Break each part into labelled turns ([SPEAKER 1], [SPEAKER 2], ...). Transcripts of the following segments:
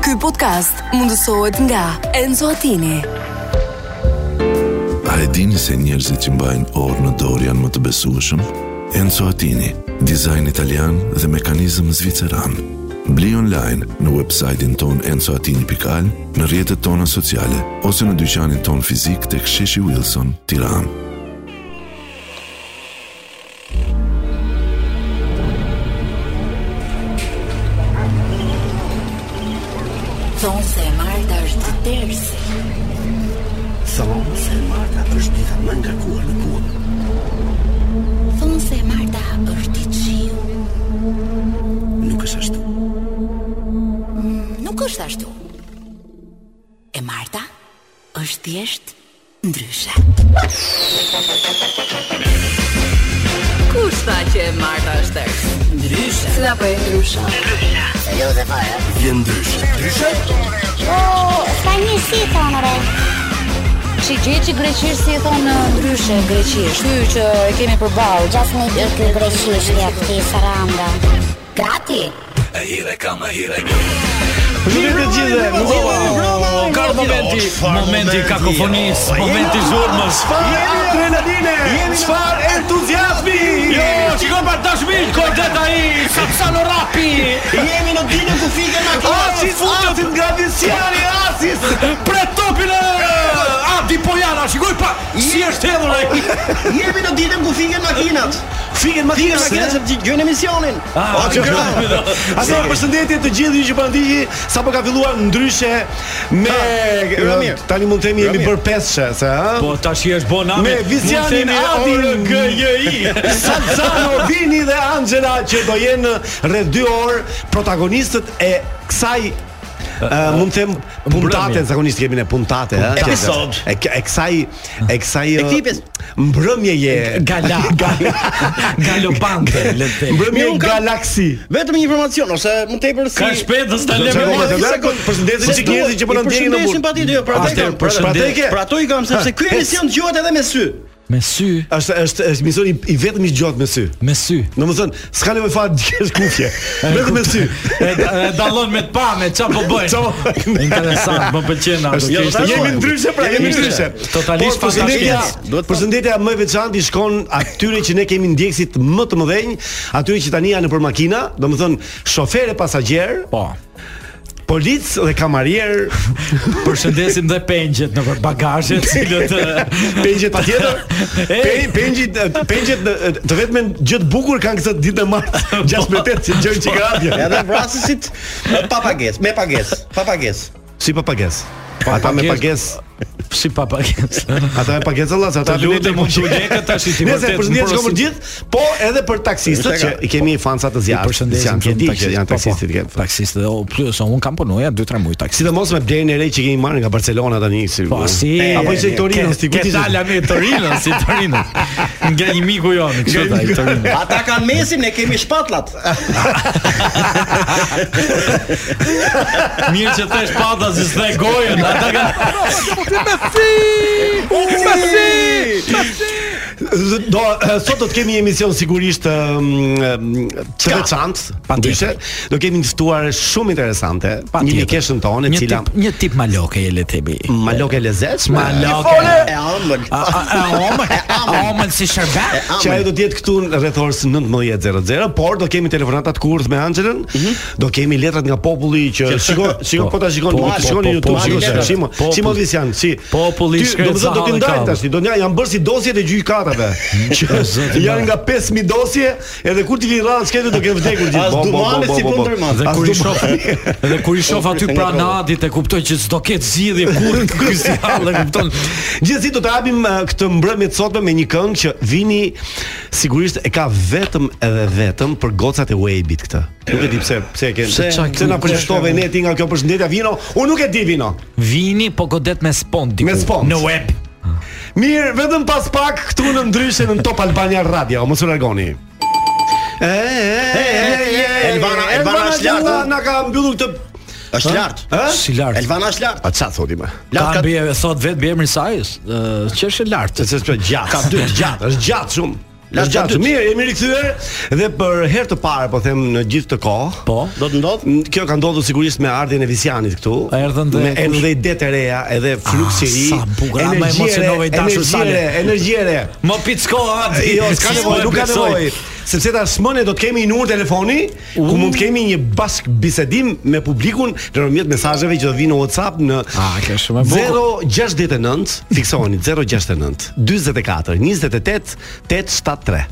[SPEAKER 1] Ky podcast mundësohet nga Enzo Attini.
[SPEAKER 2] A e dini se njerëzit që mbajnë orë në dorë janë më të besueshëm? Enzo Attini, dizajn italian dhe mekanizëm zviceran. Bli online në website-in ton enzoatini.al, në rjetët tona sociale, ose në dyqanin ton fizik të ksheshi Wilson, tiran.
[SPEAKER 3] Thonë se e Marta është të tërsi
[SPEAKER 4] Thonë se Marta është dita më nga kuar në punë.
[SPEAKER 3] Thonë se e Marta është i qiu
[SPEAKER 4] Nuk është ashtu.
[SPEAKER 3] Nuk është ashtu E Marta është thjesht ndryshe Kush tha që e Marta është tërsi? Ndryshe Sla po e ndryshe
[SPEAKER 4] Vjen ndryshe. Ndryshe?
[SPEAKER 5] Ska një si e thonë, re
[SPEAKER 6] Që gjë që greqisht si e thonë ndryshe greqisht. Ky që e kemi përballë.
[SPEAKER 5] Gjas me i kjo greqisht ja këti saranda
[SPEAKER 3] Gati
[SPEAKER 4] E hire kam, e hire
[SPEAKER 7] Përshëndetje të gjithëve. Muzova. Ka momenti, momenti kakofonis, momenti zhurmës.
[SPEAKER 4] Adrenaline! Çfarë entuziazmi!
[SPEAKER 7] Jo, shikon pa dashmin, komplet ai, Sapsano Rapi.
[SPEAKER 4] Jemi në ditën ku fiken makina.
[SPEAKER 7] Asi futet
[SPEAKER 4] nga visjari Asis.
[SPEAKER 7] Pret topin e Adi Pojana, shikoj pa si është hedhur ai.
[SPEAKER 4] Jemi në ditën ku fiken makinat. Fiken makinat, makinat se gjën emisionin.
[SPEAKER 7] Ah,
[SPEAKER 4] O, që gra.
[SPEAKER 8] Po, Ato përshëndetje të gjithë ju që po ndiqni sapo ka filluar ndryshe me
[SPEAKER 4] Ramir.
[SPEAKER 8] tani mund të themi jemi
[SPEAKER 4] Ramir.
[SPEAKER 8] bër peshe se ha
[SPEAKER 7] Po tash i është bën nami.
[SPEAKER 8] me Vizianin Adi Salzano Vini dhe Angela që do jenë rreth 2 orë protagonistët e kësaj Uh, mund të them puntate,
[SPEAKER 7] mbrëmje.
[SPEAKER 8] zakonisht kemi ne puntate, ëh.
[SPEAKER 7] Episod.
[SPEAKER 8] E, k- e kësaj e kësaj e
[SPEAKER 4] këtipjes.
[SPEAKER 8] mbrëmjeje
[SPEAKER 7] Gala. Galopante, le të them.
[SPEAKER 8] mbrëmje
[SPEAKER 4] Mirë, unë kam-
[SPEAKER 8] galaksi.
[SPEAKER 4] Vetëm një informacion ose më tepër si
[SPEAKER 7] Ka shpejtës ta
[SPEAKER 8] Lëmë
[SPEAKER 7] lëmë.
[SPEAKER 8] Lëmë,
[SPEAKER 7] mos.
[SPEAKER 8] lëmë, lëmë, përshëndesim
[SPEAKER 4] Se
[SPEAKER 8] çik
[SPEAKER 4] duhet,
[SPEAKER 8] njerëzit po, që po na
[SPEAKER 4] i
[SPEAKER 8] ndjekin në burg.
[SPEAKER 4] përshëndesim
[SPEAKER 8] Pra
[SPEAKER 4] patjetër, jo, për atë i
[SPEAKER 8] Atëherë,
[SPEAKER 4] kam, për atë-
[SPEAKER 8] përshëndetje.
[SPEAKER 4] Për ato i kam sepse ky
[SPEAKER 8] Ha,
[SPEAKER 4] emision dëgohet edhe me sy.
[SPEAKER 7] Me sy,
[SPEAKER 8] Është është është mision i, i vetëm i gjatë me sy.
[SPEAKER 7] me sy.
[SPEAKER 8] Domethënë, s'ka nevojë fat djesh kufje. Vetëm me sy.
[SPEAKER 7] E, e dallon me të pa, me ça po bëjnë. Interesant, më pëlqen ato.
[SPEAKER 8] Është-
[SPEAKER 7] kjo ishte
[SPEAKER 8] Jo, Jemi
[SPEAKER 7] fort.
[SPEAKER 8] ndryshe pra, jemi
[SPEAKER 7] Ishte
[SPEAKER 8] ndryshe.
[SPEAKER 7] Totalisht
[SPEAKER 8] Por përshëndetja,
[SPEAKER 7] fantastike.
[SPEAKER 8] duhet përshëndetja më e veçantë i shkon atyre që ne kemi ndjekësit më të mëdhenj, atyre që tani janë nëpër makina, domethënë shofer e pasagjer,
[SPEAKER 7] Po.
[SPEAKER 8] polic dhe kamarier,
[SPEAKER 7] Përshëndesim dhe pengjet nëpër bagazhe, të cilët e,
[SPEAKER 8] pengjet patjetër.
[SPEAKER 7] E.
[SPEAKER 8] Pe- Pengjet pengjet në- të vetmen gjë të bukur kanë këtë ditë e martë
[SPEAKER 7] Po.
[SPEAKER 8] 16 që gjën çikarapje.
[SPEAKER 4] Edhe vrasësit pa pagesë, me pagesë, pa pagesë.
[SPEAKER 8] Si pa pagesë. Ata me pagesë,
[SPEAKER 7] si pa pagesë.
[SPEAKER 8] ata me pagesë Allah, se ata
[SPEAKER 7] Të lutem mund të lekë tash i ti
[SPEAKER 8] Nëse
[SPEAKER 7] vërtet.
[SPEAKER 8] përshëndetje
[SPEAKER 7] në
[SPEAKER 8] shkon për
[SPEAKER 7] porosit.
[SPEAKER 8] gjithë, po edhe për taksistët që i kemi fanca të
[SPEAKER 7] I
[SPEAKER 8] zjarrit. që
[SPEAKER 7] përshëndesim
[SPEAKER 8] janë që
[SPEAKER 7] gjithë
[SPEAKER 8] di që
[SPEAKER 7] taksistët.
[SPEAKER 8] janë
[SPEAKER 7] Po, po,
[SPEAKER 8] taksistët që.
[SPEAKER 7] Taksistët, o, plus, un kam punuar 2-3 muaj taksi.
[SPEAKER 8] Sidomos me blerjen e re që kemi marrë nga Barcelona tani, si.
[SPEAKER 7] Po si
[SPEAKER 8] apo ishte i Torinos, ti
[SPEAKER 7] Ke
[SPEAKER 8] kujt ishte?
[SPEAKER 7] dala me Torinos, si Torinos. Nga një miku jon, kështu ta i Torinos.
[SPEAKER 4] Ata kanë mesin, ne kemi shpatllat.
[SPEAKER 7] Mirë që thesh pata si s'the gojën, ata kanë
[SPEAKER 8] Do sot do të kemi një emision sigurisht ëm, ëm, të veçantë,
[SPEAKER 7] Patjetër.
[SPEAKER 8] pandyshe. Do kemi një ftuar shumë interesante, një
[SPEAKER 7] Patjetër.
[SPEAKER 8] mikeshën tonë, e
[SPEAKER 7] Një
[SPEAKER 8] cila
[SPEAKER 7] tip, një tip maloke e le të bi.
[SPEAKER 8] maloke e lezetshme.
[SPEAKER 7] Maloke.
[SPEAKER 4] E ëmbël.
[SPEAKER 7] A a- a omël, a omël si shërbet?
[SPEAKER 8] që ajo do të jetë këtu në rreth orës 19:00, por do kemi telefonata të kurth me Anxhelën, do kemi letrat nga populli që shiko, shiko
[SPEAKER 7] Mhm. po,
[SPEAKER 8] po ta shikon,
[SPEAKER 7] po,
[SPEAKER 8] po,
[SPEAKER 7] po,
[SPEAKER 8] shikoni
[SPEAKER 7] po,
[SPEAKER 8] në YouTube,
[SPEAKER 7] po,
[SPEAKER 8] shiko,
[SPEAKER 7] po,
[SPEAKER 8] shimo,
[SPEAKER 7] po,
[SPEAKER 8] shimo
[SPEAKER 7] po,
[SPEAKER 8] Visian, si.
[SPEAKER 7] populli
[SPEAKER 8] Ty-
[SPEAKER 7] shkret
[SPEAKER 8] Do të thotë do
[SPEAKER 7] sa
[SPEAKER 8] të
[SPEAKER 7] hallë ka.
[SPEAKER 8] ndajnë tash, do nja janë bërë si dosjet e gjykatave. që
[SPEAKER 7] zoti
[SPEAKER 8] janë
[SPEAKER 7] madh.
[SPEAKER 8] nga 5000 dosje, edhe kur ti vi radhë skete do kenë vdekur gjithë.
[SPEAKER 4] As
[SPEAKER 8] Bo, bo, bo,
[SPEAKER 4] dumane
[SPEAKER 8] bo,
[SPEAKER 4] si
[SPEAKER 8] bo,
[SPEAKER 4] punë
[SPEAKER 8] bo.
[SPEAKER 4] tërmand.
[SPEAKER 7] Dhe
[SPEAKER 8] As
[SPEAKER 7] kur i
[SPEAKER 8] dumane.
[SPEAKER 7] shoh, edhe kur i shoh aty pranadit e kuptoj që s'do ketë zgjidhje kurrë ky si hallë, kupton?
[SPEAKER 8] Gjithsesi do të hapim eh, këtë mbrëmje të sotme me një këngë që Vini sigurisht e ka vetëm edhe vetëm për gocat e Wave-it këtë. Nuk e di pse pse e kanë.
[SPEAKER 7] Pse?
[SPEAKER 8] Pse, na përshëndove ne ti nga kjo përshëndetja Vino? Unë nuk e di Vino.
[SPEAKER 7] Vini po godet me spond diku.
[SPEAKER 8] Me spond.
[SPEAKER 7] Në web.
[SPEAKER 8] Mirë, vetëm pas pak këtu në ndryshe në Top Albania Radio, mos u largoni. E, e, e, e, e,
[SPEAKER 4] Elvana- Elvana është lartë,
[SPEAKER 8] Gjalla
[SPEAKER 4] ëh?
[SPEAKER 8] Na ka mbyllur këtë,
[SPEAKER 4] Është lart.
[SPEAKER 8] ë?
[SPEAKER 7] Si lart.
[SPEAKER 4] Elvana është lart.
[SPEAKER 8] A çfarë thoti më?
[SPEAKER 4] Lart
[SPEAKER 7] Ka
[SPEAKER 4] ka
[SPEAKER 7] bie thot vet mbi emrin e saj, ë, që është e lart.
[SPEAKER 8] Se s'është gjatë. Ka dy gjatë, është gjatë shumë. La
[SPEAKER 4] Është
[SPEAKER 8] gjatë.
[SPEAKER 4] gjatë
[SPEAKER 8] Mirë, jemi rikthyer dhe për herë të parë po them në gjithë të kohë.
[SPEAKER 7] Po.
[SPEAKER 4] Do të ndodh?
[SPEAKER 8] N- Kjo ka ndodhur sigurisht me ardhjën e Visianit këtu.
[SPEAKER 7] Erdhën dhe- Ah,
[SPEAKER 8] me erdhën dhe ide të reja, edhe fluksi i ri.
[SPEAKER 7] sa bukur, ama
[SPEAKER 8] energji e re,
[SPEAKER 7] emocionove i dashur
[SPEAKER 8] energji e re,
[SPEAKER 7] Sale.
[SPEAKER 8] Energji e re.
[SPEAKER 7] Më picko atë.
[SPEAKER 8] Jo, s'ka nevojë, nuk ka nevojë. Sepse tashmëne do të kemi një urë telefoni ku mund të kemi një bashk bisedim me publikun nëpërmjet mesazheve që do vinë në WhatsApp në
[SPEAKER 7] Ah, kjo është shumë e bukur.
[SPEAKER 8] 069 fiksoni 069 44 28 873.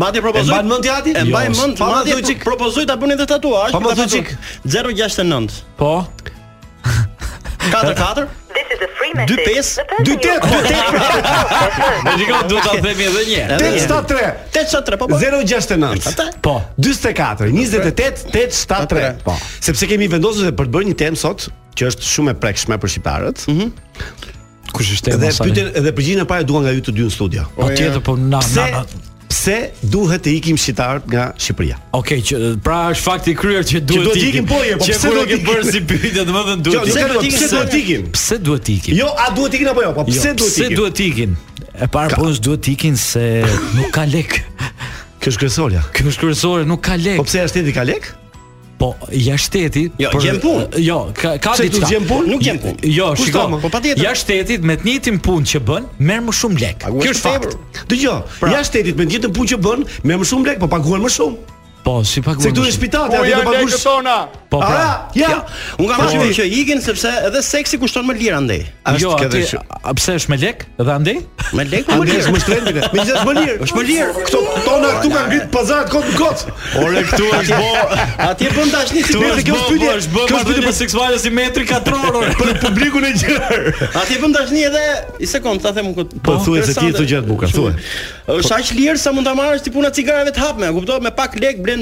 [SPEAKER 4] Madje propozoj.
[SPEAKER 8] E mban mend ti, Adi?
[SPEAKER 4] E
[SPEAKER 8] Jo,
[SPEAKER 4] mbaj mend.
[SPEAKER 8] pa
[SPEAKER 4] Madje
[SPEAKER 8] mend, çik.
[SPEAKER 4] propozoj ta bëni edhe tatuazh.
[SPEAKER 8] Pa
[SPEAKER 4] për ta
[SPEAKER 8] mend,
[SPEAKER 4] patur.
[SPEAKER 8] çik.
[SPEAKER 4] 069
[SPEAKER 7] Po.
[SPEAKER 4] 44 25
[SPEAKER 8] 28
[SPEAKER 7] Ne dikon duhet ta themi edhe një herë.
[SPEAKER 8] 873
[SPEAKER 4] 873 po po.
[SPEAKER 8] 069
[SPEAKER 4] Ata?
[SPEAKER 7] Po.
[SPEAKER 8] 44 28 873. Po. Sepse kemi vendosur se për të bërë një temë sot që është shumë e prekshme për shqiptarët.
[SPEAKER 4] Mhm.
[SPEAKER 7] Kush është
[SPEAKER 8] Dhe
[SPEAKER 7] tema sa?
[SPEAKER 8] pyetjen dhe përgjigjen e parë dua nga ju të dy në studio. jo.
[SPEAKER 7] Patjetër po na
[SPEAKER 8] Pse
[SPEAKER 7] na. na-
[SPEAKER 8] pse duhet të ikim shqiptarët nga Shqipëria?
[SPEAKER 7] Okej, që pra është fakti kryer që
[SPEAKER 8] Që
[SPEAKER 7] duhet
[SPEAKER 8] duhet ikim, po, je, po
[SPEAKER 7] Që
[SPEAKER 8] pse
[SPEAKER 7] kur e
[SPEAKER 8] duhet
[SPEAKER 7] ke
[SPEAKER 8] ikim?
[SPEAKER 7] bërë si pyetje, domethënë
[SPEAKER 8] Jo,
[SPEAKER 7] duhet. ikim.
[SPEAKER 8] nuk e
[SPEAKER 4] duhet
[SPEAKER 8] di
[SPEAKER 4] ikim,
[SPEAKER 8] pse
[SPEAKER 4] se-
[SPEAKER 8] duhet ikim.
[SPEAKER 7] Pse duhet ikim?
[SPEAKER 8] Jo, a duhet ikin apo jo? Po pse duhet
[SPEAKER 7] pse
[SPEAKER 8] ikim?
[SPEAKER 7] duhet ikim? E para po është duhet ikin se nuk ka lek.
[SPEAKER 8] Kjo është kryesorja.
[SPEAKER 7] Kjo është kryesore, nuk ka lek.
[SPEAKER 8] Po pse është teti ka lek?
[SPEAKER 7] Po jashtë shtetit,
[SPEAKER 4] Jo,
[SPEAKER 7] për-
[SPEAKER 4] gjen punë.
[SPEAKER 7] Jo, ka ka
[SPEAKER 8] Pse
[SPEAKER 7] diçka.
[SPEAKER 8] nuk gjen punë?
[SPEAKER 4] Nuk gjen punë.
[SPEAKER 7] Jo,
[SPEAKER 4] Kushto,
[SPEAKER 7] shiko.
[SPEAKER 4] mo, po patjetër.
[SPEAKER 7] Jashtë shtetit me të njëjtin punë që bën, merr më shumë lek.
[SPEAKER 4] Paguhet
[SPEAKER 7] Kjo është
[SPEAKER 4] më tepër.
[SPEAKER 7] fakt. Pra-
[SPEAKER 8] Dgjoj, jashtë shtetit me gjithë punë që bën, me më shumë lek, po paguhen më shumë.
[SPEAKER 7] Po, si paguhen.
[SPEAKER 8] Se këtu
[SPEAKER 7] më
[SPEAKER 8] në
[SPEAKER 7] shumë.
[SPEAKER 8] shpitale aty do pagush.
[SPEAKER 7] Po, pra.
[SPEAKER 8] Ah, ja.
[SPEAKER 4] Unë kam
[SPEAKER 8] Po,
[SPEAKER 4] përshtypjen që ikin sepse edhe seksi kushton më lira ndej.
[SPEAKER 8] Është
[SPEAKER 7] Jo,
[SPEAKER 8] kjo dhe
[SPEAKER 7] aty,
[SPEAKER 8] shumë.
[SPEAKER 7] a pse është me lek? Dhe andej?
[SPEAKER 4] Me lek më
[SPEAKER 8] Andres
[SPEAKER 4] lirë.
[SPEAKER 8] më shtrembin. Megjithatë është më lirë. Është më lirë. Këto tona këtu kanë ngrit po- pazarat kot në kot.
[SPEAKER 7] Ore këtu është bo
[SPEAKER 4] Atje bën dashni si
[SPEAKER 7] Tu
[SPEAKER 8] Mirë,
[SPEAKER 4] bërë
[SPEAKER 8] dhe
[SPEAKER 7] është
[SPEAKER 8] kjo
[SPEAKER 7] kjo
[SPEAKER 8] është pyetje-
[SPEAKER 7] pyetje, është bë
[SPEAKER 8] kjo është pyetje
[SPEAKER 7] marrëdhënie
[SPEAKER 8] për-
[SPEAKER 7] seksuale si metri katror. ore.
[SPEAKER 8] Për publikun e gjerë.
[SPEAKER 4] Atje bën dashni edhe i sekond ta them unë këtë.
[SPEAKER 8] Po thuaj se ti e thu gjë të bukur, thuaj.
[SPEAKER 4] Është aq lirë sa mund ta marrësh ti puna cigareve të hapme, e kupton? Me pak lek blen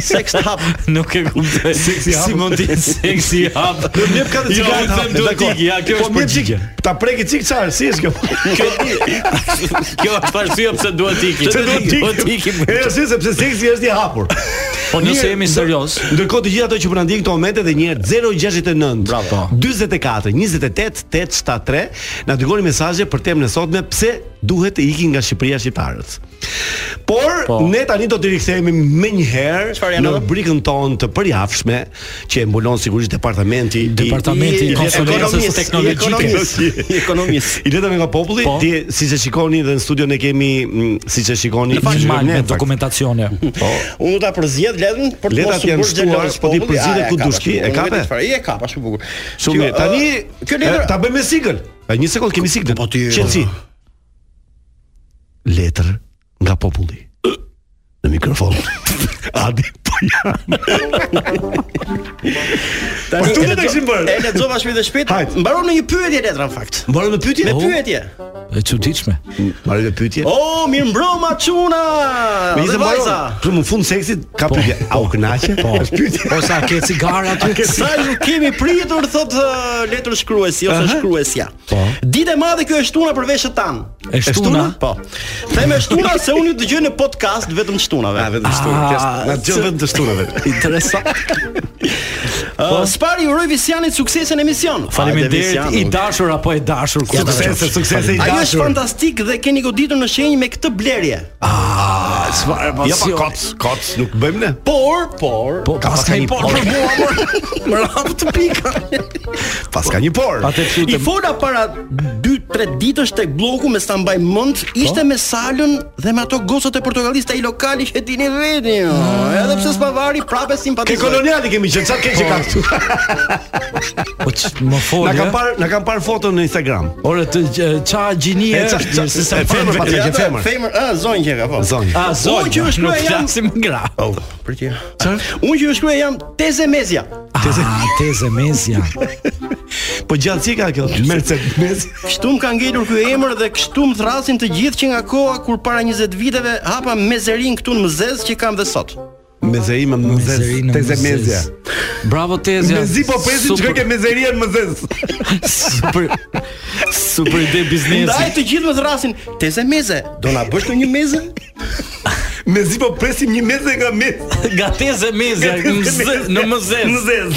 [SPEAKER 4] seks të hap.
[SPEAKER 7] Nuk e kuptoj.
[SPEAKER 8] Seksi hap.
[SPEAKER 7] Si mund të jetë seksi hap?
[SPEAKER 8] Do më jep katë
[SPEAKER 7] Jo,
[SPEAKER 8] cigare
[SPEAKER 7] unë
[SPEAKER 8] të
[SPEAKER 7] them
[SPEAKER 8] hapme,
[SPEAKER 7] duhet
[SPEAKER 8] dakor.
[SPEAKER 7] iki, ja, kjo
[SPEAKER 8] Po,
[SPEAKER 7] është
[SPEAKER 8] më jep
[SPEAKER 7] përgjigje.
[SPEAKER 8] cik- Ta preki cik çfarë, si është kjo?
[SPEAKER 7] Kjo Kjo është arsye pse duhet ikim.
[SPEAKER 8] Se duhet
[SPEAKER 7] Po të ikim.
[SPEAKER 8] E si sepse seksi është i hapur.
[SPEAKER 7] Po nëse
[SPEAKER 8] Mirë,
[SPEAKER 7] jemi serioz,
[SPEAKER 8] Ndërkohë të gjithë ato që po na ndjejnë këto momente dhe një herë 069
[SPEAKER 7] Bravo.
[SPEAKER 8] 44 28 873 na dërgoni mesazhe për temën e sotme pse duhet të ikin nga Shqipëria shqiptarët. Por
[SPEAKER 7] Po.
[SPEAKER 8] ne tani do të rikthehemi më një herë
[SPEAKER 4] Çfarë janë
[SPEAKER 8] në
[SPEAKER 4] ato?
[SPEAKER 8] rubrikën tonë të përjafshme që e mbulon sigurisht departamenti i-
[SPEAKER 7] Departamenti i konsulencës
[SPEAKER 4] ekonomisë,
[SPEAKER 7] teknologjike.
[SPEAKER 4] ekonomisë, ekonomisë.
[SPEAKER 8] I letëm nga populli,
[SPEAKER 7] Po.
[SPEAKER 8] ti siç e shikoni dhe në studio ne kemi mm, siç e shikoni
[SPEAKER 7] Në fakt
[SPEAKER 8] ne,
[SPEAKER 7] mal me
[SPEAKER 8] në fakt. Po.
[SPEAKER 7] dokumentacione.
[SPEAKER 4] Unë do ta përzjedh letën për të
[SPEAKER 8] Letat
[SPEAKER 4] mos u
[SPEAKER 8] janë
[SPEAKER 4] bërë
[SPEAKER 8] shtuar,
[SPEAKER 4] xheloz
[SPEAKER 8] po ti
[SPEAKER 4] populli.
[SPEAKER 8] përzihet
[SPEAKER 4] Ah,
[SPEAKER 8] ku
[SPEAKER 4] e
[SPEAKER 8] dush ti, e kape?
[SPEAKER 4] kapa shumë bukur, unë vetë fare, e ka pa shumë bukur.
[SPEAKER 8] Shumë mirë.
[SPEAKER 4] Kjo,
[SPEAKER 8] Tani
[SPEAKER 4] ë, kjo letër
[SPEAKER 8] e, ta bëjmë me siglën. E, Një sekond kemi siglën. Po ti. Qetësi. Letër nga populli. Në mikrofon. Adi po ja.
[SPEAKER 4] tani
[SPEAKER 8] po tu
[SPEAKER 4] e
[SPEAKER 8] do ta
[SPEAKER 4] lexo-
[SPEAKER 8] kishim bërë.
[SPEAKER 4] E lexova shpejt e shpejt.
[SPEAKER 8] Hajt.
[SPEAKER 4] Mbaron në një pyetje letra në fakt.
[SPEAKER 8] Morëm me pyetje.
[SPEAKER 4] Me
[SPEAKER 8] Oh,
[SPEAKER 4] pyetje.
[SPEAKER 7] E çuditshme.
[SPEAKER 8] Morëm me pyetje.
[SPEAKER 4] Oh, mirë mbroma çuna.
[SPEAKER 8] Me
[SPEAKER 4] Dhe
[SPEAKER 8] ishte
[SPEAKER 4] vajza.
[SPEAKER 8] mbaron. Për më fund seksit ka pyetje. Au kënaqe? Po. Është pyetje.
[SPEAKER 7] Po sa ke cigare aty?
[SPEAKER 4] Sa ju kemi pritur thot ë, letër shkruesi ose shkruesja.
[SPEAKER 7] Po.
[SPEAKER 4] Ditë e madhe kjo e shtuna për veshët tan.
[SPEAKER 7] E shtuna?
[SPEAKER 4] Po. Them e shtuna se unë ju dëgjoj në podcast vetëm shtunave.
[SPEAKER 8] Na vetëm shtunë,
[SPEAKER 7] Ah,
[SPEAKER 8] kështë, na dëgjon vetëm të shtunave.
[SPEAKER 7] Interesant.
[SPEAKER 4] Po, Spari uroj Visianit sukses në emision.
[SPEAKER 7] Faleminderit i dashur apo e dashur ku
[SPEAKER 8] Suksese, suksese i
[SPEAKER 4] Ajo është
[SPEAKER 8] dashur.
[SPEAKER 4] fantastik dhe keni goditur në shenjë me këtë blerje.
[SPEAKER 8] Ah,
[SPEAKER 7] Çfarë
[SPEAKER 8] Ja pa koc, koc nuk bëjmë ne.
[SPEAKER 4] Por, por,
[SPEAKER 7] Po
[SPEAKER 8] Ka
[SPEAKER 7] paska
[SPEAKER 8] pas
[SPEAKER 7] një
[SPEAKER 8] një
[SPEAKER 7] por
[SPEAKER 8] por.
[SPEAKER 7] për mua. mor.
[SPEAKER 4] më rap të pika.
[SPEAKER 8] Pas ka një por.
[SPEAKER 7] Atë
[SPEAKER 4] I
[SPEAKER 7] lutem.
[SPEAKER 4] fola para 2-3 ditësh tek bloku me sta mbaj mend, ishte me salën dhe me ato gocat e portokallistë ai lokali që dini veti. jo. Edhe pse spavari prapë
[SPEAKER 8] Ke
[SPEAKER 4] simpatizoi.
[SPEAKER 8] koloniali kemi qenë, çfarë keq që ka këtu?
[SPEAKER 7] Po ç- më fol.
[SPEAKER 8] Na
[SPEAKER 7] e?
[SPEAKER 8] kanë parë, na kanë parë foton në Instagram.
[SPEAKER 7] Ore të gj- ça gjinie.
[SPEAKER 8] E, ça- ça-
[SPEAKER 7] Se sa
[SPEAKER 8] e, femër,
[SPEAKER 7] femër.
[SPEAKER 8] pa tjetër.
[SPEAKER 4] Ja,
[SPEAKER 8] Ke femër?
[SPEAKER 4] femër, ë, zonjë që ka po.
[SPEAKER 8] Ah, Zonjë.
[SPEAKER 7] A
[SPEAKER 4] Unë
[SPEAKER 7] zonjë.
[SPEAKER 4] që është
[SPEAKER 7] nuk
[SPEAKER 4] kërë jam
[SPEAKER 7] flasim gra.
[SPEAKER 4] Oh, për ti. Unë që shkruaj jam teze mezja.
[SPEAKER 7] Teze Ah, teze mezja.
[SPEAKER 8] Po gjallësi ka kjo. Mercedes.
[SPEAKER 4] Kështu më ka ngelur ky emër dhe kështu më thrasin të gjithë që nga koha kur para 20 viteve hapa mezerin këtu në Mezez që kam dhe sot.
[SPEAKER 8] Mezeri me mëzes.
[SPEAKER 7] Mezerinë
[SPEAKER 8] Teze
[SPEAKER 7] mëzes.
[SPEAKER 8] mezja.
[SPEAKER 7] Bravo Tezja.
[SPEAKER 8] Mezi po presin
[SPEAKER 7] Super-
[SPEAKER 8] çka ke mezeria në mëzes.
[SPEAKER 7] Super super ide
[SPEAKER 4] Ndaj
[SPEAKER 7] biznesi.
[SPEAKER 4] të gjithë më thrasin teze meze. Do na bësh në një meze?
[SPEAKER 8] Mezi po presim një meze nga mes.
[SPEAKER 7] Nga Teze mezja në mz- në mëzes.
[SPEAKER 8] Mëzes.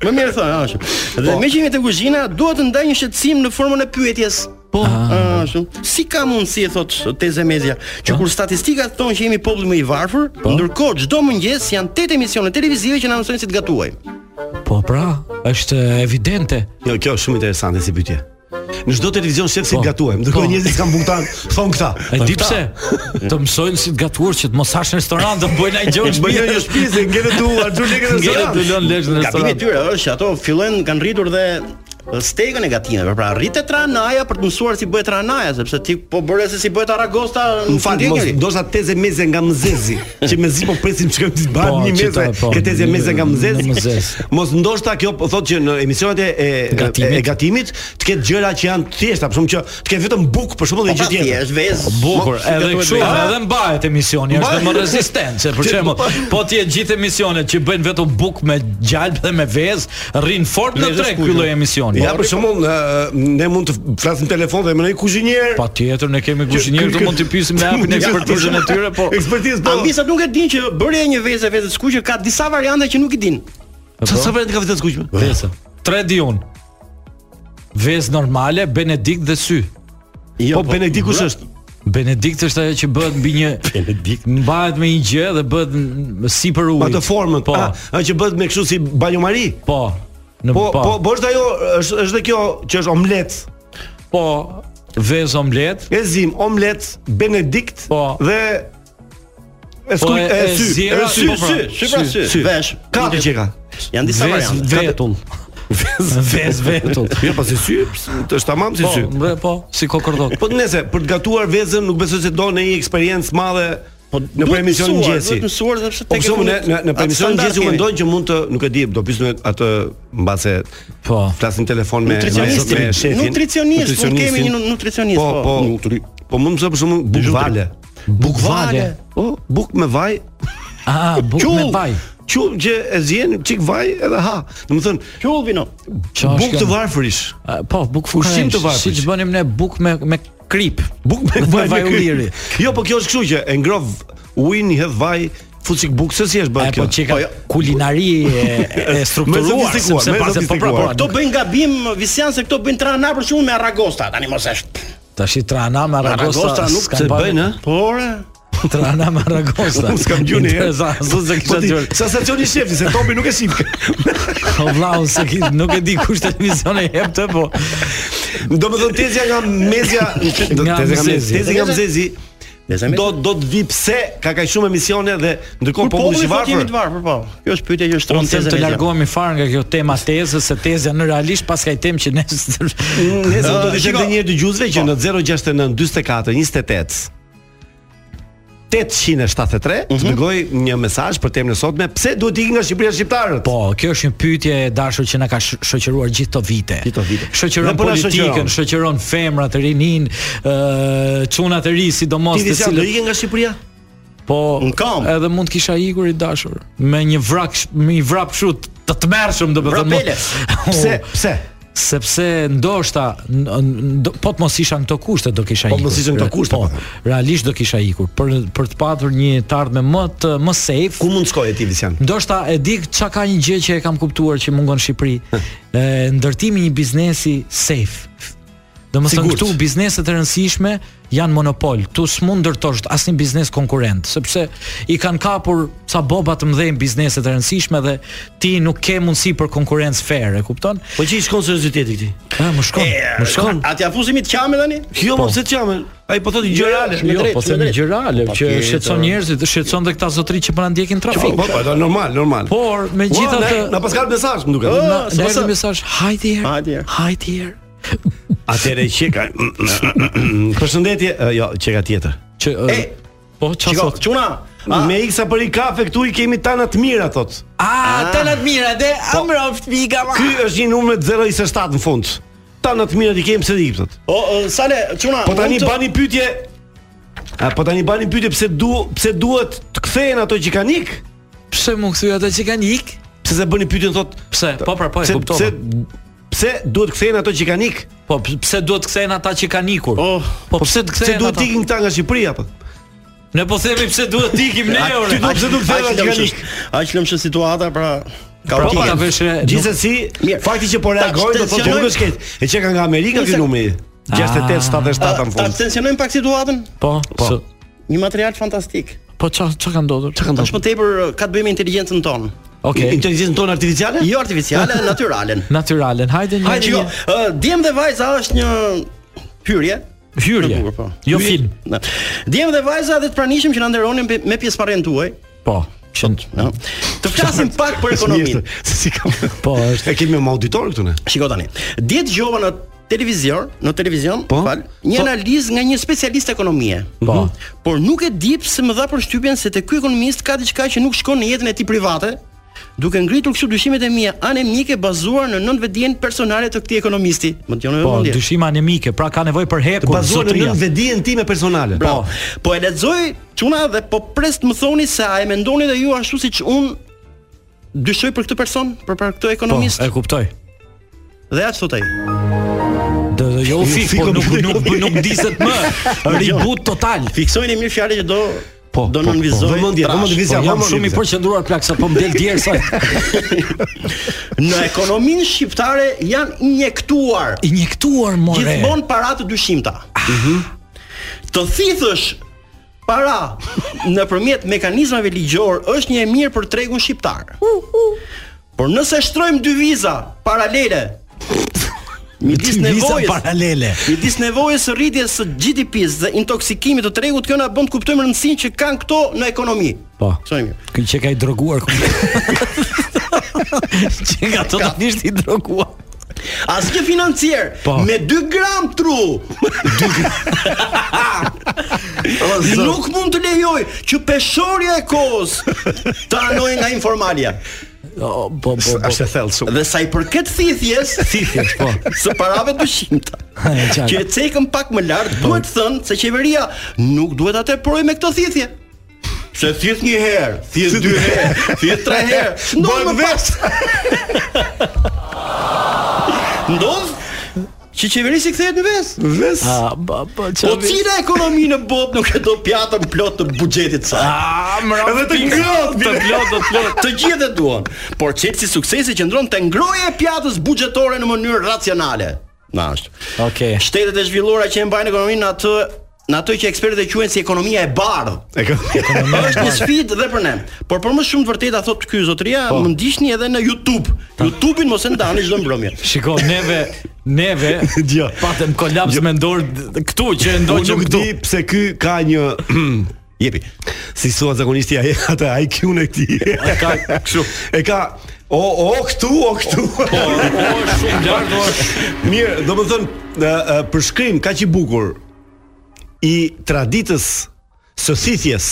[SPEAKER 4] Më mirë thonë, ashtu. Dhe me që jemi te kuzhina, duhet të ndaj një shqetësim në formën e pyetjes. Po, ah, ashtu. Si ka mundësi e thot Teze Mezia, që kur statistikat thonë që jemi populli më i varfër, ndërkohë çdo mëngjes janë 8 emisione televizive që na mësojnë si të gatuajmë.
[SPEAKER 7] Po pra, është evidente.
[SPEAKER 8] Jo, kjo është shumë interesante si pyetje. Në çdo televizion shef si
[SPEAKER 7] Po.
[SPEAKER 8] gatuajmë,
[SPEAKER 7] Po.
[SPEAKER 8] ndërkohë njerëzit kanë bungtan, thon këta.
[SPEAKER 7] E
[SPEAKER 8] thon
[SPEAKER 7] di
[SPEAKER 8] këta.
[SPEAKER 7] pse? Të mësojnë si të gatuar që të mos hash në restoran, do të bëjnë ai gjë
[SPEAKER 8] Unë
[SPEAKER 7] që
[SPEAKER 8] bëj
[SPEAKER 7] bëjnë
[SPEAKER 8] një
[SPEAKER 7] ai
[SPEAKER 8] shtëpi se ngele tu, arxhu lekë në
[SPEAKER 7] Ngele
[SPEAKER 8] restoran.
[SPEAKER 7] tu, lën lesh në
[SPEAKER 4] Gabimi i
[SPEAKER 7] restoran.
[SPEAKER 4] tyre është që ato fillojnë kanë rritur dhe stegën e gatimeve, pra rritet ranaja për të mësuar si bëhet ranaja, sepse ti po bëre se si bëhet aragosta
[SPEAKER 8] Më fal,
[SPEAKER 4] fundje
[SPEAKER 8] mos
[SPEAKER 4] njëri.
[SPEAKER 8] ndoshta teze meze nga Mzezi, që mezi po presim të shkojmë të
[SPEAKER 7] Po,
[SPEAKER 8] bëjmë një
[SPEAKER 7] që
[SPEAKER 8] meze,
[SPEAKER 7] ta- po,
[SPEAKER 8] ke teze meze
[SPEAKER 7] nga
[SPEAKER 8] nga
[SPEAKER 7] Mzezi.
[SPEAKER 8] Mzezi. Mos ndoshta kjo po thotë që në emisionet e e-
[SPEAKER 7] Gatimit.
[SPEAKER 8] e gatimit të ketë gjëra që janë thjeshta, për shembull që të ketë vetëm buk për shembull dhe gjë
[SPEAKER 4] Pra
[SPEAKER 8] tjetër.
[SPEAKER 4] thjesht vez.
[SPEAKER 7] Po, Bukur,
[SPEAKER 4] mos-
[SPEAKER 7] edhe
[SPEAKER 4] gatuhet
[SPEAKER 7] kështu,
[SPEAKER 4] vez.
[SPEAKER 7] edhe mbahet emisioni, është dhe më
[SPEAKER 8] Mbahet.
[SPEAKER 7] rezistent, se për shembull, po ti e gjithë emisionet që bëjnë vetëm buk me gjalp dhe me vezë, rrin fort në
[SPEAKER 4] Vezë
[SPEAKER 7] treg
[SPEAKER 4] skuqe.
[SPEAKER 7] ky lloj emisioni.
[SPEAKER 8] Ja për shembull, e, ne mund të flasim telefon dhe me një kuzhinier.
[SPEAKER 7] Patjetër ne kemi kuzhinierë të mund t'i pyesim ne japin ekspertizën e tyre, po
[SPEAKER 8] Ekspertizë po.
[SPEAKER 4] Ambisa nuk e din që bërja e një vezë vezë të skuqe ka disa variante që nuk i din.
[SPEAKER 8] Sa sa vjen ka vetë skuqme?
[SPEAKER 7] Vesa. Tre di un. Vezë normale, Benedikt dhe sy.
[SPEAKER 8] Jo, po Benedikt kush është?
[SPEAKER 7] Benedikt është ajo që bëhet mbi një Benedikt mbahet me një gjë dhe bëhet n- sipër
[SPEAKER 8] Pa të
[SPEAKER 7] ujit.
[SPEAKER 8] formën.
[SPEAKER 7] Po.
[SPEAKER 8] Ah, ajo që bëhet me kështu si banjomari.
[SPEAKER 7] Po. Në
[SPEAKER 8] Po,
[SPEAKER 7] po,
[SPEAKER 8] po, po është ajo, është është dhe kjo që është omlet.
[SPEAKER 7] po, vezë omlet.
[SPEAKER 8] Ezim, omlet, Benedikt
[SPEAKER 7] Po.
[SPEAKER 8] dhe e
[SPEAKER 7] Po,
[SPEAKER 8] skuq
[SPEAKER 7] e-
[SPEAKER 8] e
[SPEAKER 7] e
[SPEAKER 8] sy,
[SPEAKER 7] zjera,
[SPEAKER 8] e sy,
[SPEAKER 7] po, pra.
[SPEAKER 8] sy,
[SPEAKER 4] Sy pra sy, vesh.
[SPEAKER 8] katër që ka.
[SPEAKER 4] Janë disa
[SPEAKER 7] Vezë
[SPEAKER 4] variante.
[SPEAKER 7] vetull. Vezë vetull.
[SPEAKER 8] Mirë, pas si sy, është tamam si
[SPEAKER 7] Po,
[SPEAKER 8] sy.
[SPEAKER 7] mbre, po, si kokordok.
[SPEAKER 8] Po nëse për të gatuar vezën nuk besoj se do në një eksperiencë madhe
[SPEAKER 4] Po,
[SPEAKER 8] në
[SPEAKER 4] duhet
[SPEAKER 8] për emision
[SPEAKER 4] mësuar,
[SPEAKER 8] mëngjesi.
[SPEAKER 4] duhet mësuar sepse
[SPEAKER 8] Po
[SPEAKER 4] tek e
[SPEAKER 8] pse unë
[SPEAKER 4] fundit
[SPEAKER 8] në në për
[SPEAKER 4] atë
[SPEAKER 8] emision
[SPEAKER 4] standard
[SPEAKER 8] mëngjesi u
[SPEAKER 4] kemi.
[SPEAKER 8] mendon që mund të nuk e di, do pyesme atë mbase
[SPEAKER 7] Po.
[SPEAKER 8] flasim telefon me me-
[SPEAKER 4] Nutricionistin.
[SPEAKER 8] me shefin.
[SPEAKER 4] Nutricionist, mund
[SPEAKER 8] nutricionistin.
[SPEAKER 4] kemi një nu- nutricionist,
[SPEAKER 8] Po,
[SPEAKER 4] po.
[SPEAKER 8] po.
[SPEAKER 4] Nutri-
[SPEAKER 8] Po mund të për shembull buk vale. Buk
[SPEAKER 7] vale.
[SPEAKER 8] Po, buk me vaj.
[SPEAKER 7] Ah, buk me
[SPEAKER 8] qull,
[SPEAKER 7] vaj.
[SPEAKER 8] Qull që e zjen çik vaj edhe ha. Domethënë,
[SPEAKER 4] Qulli no.
[SPEAKER 7] Qa është
[SPEAKER 8] buk
[SPEAKER 7] kjo?
[SPEAKER 8] të varfërish.
[SPEAKER 7] Ah, Po, buk
[SPEAKER 8] Ushqim
[SPEAKER 7] fushim
[SPEAKER 8] të varfësh.
[SPEAKER 7] Siç bënim ne buk me me krip.
[SPEAKER 8] Buk me
[SPEAKER 7] Me
[SPEAKER 8] vaj
[SPEAKER 7] vaj
[SPEAKER 8] me
[SPEAKER 7] ulliri.
[SPEAKER 8] kry. Jo, po kjo është kështu që e ngrov ujin i hedh vaj, fut çik buk, se si është
[SPEAKER 7] E
[SPEAKER 8] bërë
[SPEAKER 7] po
[SPEAKER 8] kjo?
[SPEAKER 7] çika
[SPEAKER 4] Po, jo.
[SPEAKER 7] kulinari e, e strukturuar
[SPEAKER 8] sofistikuar,
[SPEAKER 7] sepse
[SPEAKER 8] me
[SPEAKER 7] pas po pra
[SPEAKER 8] sofistikuar.
[SPEAKER 7] po
[SPEAKER 4] Këto bëjnë gabim Visian se këto bëjnë trana për shkakun me Aragosta, tani mos është.
[SPEAKER 7] tash i trana me
[SPEAKER 4] Aragosta
[SPEAKER 7] aragosta
[SPEAKER 4] nuk
[SPEAKER 7] s'kan
[SPEAKER 8] Se
[SPEAKER 7] bërë-
[SPEAKER 8] bëjnë, ë?
[SPEAKER 4] Por e,
[SPEAKER 7] trana me aragosta.
[SPEAKER 8] Unë s'kam gjuni. Po
[SPEAKER 7] Interesant, s'u se kisha gjur.
[SPEAKER 8] Sensacioni i shefit se Topi nuk e shif.
[SPEAKER 7] Po vlla, unë se ki, nuk e di kush televizion e jep të, po.
[SPEAKER 8] Domethënë tezja nga mezja, tezja
[SPEAKER 7] Nga
[SPEAKER 8] nga mezja,
[SPEAKER 7] Mzezi.
[SPEAKER 8] tezja nga mzezi.
[SPEAKER 4] Tezja nga
[SPEAKER 8] Do do të vi pse ka kaq shumë emisione dhe ndërkohë
[SPEAKER 4] Kur po
[SPEAKER 8] populli është
[SPEAKER 4] më
[SPEAKER 8] i
[SPEAKER 4] thotë jemi
[SPEAKER 8] varfër.
[SPEAKER 4] të varfër, po. Kjo është pyetja që shtron
[SPEAKER 7] Unë them
[SPEAKER 4] tezën
[SPEAKER 7] të
[SPEAKER 4] e tij.
[SPEAKER 7] largohemi fare nga kjo tema tezës, se tezja në realisht pas ka i temë që ne
[SPEAKER 8] Nëse do
[SPEAKER 4] Ë,
[SPEAKER 8] të
[SPEAKER 4] shiko. Po.
[SPEAKER 8] shkojmë një dëgjuesve që në 069 44 28 873 të
[SPEAKER 4] Mhm.
[SPEAKER 8] dërgoj një mesazh për temën e sotme, pse duhet të ikin nga Shqipëria shqiptarët?
[SPEAKER 7] Po, kjo është një pyetje e dashur që na ka sh- shoqëruar gjithë këto vite.
[SPEAKER 8] Gjithë këto vite.
[SPEAKER 7] Shoqëron
[SPEAKER 8] Dhe po na
[SPEAKER 7] politikën,
[SPEAKER 8] shoqëron.
[SPEAKER 7] shoqëron femrat, rinin, ë çunat e ri, sidomos
[SPEAKER 8] ti
[SPEAKER 7] të
[SPEAKER 8] disa do
[SPEAKER 7] cilët
[SPEAKER 8] ikin nga Shqipëria?
[SPEAKER 7] Po,
[SPEAKER 4] Në kam.
[SPEAKER 7] edhe mund kisha ikur i dashur me një vrak, sh- me një vrap kështu t- të tmerrshëm domethënë.
[SPEAKER 4] Vrapele.
[SPEAKER 7] mo-
[SPEAKER 8] Pse?
[SPEAKER 7] Po,
[SPEAKER 8] Pse?
[SPEAKER 7] sepse ndoshta n- n- do- po të mos isha në këto kushte do kisha
[SPEAKER 8] Po
[SPEAKER 7] ikur.
[SPEAKER 8] të mos ishin këto kushte,
[SPEAKER 7] Po,
[SPEAKER 8] po.
[SPEAKER 7] realisht do kisha ikur për për të patur një tardhme më të më safe.
[SPEAKER 8] Ku mund shkojë ti Visian?
[SPEAKER 7] Ndoshta e di çka ka një gjë që e kam kuptuar që mungon në Shqipëri, e, ndërtimi i një biznesi safe. Domethënë
[SPEAKER 8] Sigurt.
[SPEAKER 7] këtu bizneset e rëndësishme janë monopol. Tu s'mund ndërtosh asnjë biznes konkurrent, sepse i kanë kapur ca boba të mëdhenj bizneset e rëndësishme dhe ti nuk ke mundësi për konkurrencë fair, e kupton?
[SPEAKER 8] Po që i shkon serioziteti këtij?
[SPEAKER 7] Ë, më shkon, më shkon.
[SPEAKER 4] Atja fuzimi të qamë tani?
[SPEAKER 8] Jo, mos e çamen. Ai po thotë gjë reale.
[SPEAKER 4] me
[SPEAKER 7] Jo,
[SPEAKER 4] drejtë,
[SPEAKER 7] po
[SPEAKER 4] me
[SPEAKER 7] them
[SPEAKER 4] drejtë.
[SPEAKER 7] gjërale që
[SPEAKER 4] tjetër.
[SPEAKER 7] shqetëson njerëzit, shqetëson dhe këta zotëri që po na ndjekin
[SPEAKER 8] Po,
[SPEAKER 7] trafik.
[SPEAKER 8] po, po, do normal, normal.
[SPEAKER 7] Por
[SPEAKER 4] Po,
[SPEAKER 7] megjithatë,
[SPEAKER 8] Ua, na- na pas ka mesazh, më duket.
[SPEAKER 7] Na-
[SPEAKER 4] Ë,
[SPEAKER 7] Na
[SPEAKER 4] s'po
[SPEAKER 7] erdhi
[SPEAKER 4] sa-
[SPEAKER 7] mesazh, hajde herë.
[SPEAKER 4] Hajde herë."
[SPEAKER 7] Hajde herë.
[SPEAKER 8] Atëre çeka. Përshëndetje, ë, jo, çeka tjetër.
[SPEAKER 7] Që e, po çfarë
[SPEAKER 4] Shiko,
[SPEAKER 7] thot?
[SPEAKER 4] çuna.
[SPEAKER 8] Me iksa për i kafe këtu i kemi tana të mira thot. Po.
[SPEAKER 7] A, të natë mira dhe amroft miga ma.
[SPEAKER 8] Ky është një numër 027 në fund. Tana të mira i kemi pse di thot.
[SPEAKER 4] O, o, sale, çuna.
[SPEAKER 8] Po tani
[SPEAKER 4] unë të-
[SPEAKER 8] bani pyetje. A po tani bani pyetje pse du pse duhet të kthehen ato që kanë ik?
[SPEAKER 7] Pse mu këthuj ata që kanë ik?
[SPEAKER 8] Pse se bëni pyetjen thot.
[SPEAKER 7] Pse? Po, pra, po, e
[SPEAKER 8] pse-
[SPEAKER 7] kuptova.
[SPEAKER 8] Pse pse duhet të kthehen ato që kanë ik?
[SPEAKER 7] Po, p- pse duhet të kthehen ata që kanë ikur?
[SPEAKER 4] Oh,
[SPEAKER 7] po pse të
[SPEAKER 8] Pse
[SPEAKER 7] kthehen
[SPEAKER 8] duhet të
[SPEAKER 7] ata?
[SPEAKER 8] ikin këta nga Shqipëria po?
[SPEAKER 7] Ne po themi pse duhet të ikim ne
[SPEAKER 8] A,
[SPEAKER 7] ore.
[SPEAKER 8] ti do pse duhet të kthehen
[SPEAKER 4] aq
[SPEAKER 8] ato që kanë
[SPEAKER 4] lëmshë.
[SPEAKER 8] ik?
[SPEAKER 4] Aq lëmshë situata pra
[SPEAKER 7] Pra,
[SPEAKER 4] kaotike.
[SPEAKER 7] ta vesh e-
[SPEAKER 8] Gjithsesi,
[SPEAKER 4] Mirë.
[SPEAKER 8] fakti që po
[SPEAKER 4] Ta
[SPEAKER 8] reagojnë do thotë që
[SPEAKER 4] shtensionojmë-
[SPEAKER 8] nuk është keq. E çeka nga Amerika ky
[SPEAKER 4] Nëse-
[SPEAKER 8] numri.
[SPEAKER 7] Ah.
[SPEAKER 8] 68 77
[SPEAKER 4] Ta
[SPEAKER 8] kanë
[SPEAKER 4] ta
[SPEAKER 8] fund.
[SPEAKER 4] tensionojmë pak situatën.
[SPEAKER 7] Po, po.
[SPEAKER 8] Po.
[SPEAKER 4] Një material fantastik.
[SPEAKER 7] Po ç'a ç'a ka ndodhur? Ç'a
[SPEAKER 4] Tash më tepër uh, ka të bëjë me inteligjencën tonë.
[SPEAKER 7] Okej.
[SPEAKER 8] Inteligjencën tonë artificiale?
[SPEAKER 4] Jo artificiale, natyralen.
[SPEAKER 7] Natyralen. Hajde një.
[SPEAKER 4] Hajde, jo. Ë, Djem dhe vajza është një hyrje.
[SPEAKER 7] Hyrje.
[SPEAKER 4] Në bukur, po.
[SPEAKER 7] Jo
[SPEAKER 4] Hyrje-
[SPEAKER 7] film.
[SPEAKER 4] Na. Djem dhe vajza dhe të pranishëm që na nderonin pe- me pjesëmarrjen tuaj,
[SPEAKER 7] Po. Qënd.
[SPEAKER 4] no. Të flasim pak për
[SPEAKER 8] Ekonomi.
[SPEAKER 4] ekonominë.
[SPEAKER 8] Se si kam.
[SPEAKER 7] Po, është.
[SPEAKER 8] E kemi me auditor këtu ne.
[SPEAKER 4] Shiko tani. Dje dëgjova në televizion, në televizion,
[SPEAKER 8] Po.
[SPEAKER 4] fal, një
[SPEAKER 8] Po.
[SPEAKER 4] analizë nga një specialist ekonomie. Mhm.
[SPEAKER 7] Po.
[SPEAKER 4] Por nuk e di pse më dha përshtypjen se te ky ekonomist ka diçka që nuk shkon në jetën e tij private, duke ngritur kështu dyshimet e mia anemike bazuar në nënvetdijen personale të këtij ekonomisti. Më dëgjoni
[SPEAKER 7] Po,
[SPEAKER 4] vëmendje.
[SPEAKER 7] dyshima anemike, pra ka nevojë për
[SPEAKER 8] Të
[SPEAKER 7] hekur,
[SPEAKER 8] bazuar në
[SPEAKER 7] zotëria.
[SPEAKER 8] nënvedijen time personale. Pra,
[SPEAKER 4] Bravo. Po e lexoj çuna dhe po pres të më thoni se a e mendoni dhe ju ashtu siç un dyshoj për këtë person, për për këtë
[SPEAKER 7] Po,
[SPEAKER 4] ekonomist
[SPEAKER 7] e kuptoj.
[SPEAKER 4] dhe atë thot ai.
[SPEAKER 7] Do do jo
[SPEAKER 8] Ju
[SPEAKER 7] fik,
[SPEAKER 8] fiku
[SPEAKER 7] po nuk
[SPEAKER 8] me-
[SPEAKER 7] nuk nuk diset më. Reboot total.
[SPEAKER 4] Fiksojeni mirë fjalën që do
[SPEAKER 8] Po,
[SPEAKER 4] do
[SPEAKER 8] po, po.
[SPEAKER 4] nënvizoj.
[SPEAKER 8] Vëmendje,
[SPEAKER 4] trash. jo,
[SPEAKER 8] vëmendje,
[SPEAKER 7] Po
[SPEAKER 8] vizja,
[SPEAKER 7] jam
[SPEAKER 8] vëmendje,
[SPEAKER 7] shumë i
[SPEAKER 8] vizja.
[SPEAKER 7] përqendruar plak sa po më del djersa.
[SPEAKER 4] Në ekonominë shqiptare janë injektuar
[SPEAKER 7] Injektuar more. Ah.
[SPEAKER 4] gjithmonë para të dyshimta. Mhm. Të thithësh para nëpërmjet mekanizmave ligjor është një e mirë për tregun shqiptar. Por nëse shtrojmë dy viza paralele midis nevojës
[SPEAKER 7] paralele.
[SPEAKER 4] Midis nevojës së rritjes së GDP-s dhe intoksikimit të tregut, kjo na bën të kuptojmë rëndësinë që kanë këto në ekonomi.
[SPEAKER 7] Po.
[SPEAKER 4] Shojmë mirë.
[SPEAKER 7] Ky që ka i droguar komplet. që ka totalisht i droguar.
[SPEAKER 4] Asnjë financier
[SPEAKER 7] Po.
[SPEAKER 4] me 2 gram tru nuk mund të lejoj që peshorja e kohës të anojë nga informalja.
[SPEAKER 7] Po, po, po.
[SPEAKER 8] Është e thellë shumë.
[SPEAKER 4] Dhe sa i përket thithjes,
[SPEAKER 7] Thithjes, po.
[SPEAKER 4] së parave dyshimta.
[SPEAKER 7] E, qartë.
[SPEAKER 4] që e Po. cekëm pak më lart, duhet thënë se qeveria nuk duhet atë proj me këtë thithje. Se thith një herë, thith dy herë, thith tre herë. Ndodh më pas. Ndodh që qeverisi kthehet në ves.
[SPEAKER 8] Ves.
[SPEAKER 7] Ah, po, po,
[SPEAKER 4] Po
[SPEAKER 7] çfarë?
[SPEAKER 4] cila ekonomi në botë nuk e do pjatën plot të buxhetit sa?
[SPEAKER 7] Ah, mra.
[SPEAKER 8] Edhe të ngrohtë,
[SPEAKER 7] të plot, të plot.
[SPEAKER 4] Të gjithë e duan, por çelësi suksesi qëndron te ngroja e pjatës buxhetore në mënyrë racionale. Na është.
[SPEAKER 7] Okej.
[SPEAKER 4] Shtetet e zhvilluara që e mbajnë ekonominë në atë në atë që ekspertët e quajnë si ekonomia e bardhë.
[SPEAKER 8] Ekonomia.
[SPEAKER 4] është një sfidë edhe për ne. Por për më shumë të vërteta thot ky zotëria,
[SPEAKER 8] Po.
[SPEAKER 4] më ndiqni edhe në YouTube. YouTube-in mos e ndani çdo mbrëmje.
[SPEAKER 7] Shiko, neve neve
[SPEAKER 8] Djo.
[SPEAKER 7] patëm kolaps mendor d- këtu që e
[SPEAKER 8] Jo. Unë
[SPEAKER 7] ndoqëm
[SPEAKER 8] nuk
[SPEAKER 7] këtu.
[SPEAKER 8] di pse ky ka një jepi. Si thua zakonisht ai atë IQ-n e këtij.
[SPEAKER 7] E ka kështu.
[SPEAKER 8] E ka o o këtu, o këtu.
[SPEAKER 7] Po, po, është shumë lart, po. është-
[SPEAKER 8] Mirë, do më thënë, ë, ë, për shkrim ka që i bukur i traditës së thithjes,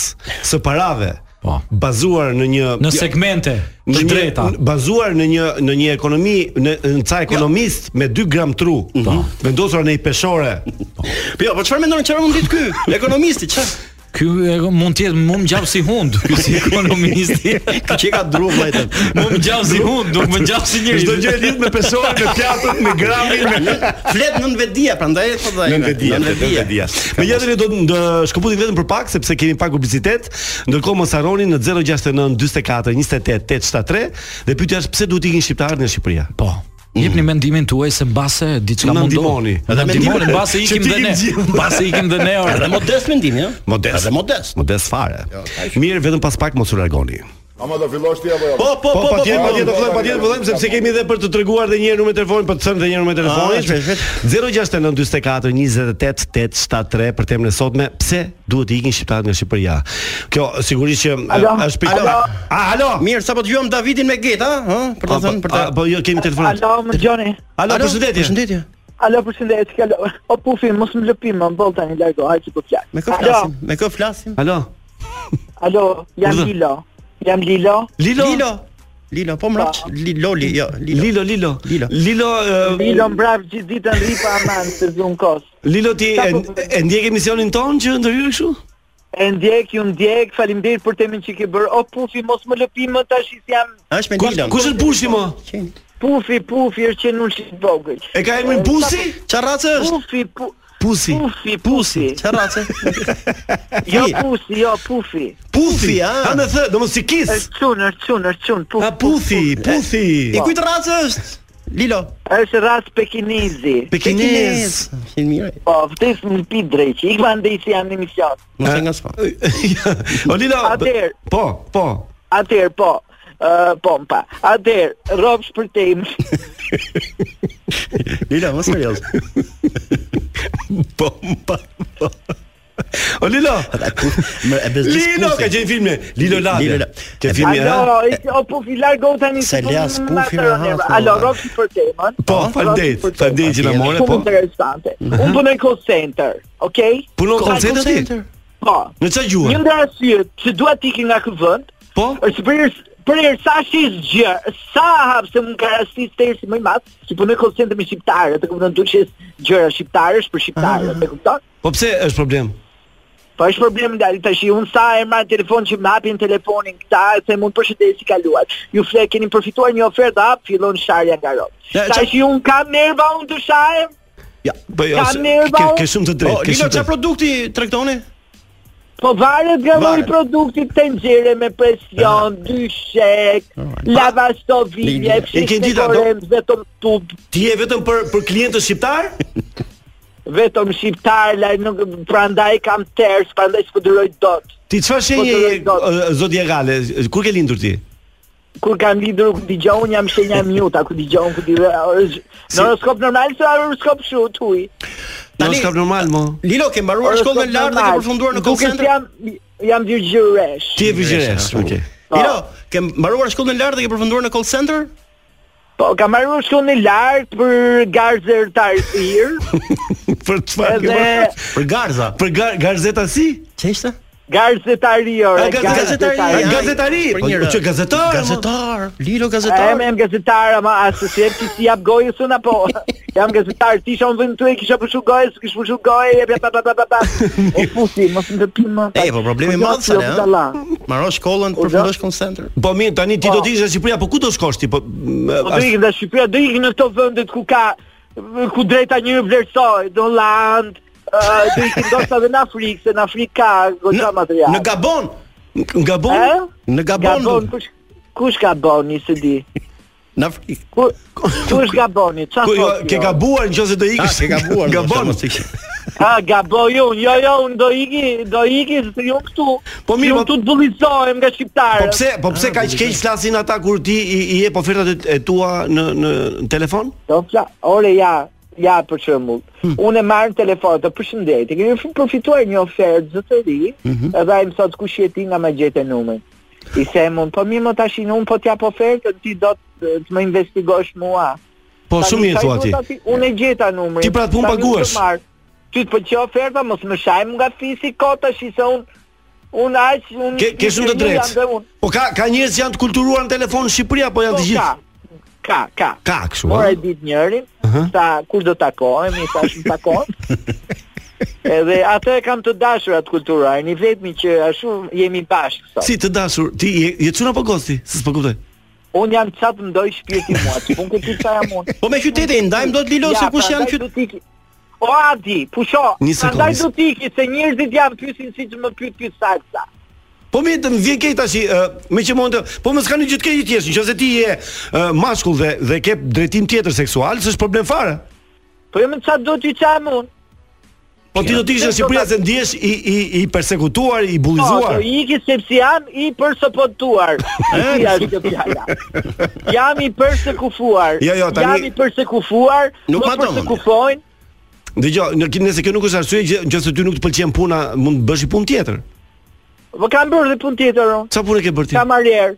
[SPEAKER 8] së parave,
[SPEAKER 7] Po.
[SPEAKER 8] bazuar në një
[SPEAKER 7] Në segmente
[SPEAKER 8] në
[SPEAKER 7] të
[SPEAKER 8] një-
[SPEAKER 7] drejta.
[SPEAKER 8] n- bazuar në një në një ekonomi në, në ca ekonomist me 2 gram tru,
[SPEAKER 7] Po.
[SPEAKER 8] vendosur në një peshore.
[SPEAKER 4] Po jo, po çfarë mendon çfarë mund ditë ky? Ekonomisti ç'a?
[SPEAKER 7] Ky e- mund të jetë mund më gjap si hund, ky si ekonomisti.
[SPEAKER 4] Ky që ka dru vllajtë.
[SPEAKER 7] Mund më gjap si hund, nuk më gjap si njerëz.
[SPEAKER 8] Çdo gjë e lidh me peshore, me pjatën, me gramin, me
[SPEAKER 4] Flet nën vetdia, prandaj e thot ai.
[SPEAKER 8] Nën vedia, nën vedia. Megjithatë ne do të ndë- shkëputim vetëm për pak sepse kemi pak publicitet, ndërkohë mos harroni në 069 44 28 873 dhe pyetja është pse duhet ikin shqiptarët në Shqipëri.
[SPEAKER 7] Po. Jepni mendimin tuaj se mbase diçka
[SPEAKER 8] Na
[SPEAKER 7] mund do.
[SPEAKER 8] Mm. ndihmoni.
[SPEAKER 7] Na ndihmoni,
[SPEAKER 8] Mendimin-
[SPEAKER 7] mbase
[SPEAKER 8] që
[SPEAKER 7] ikim
[SPEAKER 8] ti
[SPEAKER 7] dhe ne.
[SPEAKER 8] ikim gjithë.
[SPEAKER 7] Mbase ikim dhe ne
[SPEAKER 4] Edhe
[SPEAKER 7] orë.
[SPEAKER 4] modest mendim, jo?
[SPEAKER 8] Modest.
[SPEAKER 4] Edhe modest. Jo,
[SPEAKER 8] Modest fare. Mirë, vetëm pas pak mos u largoni.
[SPEAKER 9] Ama do fillosh ti apo jo?
[SPEAKER 4] Po, po, po, po,
[SPEAKER 8] patjetër,
[SPEAKER 4] po,
[SPEAKER 8] patjetër,
[SPEAKER 4] po,
[SPEAKER 8] vëllai, patjetër, vëllai, sepse kemi edhe për të treguar edhe një herë numrin e telefonit, për të thënë edhe një herë numrin e telefonit.
[SPEAKER 4] Ah, shpejt, shpejt.
[SPEAKER 8] 069 44 28 873 për temën e sotme, pse duhet të ikin shqiptarët nga Shqipëria? Kjo sigurisht që e, është pikë.
[SPEAKER 4] Alo.
[SPEAKER 8] Ah, alo.
[SPEAKER 4] Mirë, sa po dëgjojmë Davidin me geta, ha? Për të
[SPEAKER 8] Ah,
[SPEAKER 4] thënë, për të.
[SPEAKER 8] ah, Po jo kemi telefonat.
[SPEAKER 10] Alo, më gjoni.
[SPEAKER 8] Alo, përshëndetje.
[SPEAKER 4] Përshëndetje.
[SPEAKER 10] Alo, përshëndetje. Alo. O pufi, mos më lëpi më, mbol tani largo, hajde që po flas.
[SPEAKER 4] Me kë flasim? Me kë flasim?
[SPEAKER 8] Alo.
[SPEAKER 10] Alo, jam
[SPEAKER 8] Urdhë.
[SPEAKER 10] Lilo. Jam Lilo.
[SPEAKER 8] Lilo.
[SPEAKER 4] Lilo. Lilo, po mrapsh. Li- Loli, jo, Lilo.
[SPEAKER 8] Lilo, Lilo.
[SPEAKER 4] Lilo.
[SPEAKER 8] Lilo, ë,
[SPEAKER 10] Lilo mbrap gjithë ditën ripa aman se zum kos. po-
[SPEAKER 8] Lilo ti e, e ndjek emisionin ton që ndërhyr kështu?
[SPEAKER 10] E ndjek, ju ndjek, faleminderit për temën që ke bërë. O pufi, mos më lëpi më tash is jam
[SPEAKER 4] Është me
[SPEAKER 8] Kush
[SPEAKER 4] Lilo.
[SPEAKER 8] kush është Bushi më?
[SPEAKER 10] pufi, pufi është që nuk shit vogël.
[SPEAKER 8] E ka emrin Busi?
[SPEAKER 4] Çfarë race është?
[SPEAKER 10] Pufi, pu,
[SPEAKER 8] Pusi.
[SPEAKER 10] pufi, pufi.
[SPEAKER 4] Çfarë race?
[SPEAKER 10] Jo pusi, jo pufi.
[SPEAKER 4] Pufi,
[SPEAKER 8] Ha
[SPEAKER 4] a?
[SPEAKER 8] më thë, domos si kis.
[SPEAKER 10] Është çun, është çun, është çun, pufi.
[SPEAKER 8] Ha puthi, puthi.
[SPEAKER 4] I kujt race është? Lilo.
[SPEAKER 10] Është ras pekinizi.
[SPEAKER 8] Pekinez.
[SPEAKER 4] Qenë mirë.
[SPEAKER 10] Po, vdes në pi dreqi. Ik mandej si janë në mision.
[SPEAKER 4] Mos e ngaspa.
[SPEAKER 8] Eh? o Lilo.
[SPEAKER 10] Atëherë.
[SPEAKER 8] Po, po.
[SPEAKER 10] Atëherë po. Uh, pompa. Atëherë, rrobsh për temë.
[SPEAKER 4] Lilo, mos serioz.
[SPEAKER 8] Po, po. po. O Lilo.
[SPEAKER 4] Më e bezdi.
[SPEAKER 8] Lilo ka qenë filmin Lilo Lade.
[SPEAKER 4] Lilo Lade.
[SPEAKER 8] Ke filmi ha?
[SPEAKER 10] Alo, ik- o pufi largo tani.
[SPEAKER 4] Se
[SPEAKER 10] si po
[SPEAKER 4] las
[SPEAKER 10] më
[SPEAKER 4] pufi me
[SPEAKER 10] natërën
[SPEAKER 4] haftë,
[SPEAKER 10] erë. Alo,
[SPEAKER 4] ua.
[SPEAKER 10] rrobsh për temën.
[SPEAKER 8] Po,
[SPEAKER 10] Rrobsh
[SPEAKER 8] falënderit.
[SPEAKER 10] për temën.
[SPEAKER 8] Falënderit që na morë,
[SPEAKER 10] Shumë
[SPEAKER 8] po.
[SPEAKER 10] interesante. Unë punoj call center, okay?
[SPEAKER 8] Punon
[SPEAKER 10] Call
[SPEAKER 8] call center ti?
[SPEAKER 10] center? Po.
[SPEAKER 8] Në çfarë gjuhë?
[SPEAKER 10] Një nga arsyet që dua të ikim nga ky vend
[SPEAKER 8] Po?
[SPEAKER 10] është për herë- për herë sa shis gjë, sa hap se mund ka rastis tersi më i madh, që punoj call center me shqiptarë, të kupton duçi gjëra shqiptarësh për shqiptarët, e kupton?
[SPEAKER 8] Po pse është problem?
[SPEAKER 10] Po është problem nga tash unë sa e marr telefon që më hapin telefonin këta se mund përshëndetje si kaluar. Ju fle keni përfituar një ofertë hap fillon sharja nga rrot.
[SPEAKER 4] Ja,
[SPEAKER 10] Tash unë kam nerva unë të shahem.
[SPEAKER 8] Po jo,
[SPEAKER 10] Ka
[SPEAKER 8] se-
[SPEAKER 10] nerva
[SPEAKER 8] ke-
[SPEAKER 10] unë.
[SPEAKER 8] ke shumë të
[SPEAKER 4] Po,
[SPEAKER 8] drejtë, ke
[SPEAKER 4] Lilo,
[SPEAKER 8] shumë të
[SPEAKER 4] çfarë produkti tregtoni?
[SPEAKER 10] Po varet nga lloji i
[SPEAKER 4] Varet.
[SPEAKER 10] produktit, tenxhere me presion, dyshek, lavastovilje,
[SPEAKER 4] Lili,
[SPEAKER 8] Ah, e ke
[SPEAKER 10] fshisë me
[SPEAKER 8] ditë ato?
[SPEAKER 10] korrent, vetëm tub,
[SPEAKER 8] Ti je vetëm për për klientët shqiptar?
[SPEAKER 10] vetëm shqiptar, la nuk prandaj kam ters, prandaj s'po duroj dot.
[SPEAKER 8] Ti çfarë shenje
[SPEAKER 10] Po,
[SPEAKER 8] je
[SPEAKER 10] do- do-
[SPEAKER 8] e, zodiakale? Kur ke lindur ti?
[SPEAKER 10] Kur kam lidhur ku dëgjoj unë jam shenja e mjuta, ku dëgjoj unë ku di Në horoskop normal se horoskop shu tuj.
[SPEAKER 8] Në
[SPEAKER 4] Tani-
[SPEAKER 8] skap normal mo.
[SPEAKER 4] Lilo ke mbaruar shkollën lart dhe ke përfunduar në call center?
[SPEAKER 10] Jam jam virgjëresh.
[SPEAKER 8] Ti je virgjëresh. Okej.
[SPEAKER 4] Lilo, ke mbaruar shkollën lart dhe ke përfunduar në call center?
[SPEAKER 10] Po kam marrë shkollën e lartë për garzër të arsirë,
[SPEAKER 8] Për çfarë? ke
[SPEAKER 10] edhe
[SPEAKER 8] bërë?
[SPEAKER 4] Për Garza.
[SPEAKER 8] Për gar garzeta si?
[SPEAKER 4] Ç'ishte?
[SPEAKER 10] gazetari ore,
[SPEAKER 8] A, gaz- gazetari,
[SPEAKER 10] gazetari.
[SPEAKER 8] a, gazetari.
[SPEAKER 4] Për
[SPEAKER 8] Po,
[SPEAKER 4] njëra.
[SPEAKER 8] që gazetar, mo.
[SPEAKER 4] Gazetar. Lilo
[SPEAKER 10] E
[SPEAKER 4] gazetar.
[SPEAKER 10] me jam gazetar, ama asë se jep ti si jap gojës unë apo Jam gazetar, ti isha unë vënd të e kisha përshu gojës, kish përshu gojë, e bla bla bla bla bla O fusi, mos më dëpim më
[SPEAKER 4] E, po problemi i madh
[SPEAKER 10] se
[SPEAKER 4] sa ne. Mbaro shkollën, përfundosh call center.
[SPEAKER 8] Po mirë, tani ti
[SPEAKER 10] Po.
[SPEAKER 8] do të ishe në Shqipëri, po ku do shkosh ti? Po m,
[SPEAKER 10] Po do
[SPEAKER 8] as-
[SPEAKER 10] ikin dhe Shqipëria, do ikin në këto vëndet ku ka Ku drejta njërë vlerësoj, do land ë, Do ikin do shta dhe në Afrikë, se në Afrikë ka
[SPEAKER 4] Në,
[SPEAKER 10] gota material
[SPEAKER 4] në Gabon.
[SPEAKER 8] nga bon?
[SPEAKER 10] E?
[SPEAKER 4] Në Gabon.
[SPEAKER 10] Gabon, kush, kush Gaboni, se di
[SPEAKER 4] Në Afrikë.
[SPEAKER 10] Ku, kush Gaboni, qa
[SPEAKER 8] Ku jo,
[SPEAKER 10] thot
[SPEAKER 8] ke
[SPEAKER 10] jo?
[SPEAKER 8] gabuar nëse do
[SPEAKER 4] Ah,
[SPEAKER 8] ikësh.
[SPEAKER 4] ke gabuar.
[SPEAKER 8] Gabon.
[SPEAKER 4] ndoshta, mos ishe.
[SPEAKER 10] A, gaboj unë, jo, jo, unë do iki, do iki, se jo këtu.
[SPEAKER 8] Po mirë,
[SPEAKER 10] jo
[SPEAKER 8] po-
[SPEAKER 10] këtu të bullizohem nga
[SPEAKER 8] Po
[SPEAKER 10] shqiptarët.
[SPEAKER 8] pse, po pse kaq keq flasin ata kur ti i, i jep ofertat e, e tua në në në telefon?
[SPEAKER 10] Do fla, Po, ore ja, ja për shembull.
[SPEAKER 8] Hmm.
[SPEAKER 10] Unë e marr në telefon, të përshëndet. E kemi fi- përfituar një ofertë zotëri,
[SPEAKER 8] Mhm.
[SPEAKER 10] edhe ai më thotë kush je ti nga më gjetë numrin. I them unë, po mirë më tashin unë po t'jap ofertën, ti do të, të më investigosh mua.
[SPEAKER 8] Po
[SPEAKER 10] Tani,
[SPEAKER 8] shumë mirë
[SPEAKER 10] sa i
[SPEAKER 8] thua ti.
[SPEAKER 10] thotë ati, Unë e gjeta numrin.
[SPEAKER 8] Ti pra të pun
[SPEAKER 10] Tani unë
[SPEAKER 8] paguash.
[SPEAKER 10] të marr. Ty të pëlqej oferta, mos më shajm nga fisi kot tash se unë unë aq unë
[SPEAKER 8] Ke ke shumë të
[SPEAKER 10] jam dhe
[SPEAKER 8] drejtë.
[SPEAKER 10] unë.
[SPEAKER 8] Po ka ka njerëz që janë të kulturuar në telefon në Shqipëri apo janë
[SPEAKER 10] Po
[SPEAKER 8] të
[SPEAKER 10] ka.
[SPEAKER 8] gjithë?
[SPEAKER 10] Ka, ka.
[SPEAKER 8] Ka kështu.
[SPEAKER 10] Mora e
[SPEAKER 8] ha?
[SPEAKER 10] ditë njërin, sa kur do takohemi, sa shumë takohem. Edhe atë e kam të dashur atë kulturajin, i vetmi që ashtu jemi bashkë sot.
[SPEAKER 8] Si të dashur, ti je, je çuna apo gosti? Se s'po kuptoj.
[SPEAKER 10] Unë jam çat më doj shpirti mua, që punë këtë qa jam unë.
[SPEAKER 4] Po me qytete i ndajmë dot Lilo se kush janë
[SPEAKER 10] prandaj
[SPEAKER 4] qytet.
[SPEAKER 10] do t'iki. O Adi, pusho,
[SPEAKER 8] Një sekondë,
[SPEAKER 10] prandaj
[SPEAKER 8] një
[SPEAKER 10] do t'iki se njerëzit janë pyesin siç më pyet pyet salsa.
[SPEAKER 8] Po mi të më vjen keq tash, uh, me që mund të, po mos kanë gjithë keq ti jesh, nëse ti je uh, mashkull dhe dhe ke drejtim tjetër seksual, s'është problem fare.
[SPEAKER 10] Po jo më çat do t'ju qa jam unë.
[SPEAKER 8] Po ti do të ishe në Shqipëri se ndihesh i i i persekutuar, i
[SPEAKER 10] Po,
[SPEAKER 8] bullizuar.
[SPEAKER 10] do iki sepse jam i përsopotuar. Ky është kjo fjala. Jam i përsekufuar.
[SPEAKER 8] Jo, jo, tani-
[SPEAKER 10] Jam i përsekufuar,
[SPEAKER 4] Nuk
[SPEAKER 10] më
[SPEAKER 4] ma domon.
[SPEAKER 10] përsekufojnë.
[SPEAKER 8] Dëgjoj, në nëse kjo nuk është arsye gjë- nëse ty nuk të pëlqen puna, mund të bësh i punë tjetër.
[SPEAKER 10] Po kam bërë dhe punë tjetër unë.
[SPEAKER 8] Çfarë punë ke bërë ti?
[SPEAKER 10] Kamarier.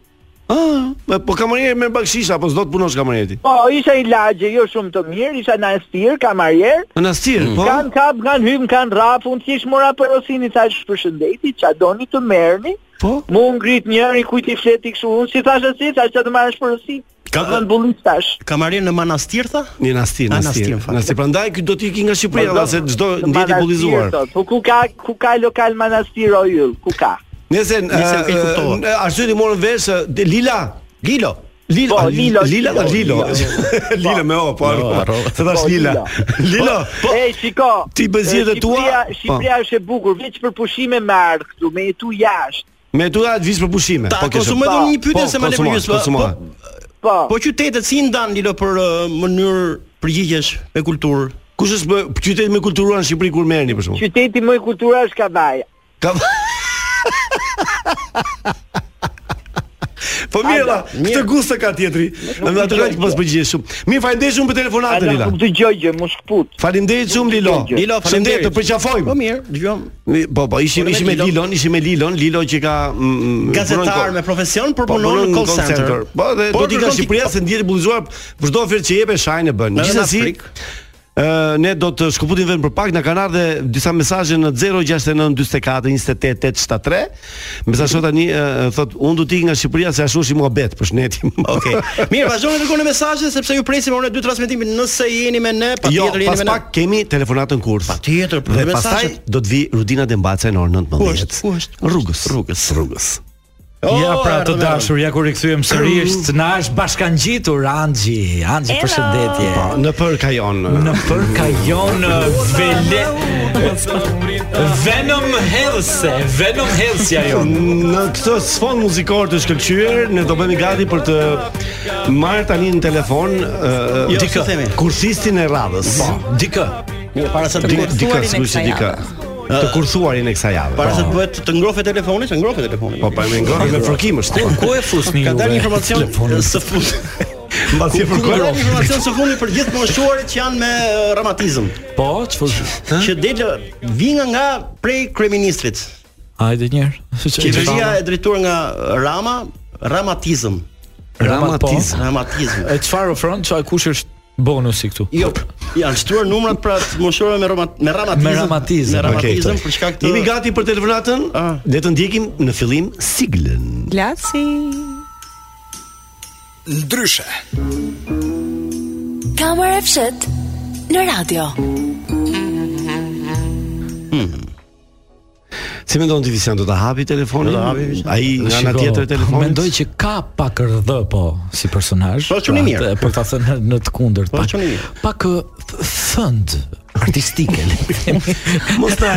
[SPEAKER 8] Ah, me- po kamarier me bakshish apo s'do të punosh kamarier ti?
[SPEAKER 10] Po, isha i lagje, jo shumë të mirë, isha në astir, kamarier.
[SPEAKER 8] Në nastir, po.
[SPEAKER 10] Kan kap, kan hym, kan rap, unë thjesht mora për osini tash përshëndeti, qa doni të merrni.
[SPEAKER 8] Po.
[SPEAKER 10] Mu ngrit njëri kujt i fleti kështu, unë si thash asnjë, thash që të marrësh për osin.
[SPEAKER 4] Ka-
[SPEAKER 10] Ka vënë bullit tash.
[SPEAKER 4] Kamarin në manastir tha?
[SPEAKER 8] Një nastir,
[SPEAKER 4] A,
[SPEAKER 8] nastir.
[SPEAKER 4] nastir, në fakt.
[SPEAKER 8] Nastir, prandaj ky do të iki nga Shqipëria,
[SPEAKER 10] Po, do-
[SPEAKER 8] se çdo
[SPEAKER 10] Në
[SPEAKER 8] ndjeti
[SPEAKER 10] manastir
[SPEAKER 8] bullizuar.
[SPEAKER 10] sot, Po ku ka ku ka lokal manastir o yll, ku ka?
[SPEAKER 8] Nëse
[SPEAKER 4] Nëse e kuptova.
[SPEAKER 8] ë, ë, arsye ti morën vesh ë, de- Lila.
[SPEAKER 4] Lilo.
[SPEAKER 8] Lila,
[SPEAKER 10] Po,
[SPEAKER 8] a,
[SPEAKER 10] Lilo,
[SPEAKER 8] Lila,
[SPEAKER 10] Lilo,
[SPEAKER 8] Lilo.
[SPEAKER 10] Lilo.
[SPEAKER 8] Lila me o, po.
[SPEAKER 4] Po, harrova.
[SPEAKER 8] Se thash
[SPEAKER 10] Po,
[SPEAKER 8] Lila. Lilo. Po,
[SPEAKER 10] Ej, shiko.
[SPEAKER 8] Ti bezirët e
[SPEAKER 10] e,
[SPEAKER 8] tua?
[SPEAKER 10] Shqipëria-
[SPEAKER 8] Po.
[SPEAKER 10] Shqipëria është e bukur, veç për pushime me ardh këtu, me jetu jashtë.
[SPEAKER 8] me tu atë viz për pushime.
[SPEAKER 4] Ta
[SPEAKER 8] Po, ke shumë.
[SPEAKER 4] konsumoj
[SPEAKER 10] pa.
[SPEAKER 4] dhe unë një pyetje
[SPEAKER 8] Po,
[SPEAKER 4] se më le
[SPEAKER 8] konsumo,
[SPEAKER 4] përgjysmë.
[SPEAKER 8] konsumo.
[SPEAKER 4] Po,
[SPEAKER 10] Po po.
[SPEAKER 4] Po qytetet si i ndan Lilo për ë, mënyrë përgjigjesh me kulturë?
[SPEAKER 8] Kush është bë- qyteti me kulturuar në Shqipëri kur merrni për shkak?
[SPEAKER 10] Qyteti më i kultura është Kavaja.
[SPEAKER 8] Ka Po mirë, la, këtë gusto ka tjetri. Në atë kaq mos përgjigjesh shumë. Mirë, faleminderit shumë për telefonatën,
[SPEAKER 10] Ata
[SPEAKER 8] Lila.
[SPEAKER 10] nuk dëgjoj gjë, mos kput.
[SPEAKER 8] Faleminderit shumë Lilo.
[SPEAKER 10] Lilo,
[SPEAKER 4] Lilo,
[SPEAKER 8] Shëndet,
[SPEAKER 4] faleminderit.
[SPEAKER 8] të përqafojmë.
[SPEAKER 4] Po mirë, dëgjom.
[SPEAKER 8] Mi- Po, po, ishim
[SPEAKER 4] Unë me
[SPEAKER 8] ishim me
[SPEAKER 4] Lilon.
[SPEAKER 8] Lilon, ishim me Lilon, Lilo që ka mm,
[SPEAKER 4] Gazetar
[SPEAKER 8] punon-
[SPEAKER 4] me profesion, por
[SPEAKER 8] po,
[SPEAKER 4] punon në call center.
[SPEAKER 8] Po, dhe do
[SPEAKER 4] Por
[SPEAKER 8] t'i ka
[SPEAKER 4] kërkon ti-
[SPEAKER 8] Shqipëria se ndjehet bullizuar për çdo ofertë që jepet shajin e bën.
[SPEAKER 4] Në
[SPEAKER 8] Gjithsesi,
[SPEAKER 4] Afrikë.
[SPEAKER 8] ë ne do të shkëputim vetëm për pak, na kanë ardhe disa mesazhe në 069 44 28 873. Mesazho tani ë, thot, unë do të ik nga Shqipëria se ashtu është i muhabet, përshëndetje.
[SPEAKER 4] Okej. Mirë, vazhdoni të dërgoni mesazhe sepse ju presim orën e 2 transmetimin. Nëse jeni me ne,
[SPEAKER 8] Jo,
[SPEAKER 4] patjetër jeni
[SPEAKER 8] pas
[SPEAKER 4] me ne.
[SPEAKER 8] pak kemi telefonatën kurth.
[SPEAKER 4] Patjetër, për
[SPEAKER 8] Dhe
[SPEAKER 4] mesazhe-
[SPEAKER 8] pastaj do të vi Rudina Dembaca në orën 19.
[SPEAKER 4] Ku është? Ku është?
[SPEAKER 8] Rrugës. Rrugës. Rrugës. Jo,
[SPEAKER 4] Oh,
[SPEAKER 7] ja pra të
[SPEAKER 4] erdhëm, erdhëm.
[SPEAKER 7] dashur, ja kur i kthyem
[SPEAKER 8] Mm.
[SPEAKER 7] sërish, na është bashkangjitur Anxhi. Anxhi, përshëndetje.
[SPEAKER 8] Po, në për kajon.
[SPEAKER 7] Në për ka jonë vele Venom Hellse Venom Hellse ajo
[SPEAKER 8] Në këtë sfond muzikor të shkëlqyer, ne do bëhemi gati për të marrë tani në telefon ë,
[SPEAKER 4] Jo,
[SPEAKER 8] dikë
[SPEAKER 4] s'u themi.
[SPEAKER 8] kursistin e radhës. Po,
[SPEAKER 7] Dikë
[SPEAKER 4] Mirë, Jo, para se të
[SPEAKER 8] dikë
[SPEAKER 4] bëhet-
[SPEAKER 8] dikë sigurisht që dikë. Të kurthuarin e kësaj jave.
[SPEAKER 4] para se të
[SPEAKER 8] Po.
[SPEAKER 4] bëhet të ngrohet telefoni, të ngrohet telefoni.
[SPEAKER 8] Po, pa më ngrohtë me fërkim është.
[SPEAKER 7] Ku e fusni
[SPEAKER 4] Ka
[SPEAKER 7] juve?
[SPEAKER 4] dalë informacion së fund.
[SPEAKER 8] Mbas
[SPEAKER 4] Ku
[SPEAKER 8] je
[SPEAKER 4] ka dalë
[SPEAKER 8] fërkuar.
[SPEAKER 4] informacion së fundi për gjithë moshuarit që janë me eh, reumatizëm,
[SPEAKER 7] Po, çfarë?
[SPEAKER 4] që del vi nga nga prej kryeministrit.
[SPEAKER 7] Hajde një herë.
[SPEAKER 4] Qeveria e drejtuar nga Rama, reumatizëm,
[SPEAKER 8] Ramatizëm.
[SPEAKER 4] reumatizëm.
[SPEAKER 7] E çfarë ofron? Çfarë kush është bonusi këtu?
[SPEAKER 4] Jo, janë shtruar numrat pra të moshuarve me roma- me reumatizëm.
[SPEAKER 7] Me reumatizëm.
[SPEAKER 4] me reumatizëm për shkak të
[SPEAKER 8] Jemi gati për telefonatën?
[SPEAKER 4] Ah.
[SPEAKER 8] Le të ndjekim në fillim siglën.
[SPEAKER 9] Ndryshe
[SPEAKER 1] Kamër e fshet në radio.
[SPEAKER 4] Hmm.
[SPEAKER 8] Si mendon ti Vision do ta hapi telefonin?
[SPEAKER 4] Do ta hapi, Vision.
[SPEAKER 8] Ai nga ana
[SPEAKER 7] Shiko,
[SPEAKER 8] tjetër e telefonit.
[SPEAKER 7] Mendoj që ka pak rëdhë po si personazh.
[SPEAKER 4] Po, qënë i mirë.
[SPEAKER 7] Për ta thënë në- në të kundërt.
[SPEAKER 4] Po,
[SPEAKER 7] pak-
[SPEAKER 4] qënë i mirë.
[SPEAKER 7] Pak ë, th- thënd artistike. le të themi.
[SPEAKER 8] mos ta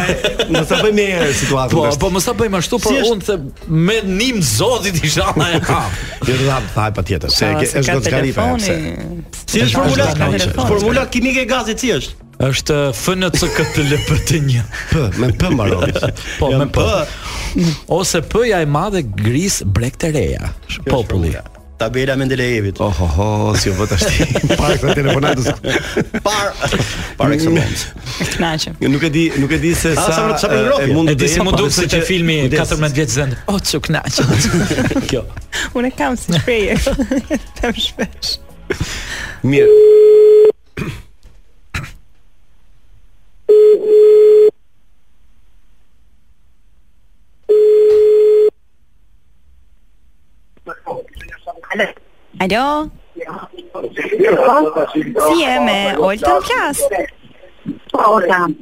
[SPEAKER 8] mos ta bëjmë herë situatën.
[SPEAKER 7] Po,
[SPEAKER 8] tash.
[SPEAKER 7] po mos ta bëjmë ashtu, por
[SPEAKER 4] Si është?
[SPEAKER 7] unë the me nim zotit inshallah e kam.
[SPEAKER 8] Jo do ta hap ta hap patjetër, se ke- është gocë pa pse.
[SPEAKER 4] Si është formula? Formula kimike e gazit si është?
[SPEAKER 7] Është FNCKTLPT1.
[SPEAKER 8] P, me P mbaron.
[SPEAKER 7] Po, me P.
[SPEAKER 4] P.
[SPEAKER 7] Ose P-ja e madhe gris brek të reja. Populli.
[SPEAKER 4] Tabela Mendelejevit.
[SPEAKER 8] Oh ho ho, si u vë tash ti. Para këtë telefonatës.
[SPEAKER 4] Par par excellence.
[SPEAKER 8] Nuk e di, nuk e di se sa
[SPEAKER 4] Ah,
[SPEAKER 8] eh,
[SPEAKER 4] sa më- sa për ngrohje.
[SPEAKER 8] e mund
[SPEAKER 7] E
[SPEAKER 8] të
[SPEAKER 7] di si
[SPEAKER 8] jetë,
[SPEAKER 7] më
[SPEAKER 8] po,
[SPEAKER 7] duk
[SPEAKER 8] besoj
[SPEAKER 7] se
[SPEAKER 8] që
[SPEAKER 7] te filmi
[SPEAKER 8] kujdes.
[SPEAKER 7] 14 vjet zend. O çu knaq. Kjo.
[SPEAKER 9] Unë e kam si shpreje Them shpesh
[SPEAKER 8] Mirë.
[SPEAKER 9] Alo Si je me Oltën Plas
[SPEAKER 5] Po, jam.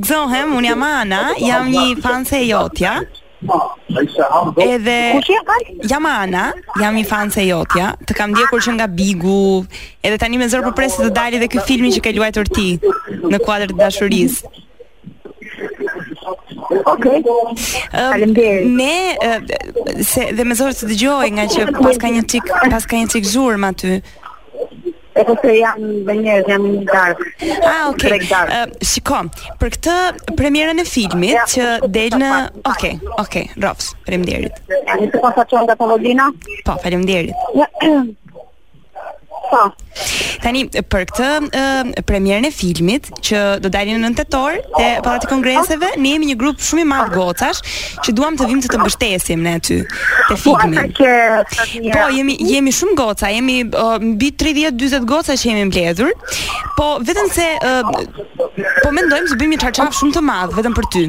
[SPEAKER 9] Gëzohem, unë jam Ana Jam një fanse e jotja Edhe
[SPEAKER 5] Kush je ka?
[SPEAKER 9] Jam Ana, jam një fan se jotja, të kam ndjekur që nga Bigu, edhe tani me zor po pres se të dalë edhe ky filmi që ke luajtur ti në kuadër të dashurisë.
[SPEAKER 5] Okej.
[SPEAKER 9] Ë,
[SPEAKER 5] Faleminderit.
[SPEAKER 9] Ne ë, se dhe me zor të dëgjoj nga që pas ka një çik, pas ka një çik zhurmë aty.
[SPEAKER 5] E po se jam me njerëz, jam një darkë.
[SPEAKER 9] Ah, okay.
[SPEAKER 5] Drejt darkë.
[SPEAKER 9] Uh, shiko, për këtë premierën e filmit që del në Okay, okay, Rofs. Faleminderit.
[SPEAKER 5] Ani të pasa qonë nga Pavolina?
[SPEAKER 9] Po, faleminderit.
[SPEAKER 5] Po,
[SPEAKER 9] Tani për këtë ë, premierën e filmit që do dalin në 9 tetor te Pallati i Kongreseve, ne jemi një grup shumë i madh gocash që duam të vim të të mbështesim ne aty te
[SPEAKER 5] po ata
[SPEAKER 9] filmi.
[SPEAKER 5] që të mira.
[SPEAKER 9] Po, jemi jemi shumë goca, jemi ë, mbi 30-40 goca që jemi mbledhur. Po vetëm se ë, po mendojmë se bëjmë një çarçaf shumë të madh vetëm për ty.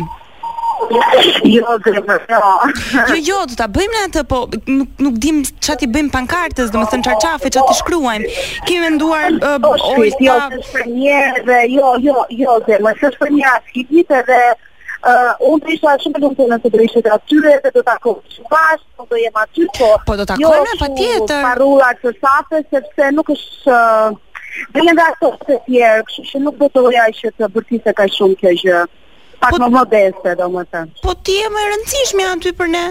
[SPEAKER 5] Jo, zërë, jo.
[SPEAKER 9] Jo, jo, do ta bëjmë ne atë, po nuk nuk dim çfarë ti bëjmë pankartës, domethënë çarçafe, çfarë ti shkruajmë. Kemi menduar
[SPEAKER 5] Po,
[SPEAKER 9] uh,
[SPEAKER 5] shkrit, jo, se shpërnjerë dhe jo, jo, jo, dhe më se shpërnjerë as kipit edhe uh, unë të isha shumë e lumtur nëse do ishit atyre dhe do takojmë shumë bashkë, po do jem aty, po
[SPEAKER 9] Po, do takojmë, patjetër.
[SPEAKER 5] Parula të sape sepse nuk është uh, Dhe nga ato të tjerë, kështu që nuk do të loja që të bërtise ka shumë kjo gjë. pak më uh, modeste, domethënë.
[SPEAKER 9] Po ti je më e rëndësishme aty për ne.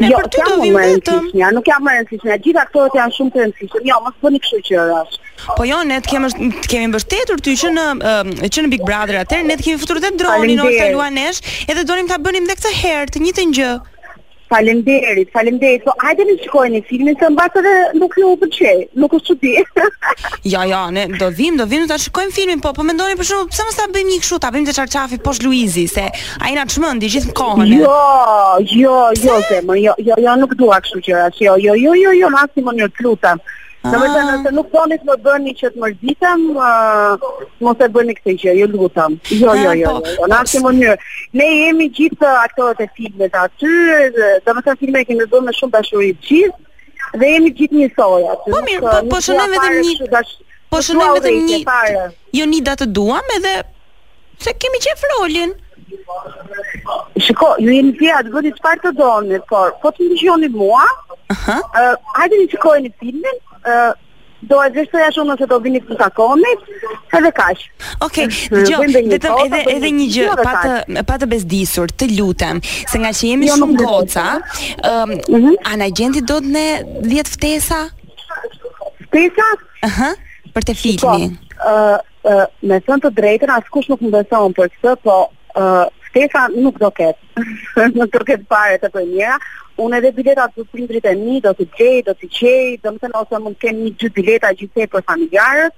[SPEAKER 9] Ne
[SPEAKER 5] Jo,
[SPEAKER 9] për ty
[SPEAKER 5] s'jam
[SPEAKER 9] do
[SPEAKER 5] unë
[SPEAKER 9] vim
[SPEAKER 5] më e
[SPEAKER 9] vetëm.
[SPEAKER 5] rëndësishmja, nuk jam më e rëndësishmja. Gjithë aktorët janë shumë të rëndësishëm. Jo, mos bëni kështu gjërash.
[SPEAKER 9] Po jo, ne të kemi të kemi mbështetur ty që në ë, që në Big Brother atëherë ne të kemi futur dhe dronin
[SPEAKER 5] Faleminderit.
[SPEAKER 9] ose luanesh, edhe donim ta bënim edhe këtë herë të njëjtën gjë.
[SPEAKER 5] Faleminderit, faleminderit. Po hajde ne shikojeni filmin se mbas edhe nuk ju pëlqej. Nuk është çudi.
[SPEAKER 9] Ja, ja, ne do vim, do vim do ta shikojmë filmin, po po mendoni për shembull, pse mos ta bëjmë një kështu, ta bëjmë te çarçafi poshtë Luizi, se ai na çmendi gjithë kohën. e.
[SPEAKER 5] Jo, jo, jo zemër, jo, jo, jo, nuk dua kështu gjërash. Jo, jo, jo, jo, jo, maksimo një lutem.
[SPEAKER 9] Ah.
[SPEAKER 5] Në vetë nëse nuk doni të më bëni që të mërzitem, uh, mos e bëni këtë gjë, ju lutem. Jo, jo, jo,
[SPEAKER 9] Ah, po.
[SPEAKER 5] jo, jo, në asnjë mënyrë. Ne jemi gjithë aktorët e filmit aty, domethënë filmin e kemi bërë me shumë dashuri të gjithë dhe jemi gjithë njësoj aty.
[SPEAKER 9] Po
[SPEAKER 5] Nuk,
[SPEAKER 9] mirë,
[SPEAKER 5] uh,
[SPEAKER 9] po-
[SPEAKER 5] nuk
[SPEAKER 9] po
[SPEAKER 5] dua
[SPEAKER 9] shënojmë vetëm
[SPEAKER 5] fare
[SPEAKER 9] një-
[SPEAKER 5] kështu dash-
[SPEAKER 9] Po
[SPEAKER 5] nuk
[SPEAKER 9] shënoj
[SPEAKER 5] dua
[SPEAKER 9] vetëm
[SPEAKER 5] urrejtje
[SPEAKER 9] një
[SPEAKER 5] fare.
[SPEAKER 9] Jo një datë të duam edhe se kemi qef rolin.
[SPEAKER 5] Shiko, ju jeni të atë bëni çfarë të doni, por po të më dëgjoni mua,
[SPEAKER 9] Aha.
[SPEAKER 5] ë hajde të shikojeni filmin, ë do e vështoja shumë nëse do vini të takoni, edhe kaq.
[SPEAKER 9] Okej,
[SPEAKER 5] Është,
[SPEAKER 9] dëgjoj,
[SPEAKER 5] bëjmë dhe një
[SPEAKER 9] vetëm
[SPEAKER 5] foto,
[SPEAKER 9] edhe
[SPEAKER 5] bëjmë
[SPEAKER 9] edhe
[SPEAKER 5] një
[SPEAKER 9] një gjë
[SPEAKER 5] video dhe
[SPEAKER 9] pa të pa të bezdisur, të lutem, se nga që jemi
[SPEAKER 5] Jo,
[SPEAKER 9] shumë
[SPEAKER 5] nuk besoj.
[SPEAKER 9] goca, ëm
[SPEAKER 5] Mhm.
[SPEAKER 9] anagjenti do të ne 10 ftesa,
[SPEAKER 5] Pesa,
[SPEAKER 9] aha, për të
[SPEAKER 5] po,
[SPEAKER 9] filmin.
[SPEAKER 5] ë ë me thënë të drejtën, askush nuk më beson për këtë, po ë ftesa nuk do ketë. nuk do ketë fare të premiera. Unë edhe biletat për prindrit e mi do të gjej, do të gjej, domethënë ose mund të kem një dy bileta gjithsej për familjarët.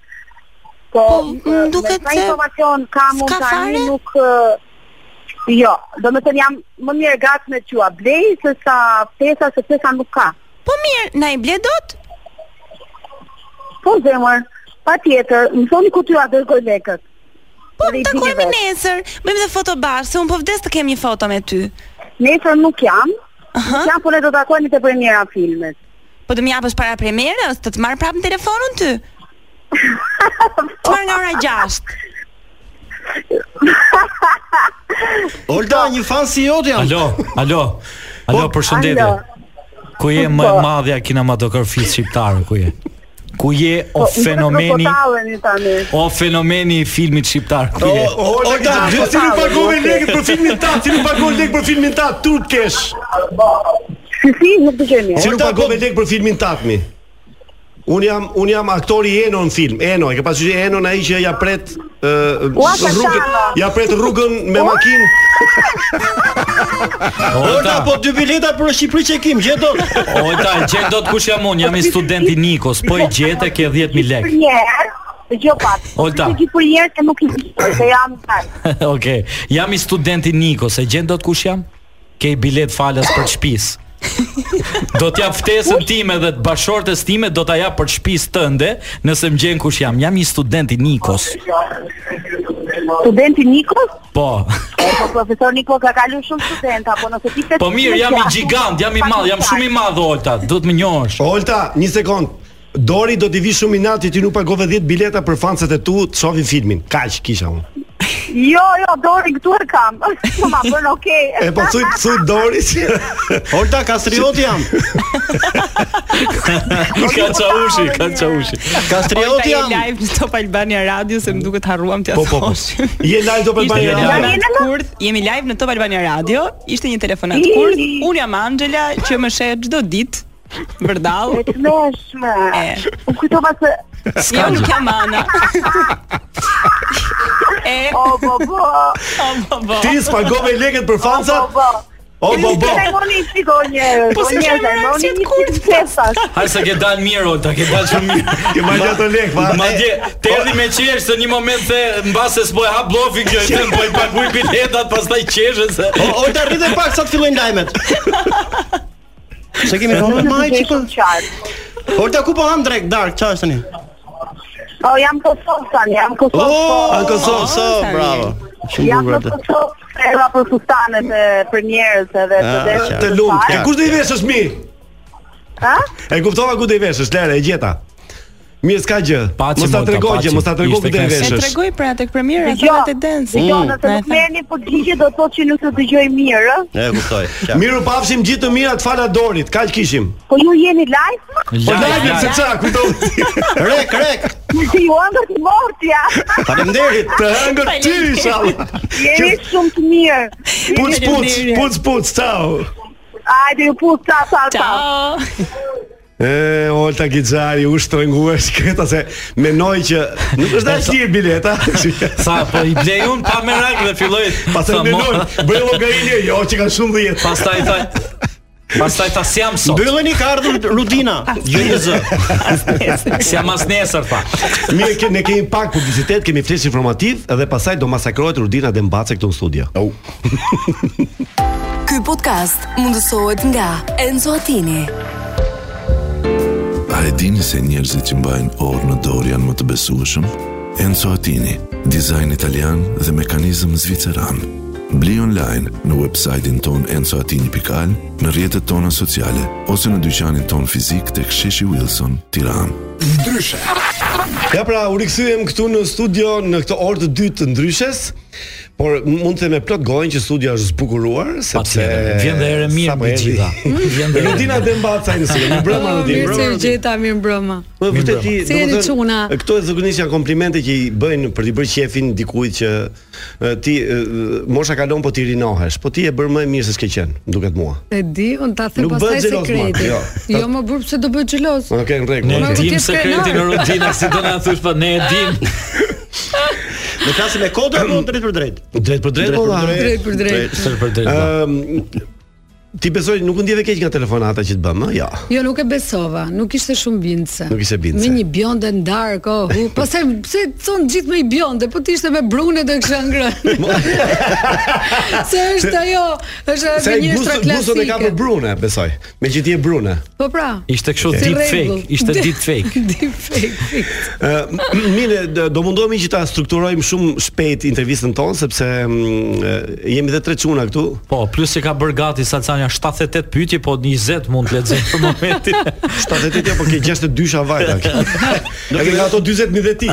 [SPEAKER 5] Po,
[SPEAKER 9] Po,
[SPEAKER 5] po
[SPEAKER 9] më duket
[SPEAKER 5] sa
[SPEAKER 9] se
[SPEAKER 5] informacion kam unë
[SPEAKER 9] s'ka
[SPEAKER 5] tani
[SPEAKER 9] fare?
[SPEAKER 5] nuk ë, Jo, do me të jam më mirë gatë me qua blej, se sa pesa, se pesa nuk ka.
[SPEAKER 9] Po mirë, na i ble dot?
[SPEAKER 5] Po zemër, pa tjetër, më thoni ku t'ju a dërgoj lekët.
[SPEAKER 9] Po
[SPEAKER 5] Edhe i
[SPEAKER 9] takojmë
[SPEAKER 5] bini vetë.
[SPEAKER 9] nesër, bëjmë dhe foto bashkë, se un po vdes të kem një foto me ty.
[SPEAKER 5] Nesër nuk jam,
[SPEAKER 9] Aha.
[SPEAKER 5] nuk jam, por ne do takojmë te premiera e filmit.
[SPEAKER 9] Po do më japësh para premierës, të të marr prapë në telefonun ty. Të marr nga ora 6.
[SPEAKER 4] Olda, një fan si jot jam.
[SPEAKER 7] Alo, alo. Alo, përshëndetje.
[SPEAKER 5] Alo.
[SPEAKER 7] Ku je më e madhja kinematografisë shqiptare, ku je? Ku je o
[SPEAKER 5] Po, më duket
[SPEAKER 7] fenomeni,
[SPEAKER 5] Nuk po talleni tani.
[SPEAKER 7] o fenomeni i filmit shqiptar, ku je?
[SPEAKER 8] Olta,
[SPEAKER 4] Olta,
[SPEAKER 8] gjithë si nuk pagove lekët për filmin ta, si nuk pagove lekë për filmin ta, turp kesh.
[SPEAKER 5] Si si, nuk dëgjoj mirë.
[SPEAKER 8] Si nuk
[SPEAKER 4] Olta,
[SPEAKER 8] pagove
[SPEAKER 4] po-
[SPEAKER 8] lekë për filmin tatmi. Un jam un jam aktori i Eno në film. Eno, e ke pasur Eno ai që ja pret ë,
[SPEAKER 5] Ua, ka
[SPEAKER 8] rrugën,
[SPEAKER 5] qana.
[SPEAKER 8] ja pret rrugën me makinë.
[SPEAKER 4] Olda, po dy bileta për Shqipëri që kim, gjeto.
[SPEAKER 7] O, ta, gjej dot kush jam unë, jam i studenti Nikos, po i gjetë ke 10.000
[SPEAKER 5] Për
[SPEAKER 7] lekë.
[SPEAKER 5] një herë, dëgjoj pak.
[SPEAKER 7] Olta.
[SPEAKER 5] Ti për një herë se nuk i di, se jam tani.
[SPEAKER 7] Okej, jam i studenti Nikos, e gjen dot kush jam? Ke i bilet falas për shtëpis. Do t'jap ftesën time dhe të bashortës time do t'a jap për shtëpisë tënde, nëse më gjen kush jam. Jam i studenti Nikos.
[SPEAKER 5] Studenti Nikos,
[SPEAKER 7] Po.
[SPEAKER 5] e, po profesor Niko ka kalu shumë studenta, po nëse ti
[SPEAKER 7] Po mirë, jam i gigant, jam i madh, jam shumë i madh Olta, duhet më njohësh.
[SPEAKER 8] Olta, një sekond. Dori do t'i vi shumë i nati ti nuk pagove 10 bileta për fansat e tu të shohin filmin. Kaq kisha unë.
[SPEAKER 5] Jo, jo, dori këtu e kam. Po ma bën okay.
[SPEAKER 8] E po thuj thuj Dori. si-
[SPEAKER 4] Olda, kastriot jam.
[SPEAKER 7] Ka çaushi, ka çaushi.
[SPEAKER 4] Kastriot
[SPEAKER 9] je
[SPEAKER 4] jam.
[SPEAKER 9] live në Top Albania Radio se më duket harruam t'ia
[SPEAKER 8] Po po po.
[SPEAKER 9] thosh.
[SPEAKER 8] Je live do për
[SPEAKER 7] Ishte
[SPEAKER 8] Albania
[SPEAKER 7] je live.
[SPEAKER 8] Radio.
[SPEAKER 5] jeni
[SPEAKER 9] Telefonat
[SPEAKER 5] në-
[SPEAKER 9] kurth, jemi live në Top Albania Radio. Ishte një telefonat
[SPEAKER 5] Ii.
[SPEAKER 9] kurth. Un jam Angela që më sheh çdo ditë. Vërdall.
[SPEAKER 5] E të meshme.
[SPEAKER 9] E.
[SPEAKER 5] U kujtova se
[SPEAKER 9] Jo, nuk jam Ana. E,
[SPEAKER 5] O, bo, bo,
[SPEAKER 9] o, po, po.
[SPEAKER 8] Ti spagove lekët për
[SPEAKER 5] bo,
[SPEAKER 8] fansat?
[SPEAKER 5] bo.
[SPEAKER 8] O bo bo.
[SPEAKER 5] Të lajmoni i shiko njerë,
[SPEAKER 9] Po, si
[SPEAKER 5] njerë,
[SPEAKER 9] shajmë
[SPEAKER 5] lajmoni
[SPEAKER 9] reaksion
[SPEAKER 5] një
[SPEAKER 9] kurt,
[SPEAKER 5] qitë qesash.
[SPEAKER 7] Haj se ke dalë mirë Olta, ke dalë shumë mirë.
[SPEAKER 8] Ke marrë ato lekë, pa. po.
[SPEAKER 7] Madje të erdhi me qesh se një moment the mbase s'po e hap blofin kjo, them po i paguaj biletat, pastaj qeshën se.
[SPEAKER 4] O, Olda, rrit e pak sa të fillojnë lajmet. Se kemi thonë më ai çiko.
[SPEAKER 5] qartë.
[SPEAKER 4] Olda ku po ham drek dark, çfarë është tani?
[SPEAKER 5] O, jam Kosovë tani, jam
[SPEAKER 4] O,
[SPEAKER 5] Kosovë.
[SPEAKER 4] në Kosovë,
[SPEAKER 5] po,
[SPEAKER 4] so,
[SPEAKER 9] tani.
[SPEAKER 4] bravo. Shumë
[SPEAKER 5] Jam
[SPEAKER 4] bukur
[SPEAKER 5] në
[SPEAKER 4] atë.
[SPEAKER 5] Kosovë, era pra, për sustanet e për njerës edhe të
[SPEAKER 4] Ah,
[SPEAKER 5] deshë.
[SPEAKER 4] qartë.
[SPEAKER 8] Të lumt.
[SPEAKER 5] parë.
[SPEAKER 8] E kush do i veshësh mi?
[SPEAKER 5] Ha?
[SPEAKER 8] E kuptova ku do i veshësh, Lere, e gjeta. Mirë, s'ka gjë.
[SPEAKER 7] Paci,
[SPEAKER 8] mos ta
[SPEAKER 7] Molta,
[SPEAKER 8] tregoj gjë,
[SPEAKER 7] paci.
[SPEAKER 8] mos ta tregoj Jo.
[SPEAKER 7] Ishte
[SPEAKER 8] ku do i
[SPEAKER 7] kënaqësi.
[SPEAKER 9] E
[SPEAKER 8] veshësh.
[SPEAKER 9] tregoj pra tek premiera
[SPEAKER 5] Dëgjoj,
[SPEAKER 9] thonë te dance.
[SPEAKER 8] Mm.
[SPEAKER 5] Dëgjoj, Jo. nëse nuk merrni përgjigje do të thotë që nuk të dëgjoj mirë, ë?
[SPEAKER 4] E kuptoj. qartë.
[SPEAKER 8] Miru pafshim gjithë të mirat fala Dorit, kaq kishim.
[SPEAKER 5] Po ju jeni live?
[SPEAKER 8] Po lajme se çka, kujto.
[SPEAKER 4] Rek, rek.
[SPEAKER 5] Ju ëndër të mortja.
[SPEAKER 4] Faleminderit.
[SPEAKER 8] Të hëngër ty inshallah.
[SPEAKER 5] Jeni shumë të mirë.
[SPEAKER 8] Puc puc, puc puc, ciao.
[SPEAKER 5] Hajde ju puth ta ta ta.
[SPEAKER 9] Ciao.
[SPEAKER 8] E, Olta Gixari, u shtrënguesh këta se menoj që nuk është as lirë bileta.
[SPEAKER 7] Sa po i blej un pa merak dhe filloi
[SPEAKER 8] Pastaj
[SPEAKER 7] sa mo-
[SPEAKER 8] menoj, bëj llogarinje, jo që ka shumë 10.
[SPEAKER 7] Pastaj tha Pastaj tha si jam sot.
[SPEAKER 4] Mbylleni ka ardhur Rudina. Gjë një zë.
[SPEAKER 7] Si jam as nesër tha.
[SPEAKER 8] Mirë, ke, ne kemi pak publicitet, kemi flesh informativ dhe pastaj do masakrohet Rudina dhe Mbace këtu në studio. Oh.
[SPEAKER 1] Ky podcast mundësohet nga Enzo Attini.
[SPEAKER 2] A e dini se njerëzit që mbajnë orë në dorë janë më të besueshëm? Enzo Attini, dizajn italian dhe mekanizëm zviceran. Bli online në websajtin ton enzoatini.al, në rjetët tona sociale, ose në dyqanin ton fizik të ksheshi Wilson, tiran.
[SPEAKER 8] Ja pra, u rikthyem këtu në studio në këtë orë të dytë të ndryshes, por m- mund të them me plot gojën që studio është zbukuruar sepse
[SPEAKER 7] Patjetër. Vjen dhe ere mirë
[SPEAKER 8] Sapo
[SPEAKER 7] mbi
[SPEAKER 8] erdhi.
[SPEAKER 7] gjitha. Vjen dhe ere
[SPEAKER 8] Rudina
[SPEAKER 7] mirë.
[SPEAKER 8] dhe Mbaca në studio. Mirë brëma Rudina.
[SPEAKER 11] Oh, Mirë se u gjeta, mirë mbrëma.
[SPEAKER 8] Po vërtet ti,
[SPEAKER 11] Si jeni
[SPEAKER 8] domethënë,
[SPEAKER 11] çuna?
[SPEAKER 8] Këto e zakonisht janë komplimente që i bëjnë për t'i bërë qefin dikujt që e, ti e, mosha kalon po ti rinohesh, po ti e bër më e mirë se s'ke qenë, më duket mua.
[SPEAKER 11] E di, unë ta them
[SPEAKER 8] Nuk
[SPEAKER 11] pastaj
[SPEAKER 8] bëhet xheloz,
[SPEAKER 11] sekretin.
[SPEAKER 8] Mark, jo.
[SPEAKER 11] Jo, më burp se do bëj xheloz.
[SPEAKER 8] Okej, në rregull.
[SPEAKER 7] Ne
[SPEAKER 11] Ma
[SPEAKER 8] okej.
[SPEAKER 11] vërtet
[SPEAKER 7] dim sekretin e
[SPEAKER 11] krenar.
[SPEAKER 7] rutinës, si do na thysh po ne e dim.
[SPEAKER 4] Ne flasim me kodra apo drejt për drejt?
[SPEAKER 8] Drejt për drejt,
[SPEAKER 4] Drejt për
[SPEAKER 8] olla.
[SPEAKER 4] drejt.
[SPEAKER 11] Drejt për drejt.
[SPEAKER 7] Sër për po, drejt. po.
[SPEAKER 8] Ëm ti besoj nuk u ndjeve keq nga telefonata që të bëm, ë? Jo.
[SPEAKER 11] Jo, nuk e besova, nuk ishte shumë bindse.
[SPEAKER 8] Nuk ishte bindse.
[SPEAKER 11] Me një bjonde ndark, oh, hu. Pastaj pse thon gjithë me i bjonde, po ti ishte me brune do kisha ngrënë. se është ajo, është ajo
[SPEAKER 8] Se
[SPEAKER 11] gënjeshtra
[SPEAKER 8] gustën gustën e ka për
[SPEAKER 11] klasike.
[SPEAKER 8] Brune, besoj. Me që ti je Brune.
[SPEAKER 11] Po pra.
[SPEAKER 7] Ishte kështu
[SPEAKER 11] si
[SPEAKER 7] deep fake,
[SPEAKER 11] rregull.
[SPEAKER 7] ishte deep fake.
[SPEAKER 11] Deep fake. fix.
[SPEAKER 8] Ë, mire, d- do mundohemi që ta strukturojmë shumë shpejt intervistën tonë sepse mm, e, jemi dhe tre çuna këtu.
[SPEAKER 7] Po, plus që ka bërë gati Salsania 78 pyetje, po 20 mund të lexoj për momentin.
[SPEAKER 8] 78 apo jo, ke 62 sha vajta. Do ke nga ato 40 mijë dhe ti.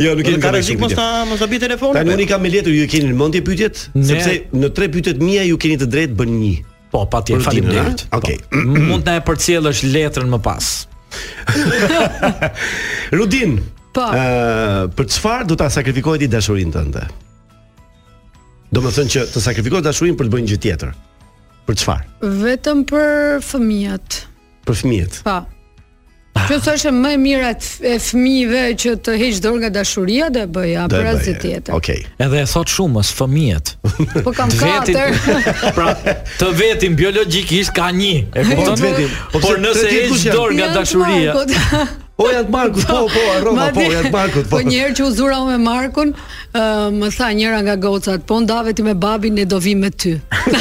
[SPEAKER 8] jo, nuk kemi
[SPEAKER 4] Ka rrezik mos ta mos ta bi
[SPEAKER 8] Ta nuk i
[SPEAKER 4] telefonin.
[SPEAKER 8] kam me letër, ju e keni në mendje pyetjet,
[SPEAKER 7] Ne-
[SPEAKER 8] sepse në tre pyetjet mia ju keni të drejtë bën një.
[SPEAKER 7] Po, patjetër,
[SPEAKER 8] Rutinën,
[SPEAKER 7] faleminderit.
[SPEAKER 8] a? Okej.
[SPEAKER 7] Po, m- Mund na e përcjellësh letrën më pas.
[SPEAKER 8] Rudin,
[SPEAKER 11] Po.
[SPEAKER 8] Ah. ë, për çfarë do ta sakrifikohet i dashurinë tënde? Do të thënë që të sakrifikosh dashurinë për të bërë një gjë tjetër. Për çfarë?
[SPEAKER 11] Vetëm për fëmijët.
[SPEAKER 8] Për fëmijët.
[SPEAKER 11] Pa. Po. Kjo është më e mira e f- e fëmijëve që të heq dorë nga dashuria dhe bëja
[SPEAKER 8] Do e
[SPEAKER 11] për
[SPEAKER 8] bëj.
[SPEAKER 11] asgjë tjetër.
[SPEAKER 8] Okej.
[SPEAKER 7] Edhe e thot shumës, fëmijët.
[SPEAKER 11] Po kam
[SPEAKER 7] Vetin-
[SPEAKER 11] katër.
[SPEAKER 7] pra, të vetin biologjikisht ka një. E
[SPEAKER 8] Po,
[SPEAKER 7] kupton
[SPEAKER 8] të vetin. Po,
[SPEAKER 7] Por
[SPEAKER 8] pse-
[SPEAKER 7] nëse
[SPEAKER 8] të tjetë
[SPEAKER 7] heq
[SPEAKER 8] kush janë?
[SPEAKER 7] dorë nga
[SPEAKER 11] Janë të
[SPEAKER 7] dashuria,
[SPEAKER 11] Markut.
[SPEAKER 8] O janë të Markut, po, po, Roma, po,
[SPEAKER 11] Madje-
[SPEAKER 8] janë të Markut,
[SPEAKER 11] Po
[SPEAKER 8] po.
[SPEAKER 11] një herë që u zura unë me Markun, ë, më tha njëra nga gocat, po ndave ti me babin, ne do vim me ty.
[SPEAKER 8] Ke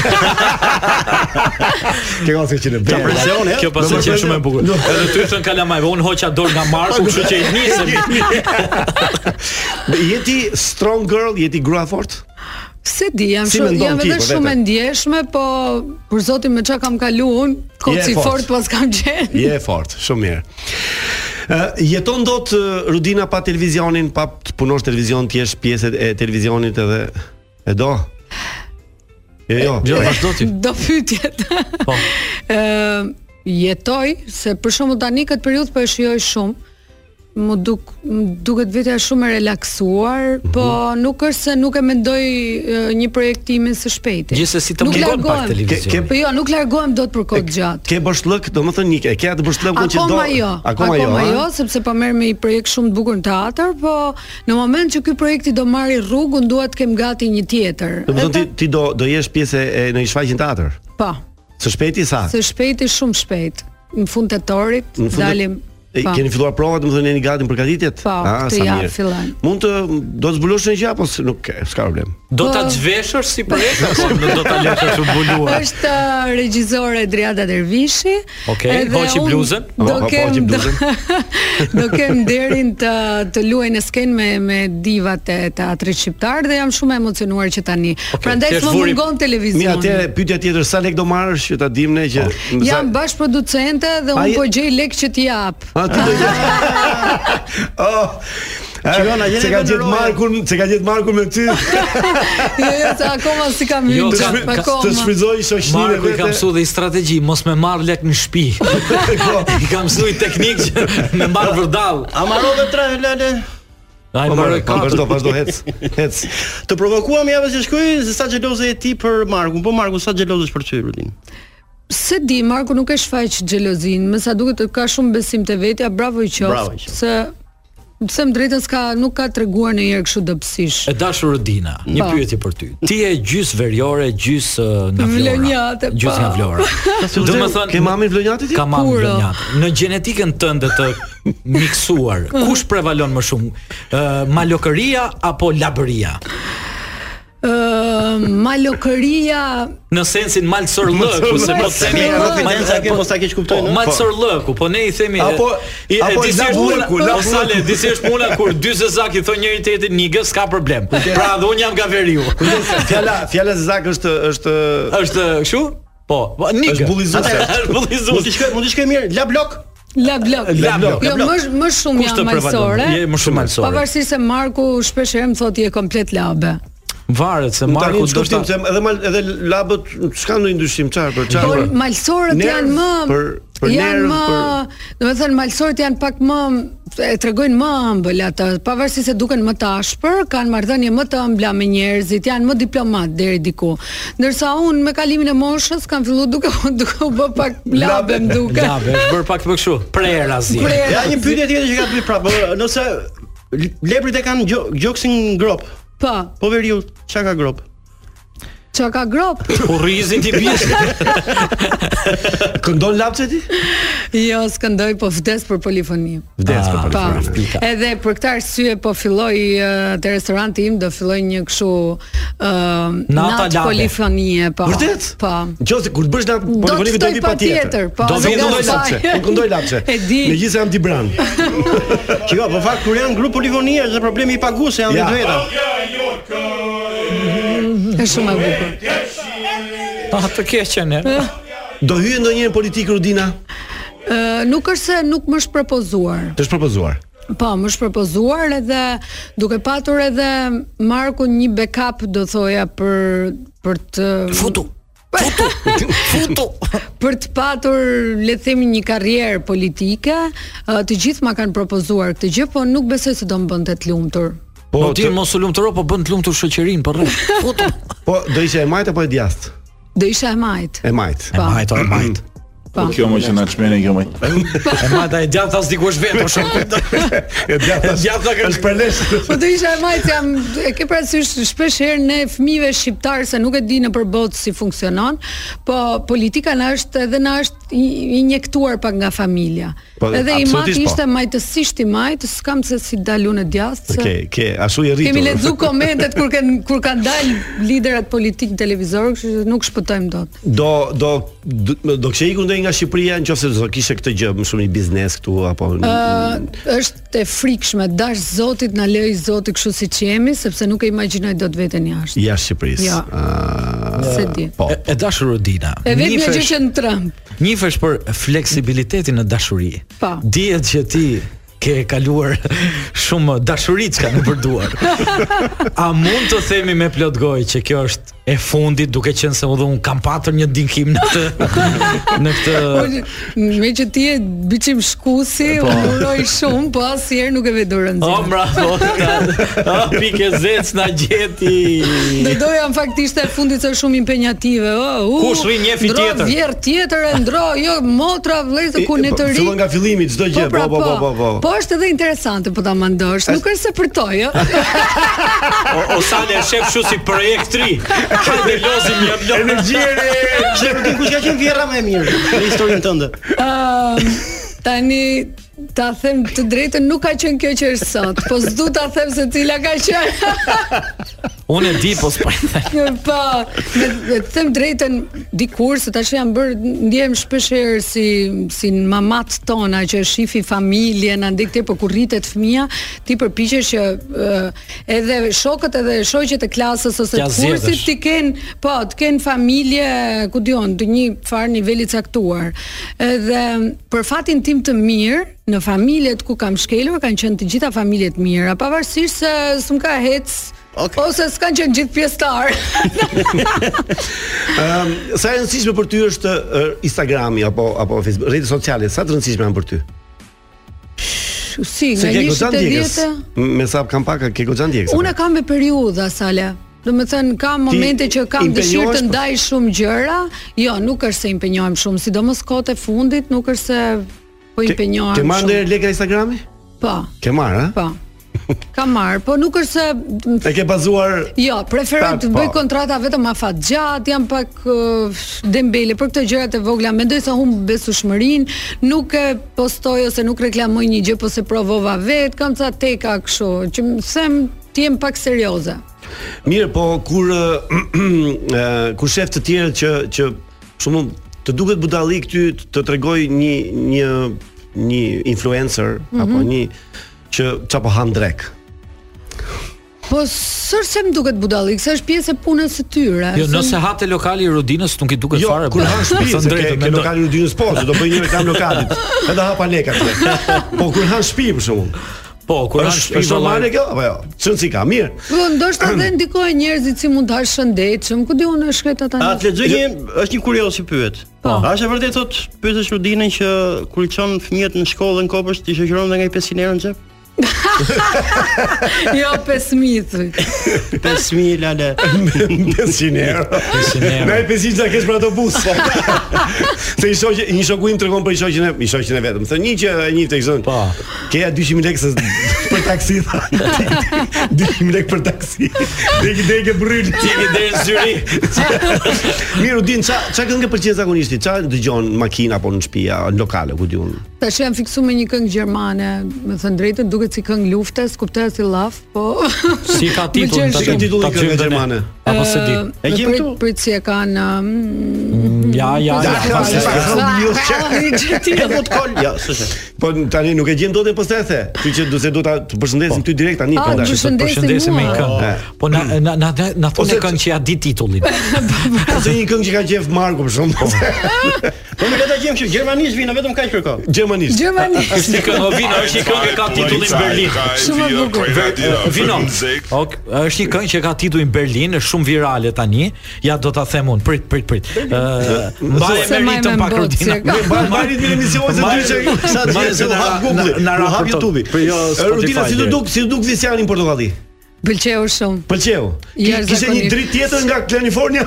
[SPEAKER 8] qenë që në
[SPEAKER 4] Ka
[SPEAKER 8] bërë.
[SPEAKER 4] presione.
[SPEAKER 7] kjo pasi që është shumë e bukur. Edhe ty thën kalamaj, unë hoqa dorë nga Marku, kështu që i nisem.
[SPEAKER 8] Je ti strong girl, je ti grua fort?
[SPEAKER 11] Se di, jam
[SPEAKER 8] Si
[SPEAKER 11] shumë,
[SPEAKER 8] mendon
[SPEAKER 11] jam
[SPEAKER 8] ti,
[SPEAKER 11] edhe
[SPEAKER 8] po,
[SPEAKER 11] shumë e
[SPEAKER 8] vete?
[SPEAKER 11] ndjeshme, po për zotin me çka kam kalu unë,
[SPEAKER 8] Je
[SPEAKER 11] kot si
[SPEAKER 8] fort.
[SPEAKER 11] fort pas kam qenë.
[SPEAKER 8] Je fort, shumë mirë. Uh, jeton dot ë, Rudina pa televizionin, pa të punosh televizion, ti jesh pjesë e televizionit edhe e do. Jo, jo.
[SPEAKER 7] Jo, vazhdo ti.
[SPEAKER 11] Do pyetjet.
[SPEAKER 7] Po.
[SPEAKER 11] Ë jetoj se për shembull tani këtë periudhë po e shijoj shumë. Më duk më duket vetja shumë e relaksuar,
[SPEAKER 7] Mhm.
[SPEAKER 11] po nuk është se nuk e mendoj e, një projektimin së shpejti.
[SPEAKER 7] Gjithsesi të
[SPEAKER 11] Nuk
[SPEAKER 7] mungon pak
[SPEAKER 11] largohem.
[SPEAKER 7] televizion.
[SPEAKER 8] Ke-
[SPEAKER 11] Po jo, nuk largohem dot për kohë gjatë.
[SPEAKER 8] Ke bëshllëk, domethënë një- e ke atë bëshllëkun që do.
[SPEAKER 11] Akoma jo.
[SPEAKER 8] Akoma jo. a?
[SPEAKER 11] sepse po merr me një projekt shumë të bukur në teatr, po në moment që ky projekti do marrë rrugën, duhet të kem gati një tjetër.
[SPEAKER 8] Domethënë ti ti do do jesh pjesë e në një shfaqje teatr.
[SPEAKER 11] Po.
[SPEAKER 8] Së shpejti sa?
[SPEAKER 11] Së shpejti shumë shpejt. Në fund tetorit
[SPEAKER 8] Në fund-
[SPEAKER 11] dalim.
[SPEAKER 8] E,
[SPEAKER 11] pa.
[SPEAKER 8] keni filluar provat, domethënë jeni gati për përgatitjet?
[SPEAKER 11] Po,
[SPEAKER 8] Ah,
[SPEAKER 11] këtë
[SPEAKER 8] sa
[SPEAKER 11] javë
[SPEAKER 8] mirë.
[SPEAKER 11] fillojmë.
[SPEAKER 8] Mund të do të zbulosh një gjë apo s- nuk ke, s'ka problem.
[SPEAKER 7] Do ta
[SPEAKER 11] Po.
[SPEAKER 7] zhveshësh si projekt apo nuk po, do ta lëshësh u buluar?
[SPEAKER 11] Është uh, regjizore Driada Dervishi.
[SPEAKER 7] Okej,
[SPEAKER 11] edhe
[SPEAKER 7] hoqi
[SPEAKER 11] unë
[SPEAKER 7] bluzën.
[SPEAKER 11] Do
[SPEAKER 8] Po, po,
[SPEAKER 11] kem
[SPEAKER 8] hoqi
[SPEAKER 11] do,
[SPEAKER 8] bluzën.
[SPEAKER 11] do kem nderin të të luaj në skenë me me divat e teatrit shqiptar dhe jam shumë e emocionuar që tani. Prandaj
[SPEAKER 7] t'jesh
[SPEAKER 11] s'më
[SPEAKER 7] vuri-
[SPEAKER 11] mungon
[SPEAKER 8] Mirë,
[SPEAKER 11] televizioni.
[SPEAKER 8] atëre pyetja tjetër, sa lek do marrësh që ta dim ne që sa-
[SPEAKER 11] Jam bashkëproducente dhe po
[SPEAKER 8] A
[SPEAKER 11] unë
[SPEAKER 8] je-
[SPEAKER 11] po gjej lek që t'i jap.
[SPEAKER 8] A ti do të. Oh. Shikon, a jeni ka gjetë Markun, se ka gjetë Markun me ty.
[SPEAKER 11] Jo, jo, se akoma si kam hyrë.
[SPEAKER 7] Jo,
[SPEAKER 11] Jo,
[SPEAKER 7] ka- ka-
[SPEAKER 11] akoma.
[SPEAKER 8] të shfrytëzoj shoqërinë
[SPEAKER 7] Marku i
[SPEAKER 8] vete.
[SPEAKER 7] ka mësuar dhe i strategji, mos me marr lek në shtëpi. I ka mësuar i teknik që me marr vërdall.
[SPEAKER 4] A marrove tre lale?
[SPEAKER 7] Ai marrë
[SPEAKER 8] Po, marrë, po,
[SPEAKER 7] katër.
[SPEAKER 8] vazhdo, vazhdo hec. Hec.
[SPEAKER 4] Të provokuam javën që shkoi se sa xheloze je ti për Markun. Po Marku sa xheloz është për ty Rudin.
[SPEAKER 11] Se di, Marku nuk e shfaq xhelozin, më sa duket ka shumë besim te vetja, bravo i
[SPEAKER 4] Bravo i
[SPEAKER 11] qoftë.
[SPEAKER 4] qoftë.
[SPEAKER 11] Se pse më drejtën s'ka nuk ka treguar ndonjëherë kështu dobësish.
[SPEAKER 7] E dashur Rodina, një
[SPEAKER 11] Po.
[SPEAKER 7] pyetje për ty. Ti je gjys veriore, gjys ë, nga Flora.
[SPEAKER 11] Vlonjate, po.
[SPEAKER 7] Gjys nga Flora. Do të thonë
[SPEAKER 8] ke mamin Vlonjati ti?
[SPEAKER 7] Ka mamë
[SPEAKER 11] Puro.
[SPEAKER 7] vlonjat. Në gjenetikën tënde të miksuar, kush prevalon më shumë? Ë malokëria apo labëria?
[SPEAKER 11] Ë, malokëria
[SPEAKER 7] Në sensin malsorllëku, se po të themi
[SPEAKER 4] Mos e mendoj se ke mos ta keq kuptoj.
[SPEAKER 7] Po, malsorllëku, po ne i themi
[SPEAKER 8] Apo-
[SPEAKER 7] e, e,
[SPEAKER 8] apo
[SPEAKER 7] disi është
[SPEAKER 8] labërku,
[SPEAKER 7] puna,
[SPEAKER 8] labërku.
[SPEAKER 7] o sale, disi është puna kur dy zezak i thon njëri tjetrit nigë, s'ka problem. Pra dhe unë jam nga veriu.
[SPEAKER 8] Fjala, fjala Zezak është është
[SPEAKER 7] Është kështu? Po, po, nigë.
[SPEAKER 8] Është bullizuese.
[SPEAKER 7] Atëherë, Është
[SPEAKER 4] Mund të
[SPEAKER 7] bullizuese.
[SPEAKER 4] shkoj, mund të shkoj mirë, la blok.
[SPEAKER 11] la blok.
[SPEAKER 7] La blok,
[SPEAKER 11] Jo,
[SPEAKER 7] la blok.
[SPEAKER 11] më sh- më shumë
[SPEAKER 7] Kush
[SPEAKER 11] jam
[SPEAKER 7] të prevalon?
[SPEAKER 11] malsore.
[SPEAKER 7] Je më shumë malsore.
[SPEAKER 11] Pavarësisht se Marku shpesh herë më thotë je komplet labe.
[SPEAKER 7] Varet se
[SPEAKER 8] Marku
[SPEAKER 7] Marku do
[SPEAKER 8] kuptim se edhe mal, edhe labët s'ka ndonjë ndryshim çfarë për
[SPEAKER 11] Po
[SPEAKER 8] çfarë. për-
[SPEAKER 11] malsorët
[SPEAKER 8] Nerv,
[SPEAKER 11] janë më
[SPEAKER 8] për për
[SPEAKER 11] janë
[SPEAKER 8] nerv,
[SPEAKER 11] më,
[SPEAKER 8] për
[SPEAKER 11] do të thënë malsorët janë pak më e tregojnë më ëmbël ata, pavarësisht se duken më të ashpër, kanë marrëdhënie më të ëmbla me njerëzit, janë më diplomat deri diku. Ndërsa unë me kalimin e moshës kam filluar duke duke u bë pak labe më duke.
[SPEAKER 7] Labe, është bërë pak më kështu. Prera zi.
[SPEAKER 11] Pre-
[SPEAKER 4] Ja një pyetje tjetër që ka bëj prapë. ë, Nëse l- leprit e kanë gjo- gjoksin në grop,
[SPEAKER 11] Po,
[SPEAKER 4] po veriu çka ka grop?
[SPEAKER 11] çka ka grop?
[SPEAKER 7] Kurrizin ti biesh.
[SPEAKER 8] këndon lapçe ti?
[SPEAKER 11] jo, s'këndoj, po vdes për polifoni.
[SPEAKER 8] Vdes për
[SPEAKER 11] Pa.
[SPEAKER 8] për.
[SPEAKER 11] Edhe për këtë arsye po filloj uh, te restoranti im do filloj një kështu uh,
[SPEAKER 7] Nata labe.
[SPEAKER 11] polifonie, po.
[SPEAKER 8] Vërtet?
[SPEAKER 11] Po.
[SPEAKER 8] Nëse kur të bësh lap
[SPEAKER 11] Do të
[SPEAKER 8] polifonimi do
[SPEAKER 11] ftoj
[SPEAKER 8] vi
[SPEAKER 11] patjetër,
[SPEAKER 8] patjetër.
[SPEAKER 11] po,
[SPEAKER 8] Do vi
[SPEAKER 7] nga
[SPEAKER 8] këndoj
[SPEAKER 7] saj.
[SPEAKER 8] lapçe. Unë këndoj lapçe.
[SPEAKER 11] E di.
[SPEAKER 8] Megjithëse jam Dibran.
[SPEAKER 4] Shiko, po fakt kur janë grup polifonie është dhe problemi i pagusë se janë
[SPEAKER 8] Ja.
[SPEAKER 4] vetë veta.
[SPEAKER 11] Është shumë e bukur.
[SPEAKER 7] Ta Ah, të keqen. e.
[SPEAKER 8] Do hyjë ndonjëherë në politikë Rudina?
[SPEAKER 11] Ë, nuk është se nuk më është propozuar.
[SPEAKER 8] Të është propozuar.
[SPEAKER 11] Po, më është propozuar edhe duke patur edhe Markun një backup do thoja për për të
[SPEAKER 3] Futu. Futu. Futu.
[SPEAKER 11] për të patur le të themi një karrierë politike, ë, të gjithë ma kanë propozuar këtë gjë, po nuk besoj se do më bënte të lumtur.
[SPEAKER 7] Po ti
[SPEAKER 8] të-
[SPEAKER 7] mos u lumturo, po bën të lumtur shoqërinë për rreth.
[SPEAKER 8] Po do ishte e majt apo e djathtë?
[SPEAKER 11] Do isha e majt.
[SPEAKER 8] E majt.
[SPEAKER 11] Po.
[SPEAKER 7] Hajt, hajt, hajt.
[SPEAKER 11] Po.
[SPEAKER 2] Kjo më që në çmene, kjo më.
[SPEAKER 7] E majta e djathtë as diku është vetë, po shumë.
[SPEAKER 8] E djathtë.
[SPEAKER 7] E djathta ka-
[SPEAKER 8] është përlesh.
[SPEAKER 11] Po do isha e majt jam e ke parasysh shpesh herë ne fëmijëve shqiptar se nuk e di në përbot si funksionon, po politika na është edhe na është i- injektuar pak nga familja.
[SPEAKER 8] Po,
[SPEAKER 11] edhe i mat
[SPEAKER 8] absolutisht po.
[SPEAKER 11] ishte majtësisht i majt, s'kam se si dalun e djathtë. se-
[SPEAKER 8] Ke, ke, ashtu i rritur.
[SPEAKER 11] Kemi lexu komentet kur kanë kur kanë dalë liderat politik në televizor, kështu që nuk shpëtojmë dot.
[SPEAKER 8] Do do do, do kishte ikur ndonjë nga Shqipëria nëse do kishte këtë gjë më shumë një biznes këtu apo
[SPEAKER 11] Ë, është e frikshme, dash Zotit na lej Zoti kështu siç jemi, sepse nuk e imagjinoj dot veten jashtë.
[SPEAKER 8] jashtë Shqipërisë.
[SPEAKER 11] Ja.
[SPEAKER 8] Ah. Ë,
[SPEAKER 11] Jo, Se di.
[SPEAKER 8] Po.
[SPEAKER 7] E, e dashur Rodina.
[SPEAKER 11] E vetëm një gjë
[SPEAKER 7] njifesh-
[SPEAKER 11] që në Trump.
[SPEAKER 7] Njifesh për fleksibilitetin në dashuri.
[SPEAKER 11] Po.
[SPEAKER 7] Dihet që ti ke kaluar shumë dashuri çka në përduar. A mund të themi me plot gojë që kjo është e fundit duke qenë se unë kam patur një dinkim në këtë në këtë
[SPEAKER 11] Po, Me që ti je biçim shkusi,
[SPEAKER 7] Po.
[SPEAKER 11] u uroj shumë, po asnjëherë nuk e ve dorën.
[SPEAKER 7] O,
[SPEAKER 11] zero.
[SPEAKER 7] Oh, bravo. O, pikë zec na gjeti.
[SPEAKER 11] Do doja në fakt ishte e fundit se shumë impenjative. Ë, u.
[SPEAKER 7] Kush vi njefi
[SPEAKER 11] ndro
[SPEAKER 7] tjetër?
[SPEAKER 11] Vjerë tjetër e ndro, jo motra vëllezër ku ne të ri.
[SPEAKER 8] po, Fillon nga fillimi çdo gjë. Po po po po po.
[SPEAKER 11] pra, Po është edhe interesante po ta mendosh. Nuk është se përtoj, jo. ë.
[SPEAKER 7] O, o sale e shef kështu si projekt 3. Hajde lozim një blok. Energjire.
[SPEAKER 4] Shef ti kush ka qenë vjerra më e mirë në historinë tënde.
[SPEAKER 11] Ëm, tani ta them të drejtën nuk ka qenë kjo që është sot, po s'du ta them se cila ka qenë.
[SPEAKER 7] Unë e di, po s'po.
[SPEAKER 11] Po, me me të them drejtën dikur se tash jam bër ndjehem shpesh herë si si në mamat tona që shifi familjen andaj këtej po kur rritet fëmia ti përpiqesh që ë, edhe shokët edhe shoqjet e klasës ose
[SPEAKER 7] T'ja
[SPEAKER 11] të kursit
[SPEAKER 7] zgjedhësh.
[SPEAKER 11] ti ken po të ken familje ku dion të një farë niveli caktuar. Edhe për fatin tim të mirë në familjet ku kam shkelur kanë qenë të gjitha familjet mira, pavarësisht se s'm ka hec Ose s'kan qenë gjithë pjesëtar.
[SPEAKER 8] Ëm, Ehm, sa e rëndësishme për ty është ë, Instagrami apo apo Facebook, rrjetet sociale, sa të rëndësishme janë për ty?
[SPEAKER 11] si, nga
[SPEAKER 8] ke
[SPEAKER 11] 1
[SPEAKER 8] goxhan
[SPEAKER 11] te
[SPEAKER 8] djegës.
[SPEAKER 11] 10
[SPEAKER 8] M- Me sa kam pak ke goxhan djegës.
[SPEAKER 11] Unë e kam me periudha, Sale. Do të thënë ka momente që kam dëshirë
[SPEAKER 8] impenjohesh
[SPEAKER 11] të
[SPEAKER 8] për-
[SPEAKER 11] ndaj shumë gjëra. Jo, nuk është se impenjohem shumë, sidomos kohët e fundit, nuk është se po impenjohem.
[SPEAKER 8] Ke marrë
[SPEAKER 11] shumë.
[SPEAKER 8] ndër lek nga Instagrami?
[SPEAKER 11] Po,
[SPEAKER 8] Ke marrë, ha?
[SPEAKER 11] po. Kam marr, po nuk është se
[SPEAKER 8] E ke bazuar
[SPEAKER 11] Jo, preferoj
[SPEAKER 8] Tak,
[SPEAKER 11] të bëj
[SPEAKER 8] po.
[SPEAKER 11] kontrata vetëm afatgjat, jam pak uh, dembele për këto gjërat e vogla. Mendoj se humb besueshmërinë, nuk e postoj ose nuk reklamoj një gjë, po se provova vet, kam ca teka kështu, që më them ti jem pak serioze.
[SPEAKER 8] Mirë, po kur ë, ë, kur shef të tjerët që që për shembull të duket budalli këty të tregoj një një një influencer apo
[SPEAKER 11] Mhm.
[SPEAKER 8] një që çapo han drek.
[SPEAKER 11] Po sër se më duket budallik, se është pjesë e punës së tyre.
[SPEAKER 7] Jo,
[SPEAKER 11] se
[SPEAKER 7] nëse
[SPEAKER 11] më-
[SPEAKER 7] hate lokali i Rudinës nuk i duket
[SPEAKER 8] Jo,
[SPEAKER 7] fare.
[SPEAKER 8] kur
[SPEAKER 7] po.
[SPEAKER 8] han shtëpi,
[SPEAKER 7] Thënë
[SPEAKER 8] se ke,
[SPEAKER 7] drejtën,
[SPEAKER 8] ke
[SPEAKER 7] mendoj.
[SPEAKER 8] lokali Rudinës po, se do bëj një reklam lokalit. Edhe hapa lekë atë. Po kur han shtëpi për shembull.
[SPEAKER 7] Po, kur han
[SPEAKER 8] Është
[SPEAKER 7] shtëpi,
[SPEAKER 8] është normale kjo apo jo? Çon si ka, mirë.
[SPEAKER 11] Po ndoshta dhe ndikojnë njerëzit si mund të hash shëndetshëm, ku diun është shkret ata.
[SPEAKER 4] A të lexoj
[SPEAKER 7] Jo,
[SPEAKER 4] një është një kurioz që pyet.
[SPEAKER 11] Po.
[SPEAKER 4] A është e vërtetë thot pyetësh Rudinën që kur i çon fëmijët në shkollë në kopës ti shoqëron dhe nga i 500 euro në xhep?
[SPEAKER 11] jo 5000. thuj.
[SPEAKER 4] 5000 lale.
[SPEAKER 8] 500 euro.
[SPEAKER 7] 500 euro.
[SPEAKER 8] Na e pesi çka kesh për autobus. po. se i shoqë, një shoku im tregon për i shoqën e, i shoqën e vetëm. Thonë një që e njeh tek zonë. Po. Keja 200000 lekë se për taksi tha. 200000 lekë për taksi. Deki deki bryl.
[SPEAKER 7] Deki deri në zyri.
[SPEAKER 8] Miru din ça ça këngë pëlqen zakonisht? ti? Ça dëgjon në makinë apo në shtëpi, a, në lokale, ku diun.
[SPEAKER 11] Tash jam fiksu me një këngë gjermane, me thënë drejtën, duket si këngë luftes, kuptohet si llaf, po
[SPEAKER 7] Si ka
[SPEAKER 11] Më qenë
[SPEAKER 7] titullin?
[SPEAKER 11] shumë-
[SPEAKER 7] ta
[SPEAKER 8] Si ka
[SPEAKER 7] gjejmë-
[SPEAKER 8] titulli
[SPEAKER 7] ta
[SPEAKER 8] kënga
[SPEAKER 7] gjejmë
[SPEAKER 8] gjermane?
[SPEAKER 7] ne. Apo se di.
[SPEAKER 11] E kem këtu. Prit si e kanë. mm,
[SPEAKER 7] Ja, ja,
[SPEAKER 8] Ja,
[SPEAKER 7] ja.
[SPEAKER 8] ja,
[SPEAKER 7] pasi s'ka.
[SPEAKER 4] Ti do të kol. Jo, s'është.
[SPEAKER 8] Po tani nuk e gjem dot e pastaj the. Kështu që do se do ta të përshëndesim ty direkt tani po
[SPEAKER 11] Ah,
[SPEAKER 8] prandaj.
[SPEAKER 11] përshëndesim
[SPEAKER 7] Po. Përshëndesim me një
[SPEAKER 11] mua.
[SPEAKER 7] këngë. Po na na na na
[SPEAKER 8] Eh. Ose
[SPEAKER 7] thonë këngë që ja di titullin.
[SPEAKER 8] Ose një këngë që ka qef Marku për shkak.
[SPEAKER 4] Po më le ta gjem që gjermanisht vina vetëm kaq kërko.
[SPEAKER 8] Gjermanisht.
[SPEAKER 11] Gjermani.
[SPEAKER 7] Është një këngë vino, është një këngë që ka titullin Berlin.
[SPEAKER 11] Shumë e bukur.
[SPEAKER 7] Vino. Ok, është një këngë që ka titullin Berlin, është shumë virale tani. Ja do ta them unë. Prit, prit, prit. Ë, mbaje
[SPEAKER 11] Se
[SPEAKER 7] me
[SPEAKER 11] maj me
[SPEAKER 7] ritëm pak
[SPEAKER 11] mbot,
[SPEAKER 7] Rudina.
[SPEAKER 11] se ka. Me
[SPEAKER 8] Mbaj mbaj ritmin e emisionit se dy që sa të
[SPEAKER 7] Mbaj-
[SPEAKER 8] se u hap
[SPEAKER 7] na-
[SPEAKER 8] Google,
[SPEAKER 7] na- na
[SPEAKER 8] u hap
[SPEAKER 7] raporton.
[SPEAKER 8] YouTube-i.
[SPEAKER 7] Po jo, Spotify
[SPEAKER 8] Rutina si do
[SPEAKER 7] deri.
[SPEAKER 8] duk, si do duk Visiani në Portokalli.
[SPEAKER 11] Pëlqeu shumë.
[SPEAKER 8] Pëlqeu. Ki-
[SPEAKER 11] Jashtëzakonisht.
[SPEAKER 8] Kishte një dritë tjetër nga Kalifornia.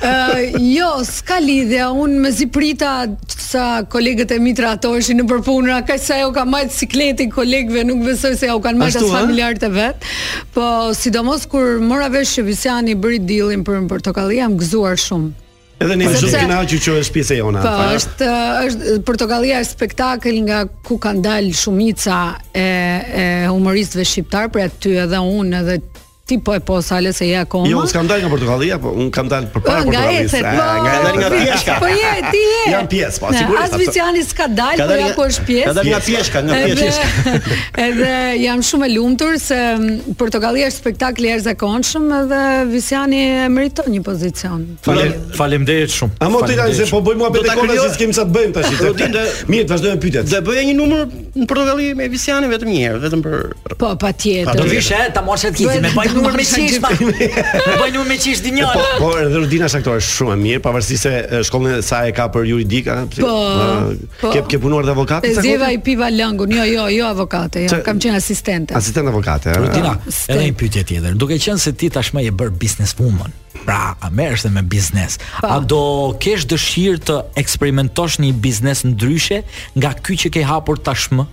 [SPEAKER 11] Ë, jo, s'ka lidhje. Unë me ziprita sa kolegët e mi tratoheshin nëpër punë, kaq sa ajo ka marrë sikletin kolegëve, nuk besoj se ja u kanë marrë
[SPEAKER 8] Ashtu,
[SPEAKER 11] as
[SPEAKER 8] ha?
[SPEAKER 11] familjarët e vet. Po sidomos kur mora vesh që Visiani bëri dealin për portokalli, jam gëzuar shumë.
[SPEAKER 8] Edhe ne
[SPEAKER 11] Sepse-
[SPEAKER 8] shumë kënaqur që është pjesë e jona.
[SPEAKER 11] Po,
[SPEAKER 8] Pa.
[SPEAKER 11] është është portokallia është spektakël nga ku kanë dalë shumica e e humoristëve shqiptar, pra aty edhe unë edhe ti po e po sale se je akoma.
[SPEAKER 8] Jo, unë s'kam dalë nga Portokallia, po unë kam dalë
[SPEAKER 11] Ë,
[SPEAKER 8] përpara
[SPEAKER 11] nga
[SPEAKER 8] Portokallis.
[SPEAKER 11] ecet,
[SPEAKER 8] Eh,
[SPEAKER 11] po.
[SPEAKER 8] Nga
[SPEAKER 4] dalë nga pjeshka.
[SPEAKER 11] Po je, ti je.
[SPEAKER 8] Jam pjesë, po,
[SPEAKER 11] Ne,
[SPEAKER 8] sigurisht,
[SPEAKER 11] As
[SPEAKER 8] ato-
[SPEAKER 11] Viciani s'ka dalë, po ja ku është pjesë.
[SPEAKER 4] Ka dalë nga pjeshka, nga pjeshka.
[SPEAKER 11] Edhe, edhe jam shumë e lumtur se mm, Portokallia është spektakël i jashtëzakonshëm edhe Visiani e meriton një pozicion.
[SPEAKER 7] Falem- Faleminderit shumë.
[SPEAKER 8] A mo të tani
[SPEAKER 7] Faleminderit
[SPEAKER 8] se po
[SPEAKER 7] shumë.
[SPEAKER 8] bëjmë
[SPEAKER 4] Do
[SPEAKER 8] muhabet
[SPEAKER 4] ta
[SPEAKER 8] e kona
[SPEAKER 4] kryoj-
[SPEAKER 8] se s'kem sa të bëjmë tash.
[SPEAKER 4] Rutin, do-
[SPEAKER 8] Mirë, të vazhdojmë pyetjet.
[SPEAKER 4] Do e bëja një numër në Portokalli me Visiani vetëm një herë, vetëm për
[SPEAKER 11] Po, patjetër.
[SPEAKER 7] Do vish e ta morsh atë kizin, me baj numër me qish. ma. Me baj numër me qish dinjor.
[SPEAKER 8] Po, po edhe Rudina është aktore shumë e mirë, pavarësisht se e, shkollën e saj e ka për juridika, pse-
[SPEAKER 11] Po,
[SPEAKER 8] ë,
[SPEAKER 11] po.
[SPEAKER 8] ke ke punuar dhe avokat?
[SPEAKER 11] E zjeva i piva lëngun, jo, jo, jo avokate, jo,
[SPEAKER 8] Ç-
[SPEAKER 11] kam qenë asistente.
[SPEAKER 8] Asistent avokate. ë.
[SPEAKER 7] Rutina,
[SPEAKER 11] Pra, Ste-
[SPEAKER 7] edhe një pyetje tjetër. Duke qenë se ti tashmë je bër businesswoman, pra a merresh dhe me biznes. A do kesh dëshirë të eksperimentosh një biznes ndryshe nga ky që ke hapur tashmë?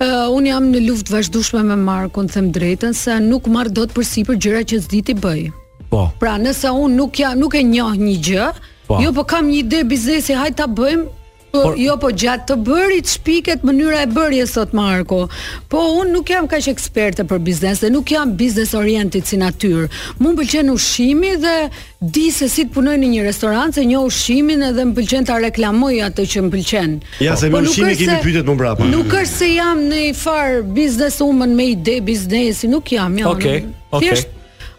[SPEAKER 11] Uh, unë jam në luftë vazhdueshme me Markun, them drejtën, se nuk marr dot përsipër gjëra që s'di ti bëj.
[SPEAKER 7] Po.
[SPEAKER 11] Pra, nëse unë nuk jam, nuk e njoh një gjë,
[SPEAKER 7] Po.
[SPEAKER 11] jo po kam një ide biznesi, hajt ta bëjmë, Po,
[SPEAKER 7] Por-
[SPEAKER 11] jo, po gjatë të bërit shpiket mënyra e bërjes sot Marko. Po unë nuk jam kaq eksperte për biznes dhe nuk jam biznes oriented si natyrë. Mu më pëlqen ushqimi dhe di se si të punoj në një restorant, se njoh ushqimin edhe më pëlqen ta reklamoj atë që më pëlqen. Po
[SPEAKER 8] Ja, se me
[SPEAKER 11] nuk
[SPEAKER 8] ushqimi
[SPEAKER 11] është
[SPEAKER 8] kemi
[SPEAKER 11] se-
[SPEAKER 8] pyetjet më mbrapa.
[SPEAKER 11] Nuk është se jam në i far biznes woman me ide biznesi, nuk jam, jam.
[SPEAKER 7] Okej, okej.
[SPEAKER 11] Thjesht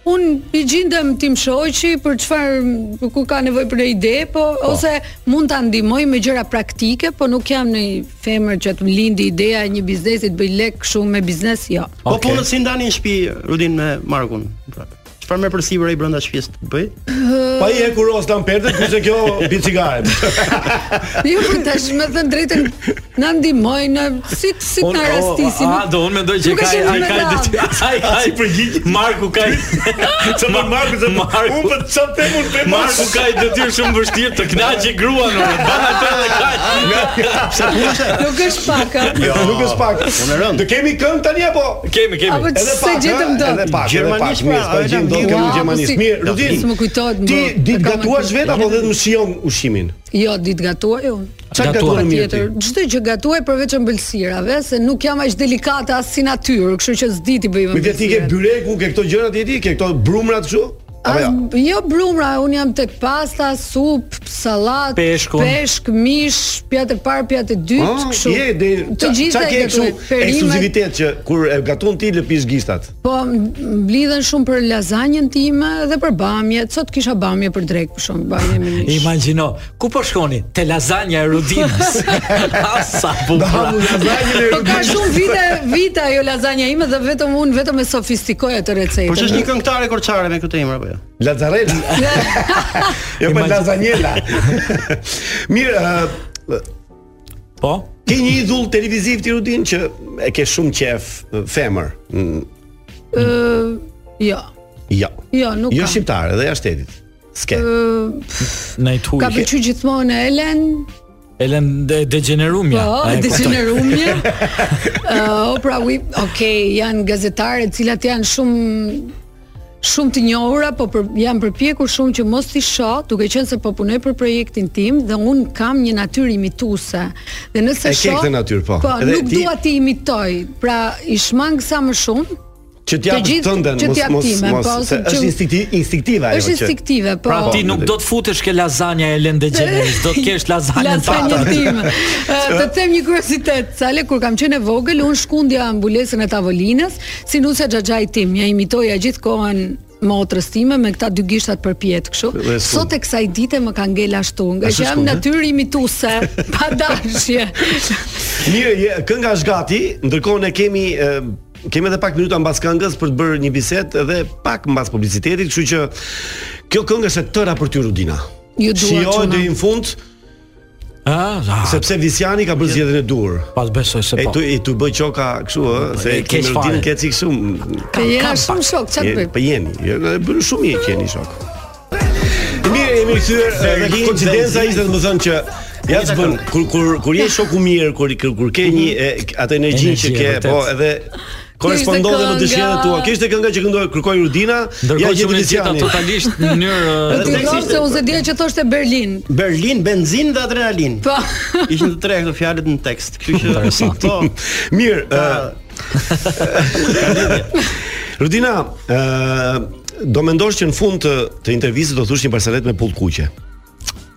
[SPEAKER 11] Un i gjindem tim shoqi për çfarë ku ka nevojë për një ide, po ose mund ta ndihmoj me gjëra praktike, po nuk jam në një femër që të më lindi ideja e një biznesi të bëj lek shumë me biznes, jo.
[SPEAKER 4] Po punët si ndani në shtëpi Rudin me Markun. Çfarë më përsipër ai brenda shtëpisë të bëj?
[SPEAKER 7] Po,
[SPEAKER 8] Pa i e kuros të amperdet, kurse kjo bie cigare.
[SPEAKER 11] Jo, për tash me thënë drejtën na ndihmoj në si si
[SPEAKER 7] Unë-
[SPEAKER 11] na
[SPEAKER 7] o,
[SPEAKER 11] rastisi.
[SPEAKER 7] A do unë mendoj që
[SPEAKER 11] nuk
[SPEAKER 7] ka
[SPEAKER 11] është
[SPEAKER 7] ai
[SPEAKER 11] një
[SPEAKER 7] ka
[SPEAKER 11] medalë.
[SPEAKER 7] detyrë. Ai ka si përgjigj. Marku ka.
[SPEAKER 8] Ço më Marku se
[SPEAKER 7] Marku-
[SPEAKER 8] unë po çfarë them unë them
[SPEAKER 7] Marku ka i detyrë shumë vështirë të kënaqë gruan unë. Ban atë dhe kaq.
[SPEAKER 8] Sa punë është?
[SPEAKER 11] Nuk është pak. a?
[SPEAKER 8] Jo, nuk është pak. Unë rënd. Do kemi këngë tani apo?
[SPEAKER 7] Kemi, kemi.
[SPEAKER 11] Apo
[SPEAKER 8] Edhe
[SPEAKER 11] se
[SPEAKER 8] pak,
[SPEAKER 11] gjetëm
[SPEAKER 8] ha?
[SPEAKER 11] dot.
[SPEAKER 8] Edhe pak,
[SPEAKER 4] Gjermanisht,
[SPEAKER 8] edhe pak. Mirë, s'ka gjim
[SPEAKER 4] pra, e lëm
[SPEAKER 8] dot kemi
[SPEAKER 11] Wow,
[SPEAKER 8] gjermanisht.
[SPEAKER 11] si-
[SPEAKER 8] Mirë, Rudin.
[SPEAKER 11] s'më kujtohet,
[SPEAKER 8] Ti
[SPEAKER 11] më-
[SPEAKER 8] ditë
[SPEAKER 11] e kam
[SPEAKER 8] gatuash
[SPEAKER 11] marrë.
[SPEAKER 8] vetë apo vetëm shijon ushqimin?
[SPEAKER 11] Jo, ditë gatuaj unë.
[SPEAKER 8] Çfarë
[SPEAKER 7] Gatuaj.
[SPEAKER 8] gatuan mirë ti?
[SPEAKER 11] Tjetër, çdo gjë gatuaj përveç ëmbëlsirave, se nuk jam aq delikate as si natyrë, kështu që s'di ti bëj
[SPEAKER 8] Me të ti ke
[SPEAKER 11] ëmbëlsira.
[SPEAKER 8] byrek, ku ke këto gjëra ti e di, ke këto brumrat kështu? Apo
[SPEAKER 11] As,
[SPEAKER 8] jo?
[SPEAKER 11] jo brumra, un jam tek pasta, sup, sallat,
[SPEAKER 7] Peshkun.
[SPEAKER 11] peshk, mish, pjatë e parë, pjatë e dytë,
[SPEAKER 8] Ah,
[SPEAKER 11] kështu.
[SPEAKER 8] Je deri
[SPEAKER 11] të gjitha
[SPEAKER 8] ke
[SPEAKER 11] i
[SPEAKER 8] kështu
[SPEAKER 11] gatuaj. Perimet,
[SPEAKER 8] ekskluzivitet që kur e gatun ti lëpish gishtat.
[SPEAKER 11] po m- mblidhen shumë për lazanjën time dhe për bamje. Sot kisha bamje për drek për shkak bamje me mish.
[SPEAKER 7] Imagjino, ku po shkoni? Te lazanja e Rudinës. Asa
[SPEAKER 8] Hamu
[SPEAKER 7] bukur.
[SPEAKER 8] lazanjën e
[SPEAKER 11] Po ka shumë vite, vite ajo lazanja ime dhe vetëm unë vetëm e sofistikoj atë
[SPEAKER 4] Po
[SPEAKER 11] recetën.
[SPEAKER 4] ç'është një këngëtare korçare me këtë emër apo jo?
[SPEAKER 8] Lazarella. jo po
[SPEAKER 7] Imagin-
[SPEAKER 8] lazanjela. Mirë, ë,
[SPEAKER 7] Po.
[SPEAKER 8] ke një idol televiziv ti Rudin që e ke shumë qef ë, femër. Mm,
[SPEAKER 11] Ë, jo.
[SPEAKER 8] Jo.
[SPEAKER 11] Jo, nuk
[SPEAKER 8] Jo
[SPEAKER 11] ka.
[SPEAKER 8] shqiptare dhe jashtë shtetit. S'ke.
[SPEAKER 7] Në i
[SPEAKER 11] Ka
[SPEAKER 7] tuj.
[SPEAKER 11] pëlqy gjithmonë Elen,
[SPEAKER 7] Elen de- degenerumja.
[SPEAKER 11] po,
[SPEAKER 7] A e
[SPEAKER 11] degenerumja. Ë, Oprah Winfrey, okay, janë gazetare të cilat janë shumë shumë të njohura, po për, jam përpjekur shumë që mos t'i shoh, duke qenë se po punoj për projektin tim dhe un kam një natyrë imituese. Dhe nëse
[SPEAKER 8] E ke
[SPEAKER 11] shoh,
[SPEAKER 8] këtë natyrë, po.
[SPEAKER 11] Po,
[SPEAKER 8] Edhe
[SPEAKER 11] nuk
[SPEAKER 8] ti-
[SPEAKER 11] dua ti imitoj. Pra, i shmang sa më shumë,
[SPEAKER 8] Që
[SPEAKER 11] të
[SPEAKER 8] t'jap
[SPEAKER 11] gjithë
[SPEAKER 8] tënden,
[SPEAKER 11] që
[SPEAKER 8] mos
[SPEAKER 11] t'jap
[SPEAKER 8] mos
[SPEAKER 11] time,
[SPEAKER 8] mos.
[SPEAKER 11] po,
[SPEAKER 8] se
[SPEAKER 11] që-
[SPEAKER 8] Është instinkti- instinktive ajo.
[SPEAKER 11] është
[SPEAKER 8] që-
[SPEAKER 11] instinktive, po.
[SPEAKER 7] Pra ti nuk do të futesh ke lazanja e Elen degeneris, do të kesh lazanjën
[SPEAKER 11] Lazanja
[SPEAKER 7] tënde.
[SPEAKER 11] time. Ë, Të them një kuriozitet, sale kur kam qenë e vogël, unë shkundja ambulesën e tavolinës, si nusja xhaxhai tim, ja imitoja gjithkohën motrës time me këta dy gishtat përpjet kështu.
[SPEAKER 8] Dhe s'u-
[SPEAKER 11] Sot e kësaj dite më ka ngel ashtu, nga
[SPEAKER 8] Ashtu
[SPEAKER 11] që jam
[SPEAKER 8] s'ku, ne?
[SPEAKER 11] natyrë imituese, pa dashje.
[SPEAKER 8] Mirë, je, kënga është gati, ndërkohë ne kemi e, kemi edhe pak minuta mbas këngës për të bërë një bisedë edhe pak mbas publicitetit, kështu që kjo këngë është e tëra për ty Rudina.
[SPEAKER 11] Ju dua,
[SPEAKER 8] Shijoj
[SPEAKER 11] çuna.
[SPEAKER 8] deri në fund
[SPEAKER 7] Ah, ah,
[SPEAKER 8] sepse Visiani ka bërë zgjedhjen e dur.
[SPEAKER 7] pas besoj se
[SPEAKER 8] E
[SPEAKER 7] po.
[SPEAKER 8] tu i tu bëj qoka kështu ë, se
[SPEAKER 7] e
[SPEAKER 8] ti
[SPEAKER 7] keq
[SPEAKER 8] me
[SPEAKER 7] fare.
[SPEAKER 8] Rudinën ke cik shumë.
[SPEAKER 11] Të jena
[SPEAKER 7] kam
[SPEAKER 11] shumë shok, çfarë
[SPEAKER 8] Je-
[SPEAKER 11] bëj?
[SPEAKER 8] Po jeni, je- e bën shumë i keni shok. Mirë, jemi kthyer edhe koincidenca ishte të më thënë që ja të bën kur kur kur je shoku mirë, kur kur, kur ke një e, atë energjinë
[SPEAKER 7] Energji,
[SPEAKER 8] që ke,
[SPEAKER 7] vërtet.
[SPEAKER 8] po edhe korespondon dhe me dëshirat
[SPEAKER 11] kënga.
[SPEAKER 8] tua. Kishte kënga që këndoi kërkoi Rudina, ja
[SPEAKER 7] Ndërkohë që
[SPEAKER 8] gjetë
[SPEAKER 7] unë gjeta
[SPEAKER 8] Lisiani.
[SPEAKER 7] totalisht në mënyrë
[SPEAKER 11] Të
[SPEAKER 7] eh,
[SPEAKER 11] dëgjoj se unë se dje që thoshte Berlin.
[SPEAKER 4] Berlin, benzin dhe adrenalin.
[SPEAKER 11] Po.
[SPEAKER 4] Ishin të tre këto fjalët në tekst. Kështu që
[SPEAKER 7] Interesant.
[SPEAKER 4] Po.
[SPEAKER 8] Mirë, ë Rudina, ë do mendosh që në fund të, të intervistës do thosh një parsalet me pull kuqe.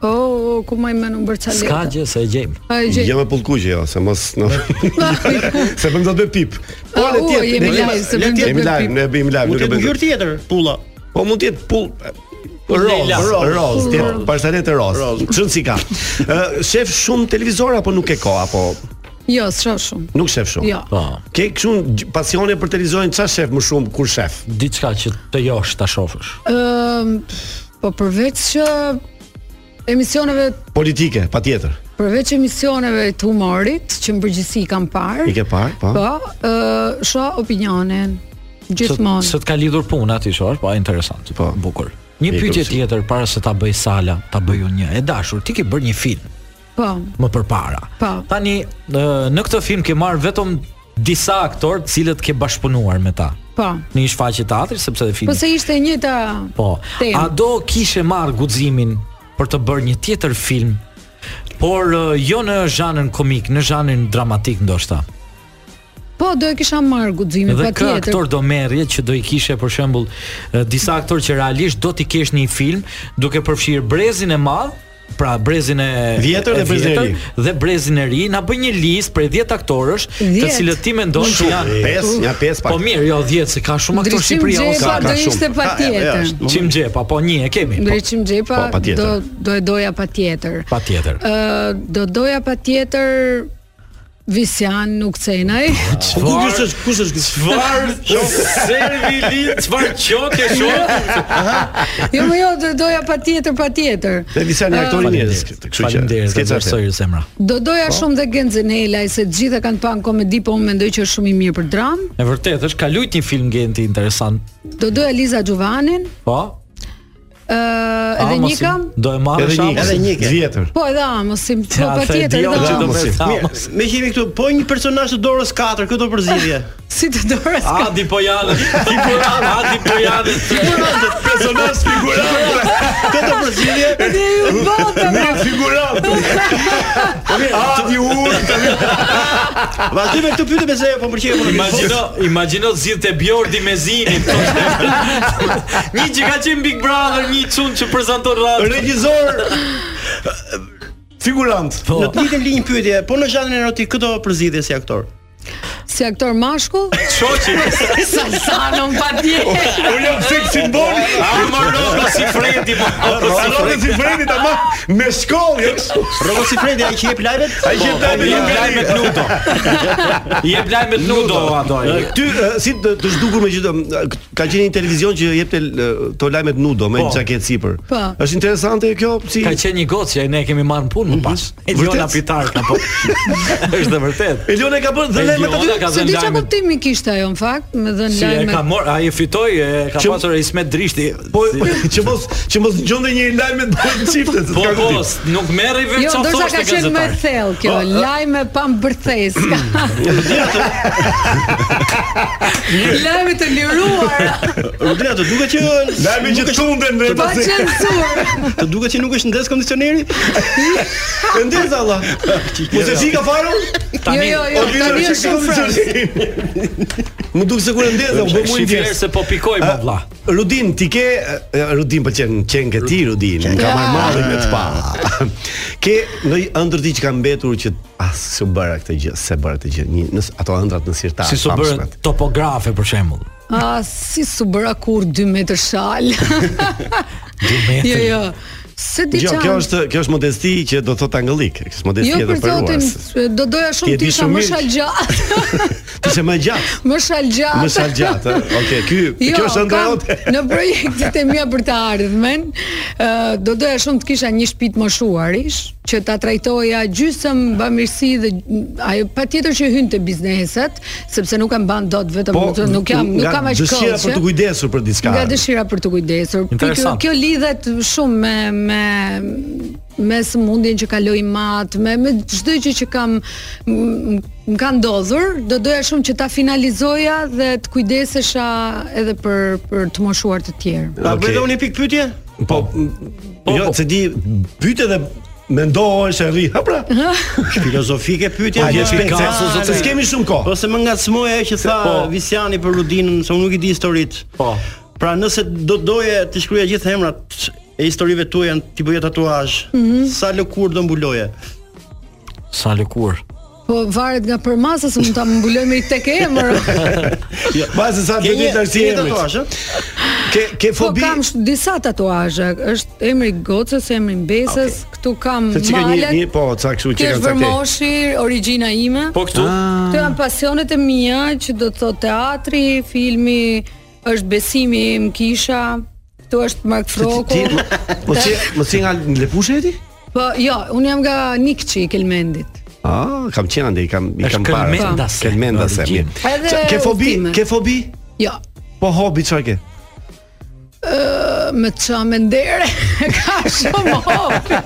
[SPEAKER 11] Oh, ku më i menu bërçaleta.
[SPEAKER 7] s'ka gjë se e gjejmë.
[SPEAKER 11] Ai gjej.
[SPEAKER 8] Jo me pull kuqe, jo, se mos në Se bëm do të bëj pip.
[SPEAKER 11] Ah, u, jemi live, se
[SPEAKER 8] ne
[SPEAKER 11] bëm do të
[SPEAKER 8] jemi
[SPEAKER 11] bëj
[SPEAKER 8] live,
[SPEAKER 11] pip.
[SPEAKER 8] ne bëjmë live,
[SPEAKER 4] Mund
[SPEAKER 8] nuk e
[SPEAKER 4] të jetë ngjyrë
[SPEAKER 8] bëjmë.
[SPEAKER 4] tjetër, pulla.
[SPEAKER 8] Po mund të jetë pull
[SPEAKER 7] Leila.
[SPEAKER 8] roz, roz, të jetë
[SPEAKER 11] Roz.
[SPEAKER 8] parsalet e roz. Çon si ka. Ë, shef shumë televizor apo nuk e ka apo
[SPEAKER 11] Jo, s'shoh shumë.
[SPEAKER 8] nuk shef shumë.
[SPEAKER 11] Jo.
[SPEAKER 7] Po,
[SPEAKER 8] Ke kështu gj- pasione për televizorin, çfarë shef më shumë kur shef?
[SPEAKER 7] diçka që të josh ta shofësh.
[SPEAKER 11] Ëm, po përveç që emisioneve
[SPEAKER 8] Politike, patjetër.
[SPEAKER 11] përveç emisioneve të humorit që në përgjithësi i kam parë.
[SPEAKER 8] I ke parë, po.
[SPEAKER 11] Po, ë shoh opinionin
[SPEAKER 7] Se,
[SPEAKER 11] gjithmonë.
[SPEAKER 7] se të ka lidhur puna aty shosh, po interesant, po bukur. Një
[SPEAKER 8] Mjekur,
[SPEAKER 7] pyetje
[SPEAKER 8] si.
[SPEAKER 7] tjetër para se ta bëj Sala, ta bëj unë një. E dashur, ti ke bërë një film
[SPEAKER 11] Po.
[SPEAKER 7] më përpara.
[SPEAKER 11] Po.
[SPEAKER 7] Tani ë, në këtë film ke marr vetëm disa aktorë të cilët ke bashkëpunuar me ta.
[SPEAKER 11] Po.
[SPEAKER 7] Në një shfaqje teatri sepse dhe filmi.
[SPEAKER 11] Po se ishte e njëjta.
[SPEAKER 7] Po.
[SPEAKER 11] Tem.
[SPEAKER 7] A do kishe marr guximin për të bërë një tjetër film? por ë, jo në zhanën komik, në zhanën dramatik ndoshta.
[SPEAKER 11] Po, do e kisha marrë guximin
[SPEAKER 7] Dhe ka
[SPEAKER 11] patjetër.
[SPEAKER 7] aktor do merrje që do i kishe për shembull ë, disa aktor që realisht do t'i kesh në një film duke përfshirë brezin e madh, pra brezin e
[SPEAKER 8] Vjetër dhe brezin e
[SPEAKER 7] vjetër
[SPEAKER 8] ri.
[SPEAKER 7] Dhe brezin e ri na bën një listë prej 10 aktorësh, të
[SPEAKER 11] 10.
[SPEAKER 7] cilët ti mendon
[SPEAKER 8] Shumë,
[SPEAKER 7] që janë
[SPEAKER 8] pesë, janë pesë pak.
[SPEAKER 7] Po mirë, jo 10 se ka shumë aktor
[SPEAKER 11] Ndryshim
[SPEAKER 7] shqiptar
[SPEAKER 11] Xhepa do ishte patjetër.
[SPEAKER 7] Çim Xhepa, po një e kemi. po,
[SPEAKER 11] Ndriçim xhepa
[SPEAKER 7] po, patjetër.
[SPEAKER 11] do do e doja patjetër.
[SPEAKER 7] Patjetër.
[SPEAKER 11] Ë do doja patjetër Visjan nuk cenaj.
[SPEAKER 8] Po kush është kush është
[SPEAKER 7] çfarë servili, çfarë qokë
[SPEAKER 11] jo, më jo, do doja patjetër patjetër.
[SPEAKER 8] Dhe disa
[SPEAKER 11] Ë,
[SPEAKER 8] një aktorë njerëz, kështu që.
[SPEAKER 7] Faleminderit,
[SPEAKER 8] s'ke
[SPEAKER 7] do
[SPEAKER 8] çfarë.
[SPEAKER 7] vlerësoj zemra.
[SPEAKER 11] Do doja
[SPEAKER 7] Po.
[SPEAKER 11] shumë dhe Genzenela, i se të gjithë e kanë pa në komedi, po unë mendoj që është shumë i mirë për dram.
[SPEAKER 7] E vërtet, është ka lujt një film genti interesant.
[SPEAKER 11] Do doja Liza Gjuvanin,
[SPEAKER 7] Po.
[SPEAKER 11] ë edhe
[SPEAKER 7] Amosin,
[SPEAKER 11] një kam.
[SPEAKER 7] Do e marrësh
[SPEAKER 8] Edhe një, edhe një
[SPEAKER 7] Amosin?
[SPEAKER 8] vjetër.
[SPEAKER 11] Po edhe Amosim, po
[SPEAKER 7] Ja, the
[SPEAKER 11] patjetër
[SPEAKER 7] idiot
[SPEAKER 11] edhe
[SPEAKER 7] që do
[SPEAKER 11] Amos.
[SPEAKER 7] bëhet
[SPEAKER 4] Mirë,
[SPEAKER 7] Amos.
[SPEAKER 4] me kemi këtu po një personazh të dorës 4 këto përzidhje.
[SPEAKER 11] Si të dorë s'ka.
[SPEAKER 7] Adi po janë, ti po janë, adi po janë.
[SPEAKER 8] Personazh figurant.
[SPEAKER 4] Këto përzidhje
[SPEAKER 11] Dhe ju botë.
[SPEAKER 8] Ne figurant. Adi urt.
[SPEAKER 4] vazhdoj me këtë pyetje pse po pëlqej unë.
[SPEAKER 7] Imagjino, imagjino zgjidhte Bjordi me Zinin. një që ka qenë Big Brother, një çun që prezanton radhë.
[SPEAKER 8] Regjisor. Figurant.
[SPEAKER 7] Po.
[SPEAKER 4] Në të njëjtën linjë pyetje, po në zhanrin erotik këto përzidhje si aktor.
[SPEAKER 11] Si aktor mashkull,
[SPEAKER 7] Shoqi,
[SPEAKER 11] Salsano patjetër.
[SPEAKER 8] Unë jam fik simbol.
[SPEAKER 7] Amor Rogo si Fredi,
[SPEAKER 8] po,
[SPEAKER 7] mo.
[SPEAKER 8] Salonit si Fredi ama me shkollë. jo?
[SPEAKER 4] Robo si Fredi ai që jep live-et?
[SPEAKER 8] Ai që
[SPEAKER 7] Po,
[SPEAKER 8] tani
[SPEAKER 7] jep
[SPEAKER 8] nuk
[SPEAKER 7] lajmet Ludo. Jep lajmet Ludo ato.
[SPEAKER 8] Ë, Ty ë, si të të zhdukur me gjithë ë, k- ka qenë një televizion që jepte ë, to lajmet nudo me
[SPEAKER 7] Po.
[SPEAKER 8] xhaketë sipër.
[SPEAKER 11] Po.
[SPEAKER 8] Është interesante kjo si
[SPEAKER 7] Ka qenë një gocë që ne e kemi marrë në punë më pas. Eliona
[SPEAKER 8] Mhm. Vërtet?
[SPEAKER 7] Pitarka po. Është dhe vërtet.
[SPEAKER 8] Eliona ka bërë dhe lajmet aty.
[SPEAKER 7] Eliona ka
[SPEAKER 11] Se
[SPEAKER 7] dhënë
[SPEAKER 11] di po çka
[SPEAKER 7] lajmet.
[SPEAKER 11] kuptimi kishte ajo në fakt, me dhënë
[SPEAKER 7] Si e
[SPEAKER 11] lajme.
[SPEAKER 7] ka marr, ai e fitoi, e ka
[SPEAKER 8] Që-
[SPEAKER 7] pasur Ismet Drishti.
[SPEAKER 8] Po që mos që mos ngjonte një lajme të bëjë çifte. se
[SPEAKER 7] Po
[SPEAKER 8] s'ka
[SPEAKER 7] po,
[SPEAKER 8] kuptim.
[SPEAKER 7] s- nuk merri vetë
[SPEAKER 11] Jo,
[SPEAKER 7] çfarë
[SPEAKER 11] ndoshta
[SPEAKER 7] thoshte
[SPEAKER 11] ka qenë më
[SPEAKER 7] gazetari.
[SPEAKER 11] thellë kjo, lajme pa mbërthes. Lajme të liruar,
[SPEAKER 4] Rudina, të duket që
[SPEAKER 8] Lajme që tunden dhe
[SPEAKER 11] pa
[SPEAKER 8] pasi.
[SPEAKER 11] censur.
[SPEAKER 4] të duket që nuk është ndes kondicioneri. E ndez Allah.
[SPEAKER 8] Mos e si ka farur?
[SPEAKER 11] Jo, jo, jo, tani është shumë freskë.
[SPEAKER 8] Më duk se kur e ndeza, u bë më i
[SPEAKER 7] Shifer se po pikoj po vlla.
[SPEAKER 8] Rudin, ti ke e, Rudin po pëlqen qenë ti Rudin, më ka marrë malli me
[SPEAKER 11] Ah.
[SPEAKER 8] të pa. Ke ndonjë ëndër ti që ka mbetur që as s'u bëra këtë gjë, s'e bëra këtë gjë. Një në, ato ëndrat në sirtar.
[SPEAKER 7] Si so bërë
[SPEAKER 8] famshmet.
[SPEAKER 7] topografe për shembull.
[SPEAKER 11] A, si su bëra kur 2 metër shal. jo, jo. Se di
[SPEAKER 8] Jo,
[SPEAKER 11] çan.
[SPEAKER 8] kjo është kjo është modesti që do thotë angëllik, është modesti
[SPEAKER 11] Jo
[SPEAKER 8] edhe
[SPEAKER 11] për zotin,
[SPEAKER 8] përruas.
[SPEAKER 11] do doja
[SPEAKER 8] Ti e
[SPEAKER 11] shumë
[SPEAKER 8] di
[SPEAKER 11] të isha
[SPEAKER 8] shumë
[SPEAKER 11] më
[SPEAKER 8] mirë që-
[SPEAKER 11] shalgjat,
[SPEAKER 8] Ti je më gjatë.
[SPEAKER 11] më shalgjat.
[SPEAKER 8] Më sa gjatë. ë? Okej, ky
[SPEAKER 11] Jo,
[SPEAKER 8] kjo është ëndra
[SPEAKER 11] kam
[SPEAKER 8] jote.
[SPEAKER 11] Në projektet e mia për të ardhmen, ë do doja shumë të kisha një shtëpi të moshuarish, që ta trajtoja gjysmë bamirësi dhe gj- ajo patjetër që hyn te bizneset, sepse nuk e mban dot vetëm po, nuk jam, nuk
[SPEAKER 8] nga
[SPEAKER 11] kam aq kohë.
[SPEAKER 8] Dëshira për
[SPEAKER 11] që-
[SPEAKER 8] të kujdesur për diçka.
[SPEAKER 11] Nga dëshira për të kujdesur. Ky- Kjo,
[SPEAKER 7] Interesant.
[SPEAKER 11] kjo lidhet shumë me me me sëmundjen që kaloj mat, me me çdo gjë që kam m- më ka ndodhur, do doja shumë që ta finalizoja dhe të kujdesesha edhe për për të moshuar të tjerë.
[SPEAKER 4] Ta bëj
[SPEAKER 8] Okej.
[SPEAKER 4] dhe unë një pikë pyetje?
[SPEAKER 8] Po, m- jo,
[SPEAKER 7] po.
[SPEAKER 8] se di pyte dhe mendohesh e rri. Ha pra.
[SPEAKER 4] Filozofike pyetje.
[SPEAKER 8] A je
[SPEAKER 4] ama-
[SPEAKER 8] shpejt, se-
[SPEAKER 7] Picasso,
[SPEAKER 8] se s'kemi shumë kohë.
[SPEAKER 4] Po se më ngacmoi ajo që tha
[SPEAKER 7] Po.
[SPEAKER 4] Visiani për Rudinën, se unë nuk i di historitë.
[SPEAKER 7] Po.
[SPEAKER 4] Pra nëse do doje të shkruaja gjithë emrat e historive tuaja, ti bëja tatuazh.
[SPEAKER 11] Mhm.
[SPEAKER 4] Sa lëkur do mbuloje.
[SPEAKER 7] Sa lëkur.
[SPEAKER 11] Po varet nga përmasa se mund ta mbuloj me i tek emër.
[SPEAKER 4] Jo,
[SPEAKER 8] Mbas sa
[SPEAKER 4] Ke
[SPEAKER 8] të
[SPEAKER 4] një
[SPEAKER 8] ditë
[SPEAKER 4] ke
[SPEAKER 8] arsi
[SPEAKER 4] një
[SPEAKER 8] emrit.
[SPEAKER 4] tatuazh, ë?
[SPEAKER 8] Ke ke
[SPEAKER 11] Po
[SPEAKER 8] fobi.
[SPEAKER 11] kam sh- disa tatuazhe, është emri i gocës, emri i mbesës, këtu kam
[SPEAKER 8] Se çka një
[SPEAKER 11] malet.
[SPEAKER 8] një po, ca Ah. kështu që
[SPEAKER 11] Kjo
[SPEAKER 8] kanë
[SPEAKER 11] është
[SPEAKER 8] caktuar.
[SPEAKER 11] vërmoshi, origjina ime.
[SPEAKER 7] Po këtu
[SPEAKER 11] Këto janë pasionet e mia që do të thotë teatri, filmi, është besimi im kisha, këtu është Mark Froku.
[SPEAKER 8] Mos si mos si nga lepushe e ti?
[SPEAKER 11] Po jo, unë jam nga Nikçi i Kelmendit.
[SPEAKER 8] Ah, kam qenë andej, kam i
[SPEAKER 7] Është
[SPEAKER 8] kam parë.
[SPEAKER 7] Kelmendase.
[SPEAKER 8] Kelmendase,
[SPEAKER 7] Origjinë.
[SPEAKER 8] mirë.
[SPEAKER 11] Edhe
[SPEAKER 8] Qa- Ke fobi,
[SPEAKER 11] udhime.
[SPEAKER 8] ke fobi?
[SPEAKER 11] Jo,
[SPEAKER 8] Po hobi çfarë ke?
[SPEAKER 11] me çamë ndere. Ka shumë hobi.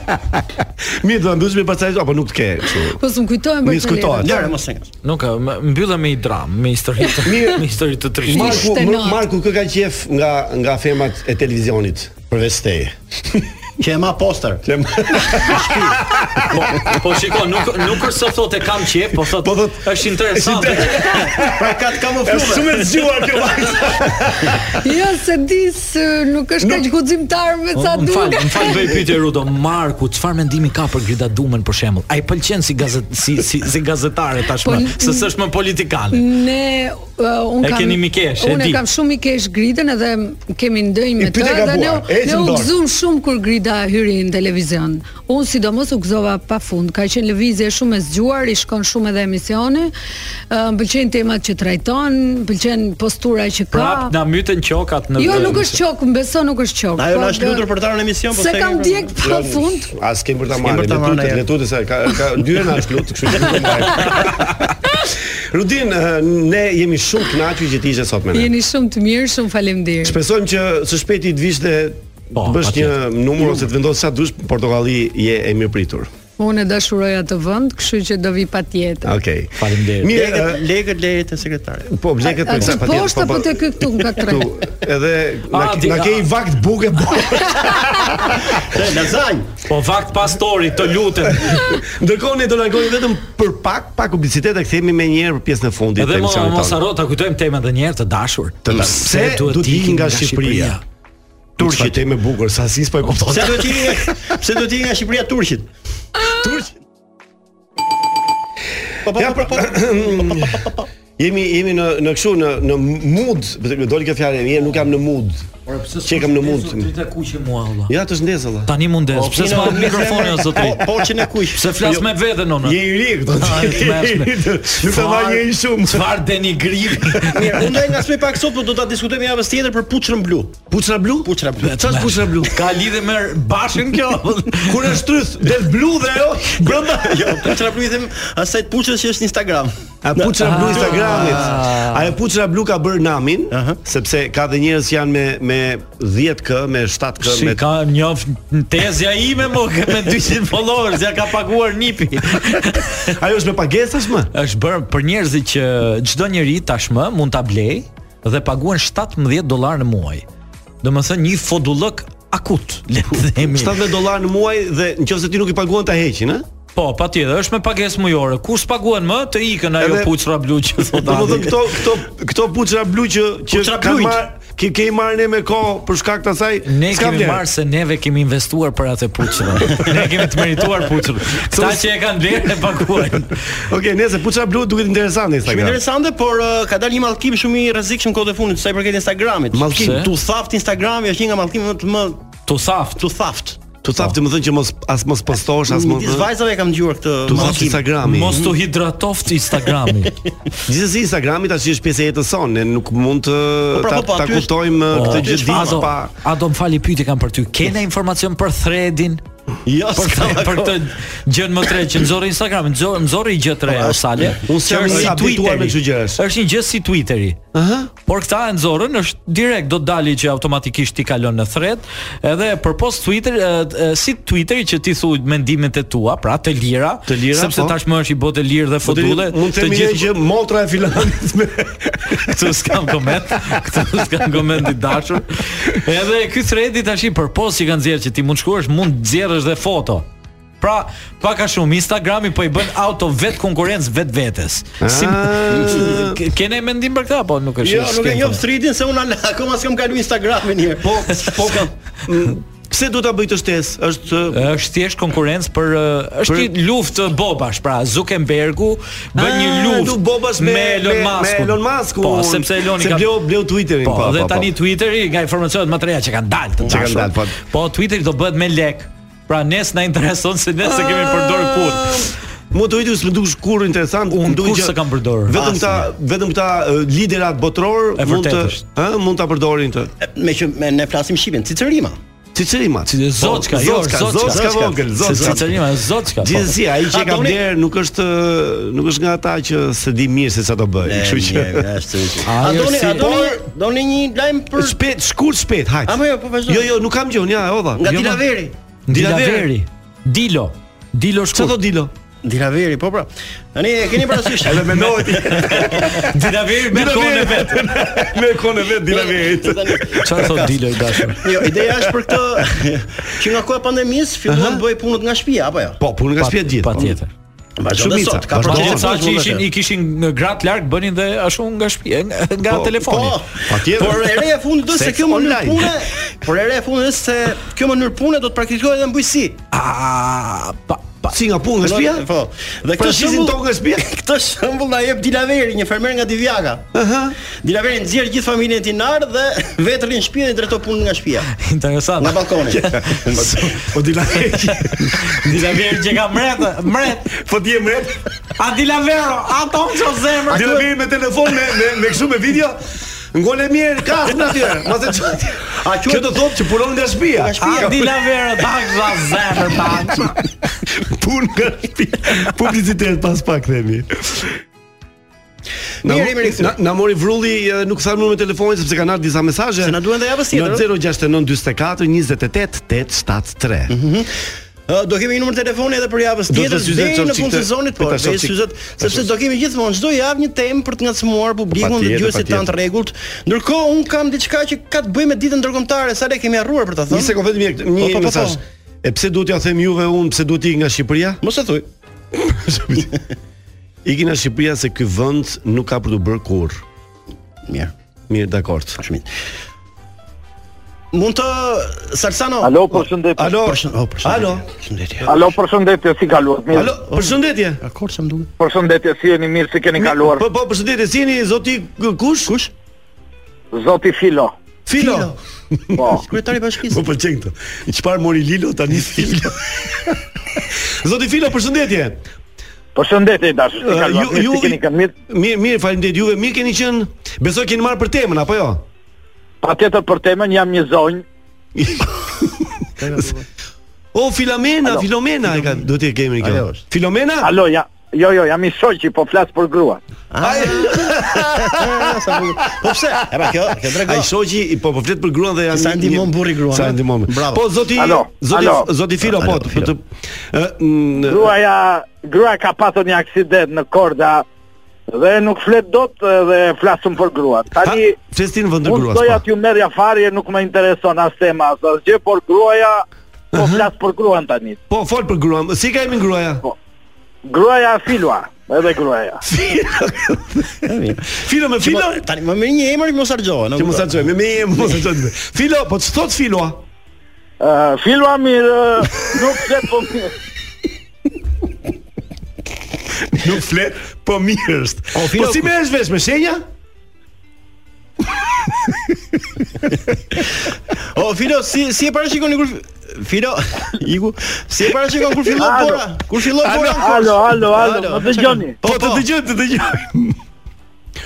[SPEAKER 8] Mirë, do të mbysh me pastaj apo nuk të ke kështu.
[SPEAKER 11] Po s'm kujtohem
[SPEAKER 8] Mirë,
[SPEAKER 11] për të
[SPEAKER 8] s'kujtohet.
[SPEAKER 11] lirë.
[SPEAKER 4] Lëre mos e ngas.
[SPEAKER 7] nuk ka, më- mbyllem me një dram, me histori të me histori të trishtë.
[SPEAKER 11] Mirë.
[SPEAKER 8] Marku,
[SPEAKER 11] Ishte
[SPEAKER 8] Mar-
[SPEAKER 11] not.
[SPEAKER 8] Marku kë ka qef nga nga femat e televizionit përveç teje.
[SPEAKER 4] Që e ma poster. Që
[SPEAKER 7] Po, po shiko, nuk nuk është se thotë e kam qejf, po thotë po është interesante.
[SPEAKER 4] pra ka të kamufluar.
[SPEAKER 8] Është shumë e zgjuar kjo vajza.
[SPEAKER 11] Jo, se di se nuk është kaq guximtar me
[SPEAKER 7] O,
[SPEAKER 11] sa
[SPEAKER 7] Më fal,
[SPEAKER 11] duket.
[SPEAKER 7] më fal bëj pyetje Rudo, Marku, çfarë mendimi ka për Grida Dumën për shembull? Ai pëlqen si gazet si si, si gazetare tashmë,
[SPEAKER 11] Po, n-
[SPEAKER 7] se s'është më politikane.
[SPEAKER 11] Ne uh, un
[SPEAKER 7] E
[SPEAKER 11] kam
[SPEAKER 7] keni mi kesh, e
[SPEAKER 11] unë
[SPEAKER 7] di.
[SPEAKER 11] kam shumë i kesh Gridën edhe kemi ndënjë me
[SPEAKER 8] I pyte
[SPEAKER 11] dhe ne
[SPEAKER 8] gabuar, e që
[SPEAKER 11] ne u
[SPEAKER 8] ndorë.
[SPEAKER 11] gëzuam shumë kur Grida hyri në televizion. Unë sidomos u gëzova pafund. Ka qenë lëvizje shumë e zgjuar, i shkon shumë edhe emisione. Ë, Më pëlqejnë temat që trajton, më pëlqen postura që ka.
[SPEAKER 7] Prap na mytën qokat në
[SPEAKER 11] Jo, nuk është qok, më beso nuk është qok.
[SPEAKER 4] Ajo
[SPEAKER 11] po
[SPEAKER 4] na është
[SPEAKER 11] do-
[SPEAKER 4] lutur për ta në emision, po
[SPEAKER 11] Se
[SPEAKER 4] s'e
[SPEAKER 11] kam
[SPEAKER 4] kemi-
[SPEAKER 11] djeg pa fund.
[SPEAKER 8] As kem për ta
[SPEAKER 4] S'kem
[SPEAKER 8] marrë,
[SPEAKER 4] për ta marrë
[SPEAKER 8] letutet,
[SPEAKER 4] ajër.
[SPEAKER 8] letutet se ka ka dyre na shklut, kështu që nuk e marr. Rudin, eh, ne jemi shumë kënaqur që ti ishe sot me ne.
[SPEAKER 11] Jeni shumë të mirë, shumë faleminderit.
[SPEAKER 8] Shpresojmë që së shpejti të vish dhe
[SPEAKER 7] Po,
[SPEAKER 8] të bësh një
[SPEAKER 7] patjetër.
[SPEAKER 8] numër ose të vendos sa dush, portokalli je e mirëpritur.
[SPEAKER 11] Unë e dashuroj atë vend, kështu që do vi patjetër.
[SPEAKER 8] Okej.
[SPEAKER 7] Faleminderit.
[SPEAKER 8] Mirë,
[SPEAKER 4] Legët,
[SPEAKER 8] eh,
[SPEAKER 4] legët lejet e sekretarit.
[SPEAKER 8] po bleket
[SPEAKER 11] A- aty
[SPEAKER 8] po,
[SPEAKER 11] poshtë apo te ky këtu nga tre?
[SPEAKER 8] Ktu, edhe na,
[SPEAKER 7] A, di-
[SPEAKER 8] na ke i vakt buke po.
[SPEAKER 4] Dhe lazanj.
[SPEAKER 7] Po vakt pastori, të lutem.
[SPEAKER 8] Ndërkohë ne do largojmë vetëm për pak, pak publicitet e kthehemi më njëherë për pjesën e fundit
[SPEAKER 7] Edhe
[SPEAKER 8] të
[SPEAKER 7] mo-
[SPEAKER 8] emisionit
[SPEAKER 7] mos
[SPEAKER 8] tonë.
[SPEAKER 7] haro ta kujtojmë temën edhe një herë të dashur.
[SPEAKER 8] Të dashur.
[SPEAKER 7] Pse
[SPEAKER 8] Pse
[SPEAKER 7] duhet
[SPEAKER 8] duhet
[SPEAKER 7] të ikim
[SPEAKER 8] ikim
[SPEAKER 7] nga
[SPEAKER 8] nga
[SPEAKER 7] Shqipëria?
[SPEAKER 8] Shqipëria? Turqit e me bukur, sa sis po e kupton.
[SPEAKER 4] Pse do të jeni nga pse do të jeni nga Shqipëria turqit?
[SPEAKER 8] Turqit.
[SPEAKER 4] Po po
[SPEAKER 8] Ja,
[SPEAKER 4] po. po, po.
[SPEAKER 8] Jemi jemi në në kështu në në mood, doli kjo fjalë, jemi nuk jam në mood. Që kam në mund.
[SPEAKER 7] të kuqe mua valla.
[SPEAKER 8] Ja të shëndes valla.
[SPEAKER 7] Tani mundes,
[SPEAKER 4] Po,
[SPEAKER 7] pse
[SPEAKER 4] kino,
[SPEAKER 7] s'ma hap
[SPEAKER 4] po,
[SPEAKER 7] mikrofoni o zotri?
[SPEAKER 4] Po që në kuq.
[SPEAKER 7] Pse flas me veten unë?
[SPEAKER 8] Jo. Je i ri këto.
[SPEAKER 7] Ah, e tmerrshme.
[SPEAKER 8] Nuk ta
[SPEAKER 7] Çfar-
[SPEAKER 8] vaj njëri shumë.
[SPEAKER 7] Çfarë denigrimi?
[SPEAKER 4] Mirë, unë ndaj nga smej pak sot, por do ta diskutojmë javës tjetër për puçrën blu.
[SPEAKER 8] Puçra blu? Eh,
[SPEAKER 4] Puçra blu.
[SPEAKER 8] Çfarë është puçra blu?
[SPEAKER 7] Ka lidhje me bashën kjo?
[SPEAKER 8] Kur është tryth, del blu dhe ajo brenda.
[SPEAKER 4] Jo, puçra blu i them asaj të puçrës që është në Instagram.
[SPEAKER 8] A puçra
[SPEAKER 7] Ah.
[SPEAKER 8] blu Instagramit. Ajo puçra blu ka bër namin,
[SPEAKER 4] Aha.
[SPEAKER 8] sepse ka dhe njerëz që janë me me 10k, me 7k,
[SPEAKER 7] Si
[SPEAKER 8] me
[SPEAKER 7] ka një tezja ime mo me 200 followers, ja ka paguar nipi.
[SPEAKER 8] Ajo është me pagesë tashmë.
[SPEAKER 7] është bërë për njerëzit që çdo njeri tashmë mund ta blej dhe paguhen 17 dollar në muaj. Domethënë një fodullëk akut, le të themi.
[SPEAKER 8] 70 dollar në muaj dhe nëse ti nuk i paguan ta heqin, ëh?
[SPEAKER 7] Po, patjetër, është me pagesë mujore. Kur s'paguhen më, të ikën ajo
[SPEAKER 8] Edhe-
[SPEAKER 7] puçra blu që thotë.
[SPEAKER 8] Domethënë
[SPEAKER 7] Adi.
[SPEAKER 8] këto këto këto puçra blu që që
[SPEAKER 4] Puçra
[SPEAKER 8] kanë
[SPEAKER 4] blujt.
[SPEAKER 8] marrë ke ke i marrë ne me kohë për shkak të asaj.
[SPEAKER 7] Ne
[SPEAKER 8] s'ka
[SPEAKER 7] kemi
[SPEAKER 8] vlerë.
[SPEAKER 7] marrë se neve kemi investuar për atë puçrën. ne kemi të merituar puçrën. Këta që e kanë blerë e paguajnë.
[SPEAKER 8] Okej, nëse puçra blu duket interesante
[SPEAKER 4] Shumë
[SPEAKER 8] Instagram.
[SPEAKER 4] interesante, por uh, ka dalë një mallkim shumë i rrezikshëm kohë të fundit sa i përket Instagramit.
[SPEAKER 8] Mallkim?
[SPEAKER 4] tu thaft Instagrami është një nga mallkimet më të më
[SPEAKER 7] Tu saft.
[SPEAKER 4] tu thaft. Po.
[SPEAKER 8] Tu thaf të më thënë që mos as mos postosh as mos.
[SPEAKER 4] Midis vajzave e kam dëgjuar këtë
[SPEAKER 8] Tu thaf
[SPEAKER 4] mallkim.
[SPEAKER 8] Instagrami.
[SPEAKER 7] Mos tu hidratoft Instagrami.
[SPEAKER 8] Gjithsesi Instagrami tash është pjesë e jetës sonë, ne nuk mund të
[SPEAKER 4] Po, pra,
[SPEAKER 8] ta,
[SPEAKER 4] po, po,
[SPEAKER 8] ta
[SPEAKER 4] aty është-
[SPEAKER 8] kuptojmë
[SPEAKER 7] Po,
[SPEAKER 8] këtë gjë
[SPEAKER 4] aty është
[SPEAKER 8] ditë
[SPEAKER 7] Ado,
[SPEAKER 8] pa.
[SPEAKER 7] Ado më fali pyetje kam për ty. Kena informacion për threadin?
[SPEAKER 4] Jo,
[SPEAKER 7] Për
[SPEAKER 4] s'kam
[SPEAKER 7] këtë, për
[SPEAKER 4] akoma.
[SPEAKER 7] këtë gjën më tre që nxorri Instagramin, nxorri nxorri gjë tre o sale.
[SPEAKER 8] Po, Unë s'jam
[SPEAKER 7] Që është
[SPEAKER 8] i habituar me kështu gjërash.
[SPEAKER 7] Është një gjë si Twitteri.
[SPEAKER 8] Aha.
[SPEAKER 7] Por këta e nxorën është direkt do të dali që automatikisht ti kalon në thread, edhe përpos Twitter e, e, si Twitteri që ti thuj mendimet e tua, pra të lira,
[SPEAKER 8] Të lira,
[SPEAKER 7] sepse
[SPEAKER 8] po.
[SPEAKER 7] tashmë është i botë e lirë dhe
[SPEAKER 8] Po të
[SPEAKER 7] fotulle.
[SPEAKER 8] mund të themi ne që motra e filanit me
[SPEAKER 7] Këtu s'kam koment, këtu s'kam koment i dashur. Edhe ky thredi tash i përpos që kanë nxjerrë që ti mund shkruash, mund nxjerrësh dhe foto. Pra, pak a shumë Instagrami po i bën auto vet konkurrencë vetvetes. Si
[SPEAKER 8] Ah.
[SPEAKER 7] K- kene mendim për këtë apo nuk është?
[SPEAKER 4] Jo, nuk e
[SPEAKER 7] s'kem
[SPEAKER 4] njoh
[SPEAKER 7] thënë.
[SPEAKER 4] streetin se unë ala- akoma s'kam kalu Instagramin një. Po, po kam.
[SPEAKER 8] Mm, Pse do ta bëj të shtesë? Është
[SPEAKER 7] është thjesht konkurrencë për ë, është
[SPEAKER 8] Për-
[SPEAKER 7] një luftë bobash, pra Zuckerbergu bën një
[SPEAKER 8] Ah,
[SPEAKER 7] luftë
[SPEAKER 8] du bobas me
[SPEAKER 7] Elon Musk.
[SPEAKER 8] Me Elon Musk.
[SPEAKER 7] Po, sepse Eloni
[SPEAKER 8] se
[SPEAKER 7] ka
[SPEAKER 8] bleu bleu Twitterin.
[SPEAKER 7] Po, dhe tani Twitteri nga informacionet më të reja që kanë dalë të
[SPEAKER 8] Që kanë
[SPEAKER 7] dashur.
[SPEAKER 8] dalë, po.
[SPEAKER 7] Po Twitteri do bëhet me lek. Pra nes na intereson se ne se kemi përdor kur.
[SPEAKER 8] Mu të viti s'më dukesh kurrë interesant,
[SPEAKER 7] Unë
[SPEAKER 8] më duket
[SPEAKER 7] kurrë
[SPEAKER 8] që
[SPEAKER 7] s'e kam përdorur.
[SPEAKER 8] Vetëm këta, vetëm këta eh, liderat botror
[SPEAKER 7] E
[SPEAKER 8] mund të,
[SPEAKER 7] vërtet është.
[SPEAKER 8] ë, mund ta përdorin të.
[SPEAKER 4] Me që me ne flasim shqipen, Cicerima.
[SPEAKER 8] Cicerima,
[SPEAKER 7] Si- Zoçka,
[SPEAKER 8] Po,
[SPEAKER 7] jo,
[SPEAKER 8] Zoçka,
[SPEAKER 7] Zoçka.
[SPEAKER 8] Zoçka vogël,
[SPEAKER 7] Se
[SPEAKER 8] Zoçka.
[SPEAKER 7] Cicerima, Zoçka. po.
[SPEAKER 8] Gjithsesi, ai që
[SPEAKER 4] A,
[SPEAKER 8] e ka
[SPEAKER 4] doni-
[SPEAKER 8] bler nuk është nuk është nga ata që se di mirë se çfarë do bëj.
[SPEAKER 4] E,
[SPEAKER 8] Kështu që
[SPEAKER 4] mirë, është.
[SPEAKER 7] Ajo
[SPEAKER 4] A doni, a
[SPEAKER 7] si-
[SPEAKER 4] doni, doni një lajm për
[SPEAKER 8] shpejt, shkurt shpejt, hajt.
[SPEAKER 4] A, po, jo, po, vazhdo.
[SPEAKER 8] Jo, jo, nuk kam gjë, unë, ja, odha.
[SPEAKER 4] nga
[SPEAKER 7] Jo, ma-
[SPEAKER 4] Tilaveri?
[SPEAKER 7] Dilaveri. Dilo. Dilo shkurt.
[SPEAKER 8] Çfarë do dilo?
[SPEAKER 4] Dinaveri, po pra. Tani e keni parasysh.
[SPEAKER 8] Edhe mendohet.
[SPEAKER 7] Dinaveri me kohën e vet.
[SPEAKER 8] Me kohën e vet Dinaverit.
[SPEAKER 7] Çfarë thot Dilo i dashur?
[SPEAKER 4] Jo, ideja është për këtë që nga koha e pandemisë filluan të bëj punët nga shtëpia apo jo?
[SPEAKER 8] Po, punën nga shtëpia gjithë.
[SPEAKER 7] Patjetër.
[SPEAKER 4] Vazhdon dhe sot, ka
[SPEAKER 7] Vazhdon
[SPEAKER 4] përgjigje
[SPEAKER 7] sa që ishin i kishin në gratë larg bënin dhe ashtu nga shtëpia, nga, nga
[SPEAKER 8] Po,
[SPEAKER 7] telefoni.
[SPEAKER 4] po.
[SPEAKER 8] Patjetër.
[SPEAKER 4] Por e re e fundit do se
[SPEAKER 8] Seks
[SPEAKER 4] kjo mënyrë
[SPEAKER 8] online.
[SPEAKER 4] pune, por e re e fundit është se kjo mënyrë pune do të praktikohet edhe në bujqësi.
[SPEAKER 7] A pa pa.
[SPEAKER 8] Si nga punë nga shtëpia?
[SPEAKER 4] Po. Dhe
[SPEAKER 8] Pra
[SPEAKER 4] këtë
[SPEAKER 8] shisin
[SPEAKER 4] shembull
[SPEAKER 8] tokë nga shtëpia?
[SPEAKER 4] Këtë shembull na jep Dilaveri, një fermer nga Divjaka.
[SPEAKER 8] Aha.
[SPEAKER 4] Dilaveri nxjerr gjithë familjen e tij nar dhe vetë rrin në shtëpi dhe i drejton punën nga shtëpia,
[SPEAKER 7] Interesant.
[SPEAKER 4] nga balkoni.
[SPEAKER 8] Po Dinaveri.
[SPEAKER 7] Dilaveri që ka mret, mret.
[SPEAKER 8] Po ti e mret.
[SPEAKER 7] A Dilavero, a ton ço zemër.
[SPEAKER 8] Dinaveri me telefon me me me kështu me video. Ngole mirë, kas në atje. Mos e çoj.
[SPEAKER 4] A quhet-
[SPEAKER 8] Kjo do thotë që punon nga shtëpia.
[SPEAKER 4] Nga
[SPEAKER 7] A
[SPEAKER 4] shtëpia.
[SPEAKER 7] Dilavero, tak za zemër pak.
[SPEAKER 8] Punë nga shtëpia. Publicitet pas pak themi. Na-
[SPEAKER 4] Mirë, mirë,
[SPEAKER 8] na- Na mori vrulli, e, nuk thamë numrin e telefonit sepse kanë ardhur disa mesazhe.
[SPEAKER 4] Se na duhen dhe javës tjetër,
[SPEAKER 8] Në 069 44 28 873.
[SPEAKER 4] Mhm. Ë, do kemi një numër telefoni edhe për javën
[SPEAKER 8] të
[SPEAKER 4] tjetër
[SPEAKER 8] syzet
[SPEAKER 4] deri
[SPEAKER 8] qoftë
[SPEAKER 4] në fund
[SPEAKER 8] qikte-
[SPEAKER 4] sezonit, po,
[SPEAKER 8] ta
[SPEAKER 4] deri
[SPEAKER 8] qoftë qik-
[SPEAKER 4] syzet,
[SPEAKER 8] ta
[SPEAKER 4] sepse
[SPEAKER 8] qoftë
[SPEAKER 4] do kemi gjithmonë çdo javë një temë për të ngacmuar publikun dhe
[SPEAKER 8] patjetër,
[SPEAKER 4] dëgjuesit tanë të
[SPEAKER 8] patjetër.
[SPEAKER 4] rregullt. Ndërkohë un kam diçka që ka të bëjë me ditën ndërkombëtare, sa le kemi harruar për ta
[SPEAKER 8] Një
[SPEAKER 4] thënë.
[SPEAKER 8] sekondë mirë, një
[SPEAKER 4] Po, po, po,
[SPEAKER 8] mesazh. E pse duhet ja them juve unë, pse duhet ikë nga Shqipëria?
[SPEAKER 4] Mos e thuj.
[SPEAKER 8] Iki nga Shqipëria se ky vend nuk ka për të bërë kurr.
[SPEAKER 4] Mirë,
[SPEAKER 8] Mirë, dakord.
[SPEAKER 4] shumë. mirë. Mund të Salsano.
[SPEAKER 10] Alo, përshëndetje.
[SPEAKER 8] Alo.
[SPEAKER 4] Përshën- oh, përshëndetje.
[SPEAKER 8] Alo.
[SPEAKER 4] Përshëndetje.
[SPEAKER 10] Alo, përshëndetje, si kaluat mirë?
[SPEAKER 8] Alo, përshëndetje.
[SPEAKER 4] Akord sa më duhet.
[SPEAKER 10] Përshëndetje, si jeni mirë, si keni kaluar?
[SPEAKER 8] Po po, përshëndetje, si jeni zoti k- kush? Kush?
[SPEAKER 10] Zoti Filo.
[SPEAKER 8] Filo.
[SPEAKER 10] Po.
[SPEAKER 4] Kryetari i
[SPEAKER 8] Po
[SPEAKER 4] bashkisë.
[SPEAKER 8] pëlqen këtë. Çfarë mori Lilo tani Filo? zoti Filo, përshëndetje.
[SPEAKER 10] Përshëndetje dashur, si
[SPEAKER 8] Uh,
[SPEAKER 10] kaluat mirë, si keni kanë mirë?
[SPEAKER 8] Mirë, mirë, faleminderit juve. Mirë keni qenë. Besoj keni marrë për temën apo jo?
[SPEAKER 10] Patjetër për temën jam një zonjë.
[SPEAKER 8] O Filomena,
[SPEAKER 10] Alo.
[SPEAKER 8] Po, Filomena e ka, duhet të kemi
[SPEAKER 4] Ajo
[SPEAKER 8] kjo.
[SPEAKER 4] është.
[SPEAKER 8] Filomena?
[SPEAKER 10] Alo, ja, jo, jo, jam i shoqi, po flas për gruan.
[SPEAKER 8] Ai
[SPEAKER 4] Sa bukur. Po pse? Era kjo, kjo
[SPEAKER 8] ai
[SPEAKER 4] drejt.
[SPEAKER 8] shoqi i- po po flet për gruan dhe janë
[SPEAKER 4] Sa ndihmon
[SPEAKER 8] një-
[SPEAKER 4] burri gruan,
[SPEAKER 8] Sa
[SPEAKER 4] a?
[SPEAKER 8] ndihmon.
[SPEAKER 4] Bravo.
[SPEAKER 8] Po zoti
[SPEAKER 10] Alo,
[SPEAKER 8] zoti
[SPEAKER 10] alo.
[SPEAKER 8] zoti Filo po.
[SPEAKER 4] Alo,
[SPEAKER 8] të-
[SPEAKER 4] Filo.
[SPEAKER 8] të- ë, n-
[SPEAKER 10] Gruaja, grua ka pasur një aksident në Korda dhe nuk flet dot dhe flasum për gruan.
[SPEAKER 8] ha,
[SPEAKER 10] Tani
[SPEAKER 8] Festin vend të
[SPEAKER 10] unë
[SPEAKER 8] gruas.
[SPEAKER 10] doja
[SPEAKER 8] po.
[SPEAKER 10] t'ju merrja farje, nuk më intereson as tema as asgjë, por gruaja po flas për gruan tani.
[SPEAKER 8] Po fol për gruan. Si ka emrin gruaja?
[SPEAKER 10] Po. Gruaja e filua, edhe gruaja.
[SPEAKER 8] Filo me Filo.
[SPEAKER 4] Filo, tani më merr një emër mos harxohen.
[SPEAKER 8] Ti mos sa çoj, me me mos sa çoj. Filo, po ç'thot Filo? a?
[SPEAKER 10] Uh, filua mirë, nuk flet po mirë.
[SPEAKER 8] Nuk flet, po mirë është.
[SPEAKER 7] O, Filo,
[SPEAKER 8] Po si më është vesh me shenja?
[SPEAKER 4] O Filo, si si e parashikoni kur Filo, iku, si e
[SPEAKER 8] Po,
[SPEAKER 4] parashikon kur fillon
[SPEAKER 10] Alo.
[SPEAKER 4] bora? Kur fillon bora? në
[SPEAKER 10] Alo,
[SPEAKER 4] Korçë?
[SPEAKER 10] alo, alo,
[SPEAKER 4] Alo.
[SPEAKER 10] më dëgjoni.
[SPEAKER 8] Po të
[SPEAKER 4] po.
[SPEAKER 8] dëgjoj, të dëgjoj.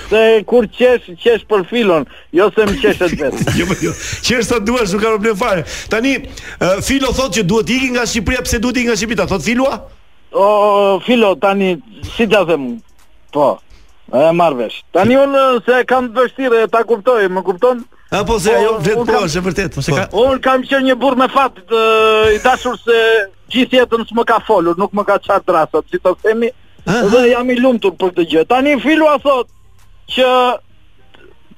[SPEAKER 10] Se kur qesh, qesh për filon, jo se më qeshet vetë.
[SPEAKER 8] Jo, po, jo. Qërë sa duash, nuk ka problem fare. Tani, uh, Filo thot që duhet iki nga Shqipëria, pse duhet iki nga Shqipëria? Ta thot Filua?
[SPEAKER 10] O, filo, tani, si të them, po, e marrë vesh. Tani unë se kam të vështirë, ta kuptoj, më kupton?
[SPEAKER 8] A po se
[SPEAKER 10] Po,
[SPEAKER 8] ajo vlet
[SPEAKER 10] unë
[SPEAKER 8] po,
[SPEAKER 10] kam-
[SPEAKER 8] është e vërtet. Po,
[SPEAKER 4] ka-
[SPEAKER 10] Unë kam qenë një burr me fat të, i dashur se gjithë jetën s'më ka folur, nuk më ka qartë drasat, si të themi,
[SPEAKER 8] Aha.
[SPEAKER 10] dhe jam i lumtur për këtë gjë. Tani Filua thot që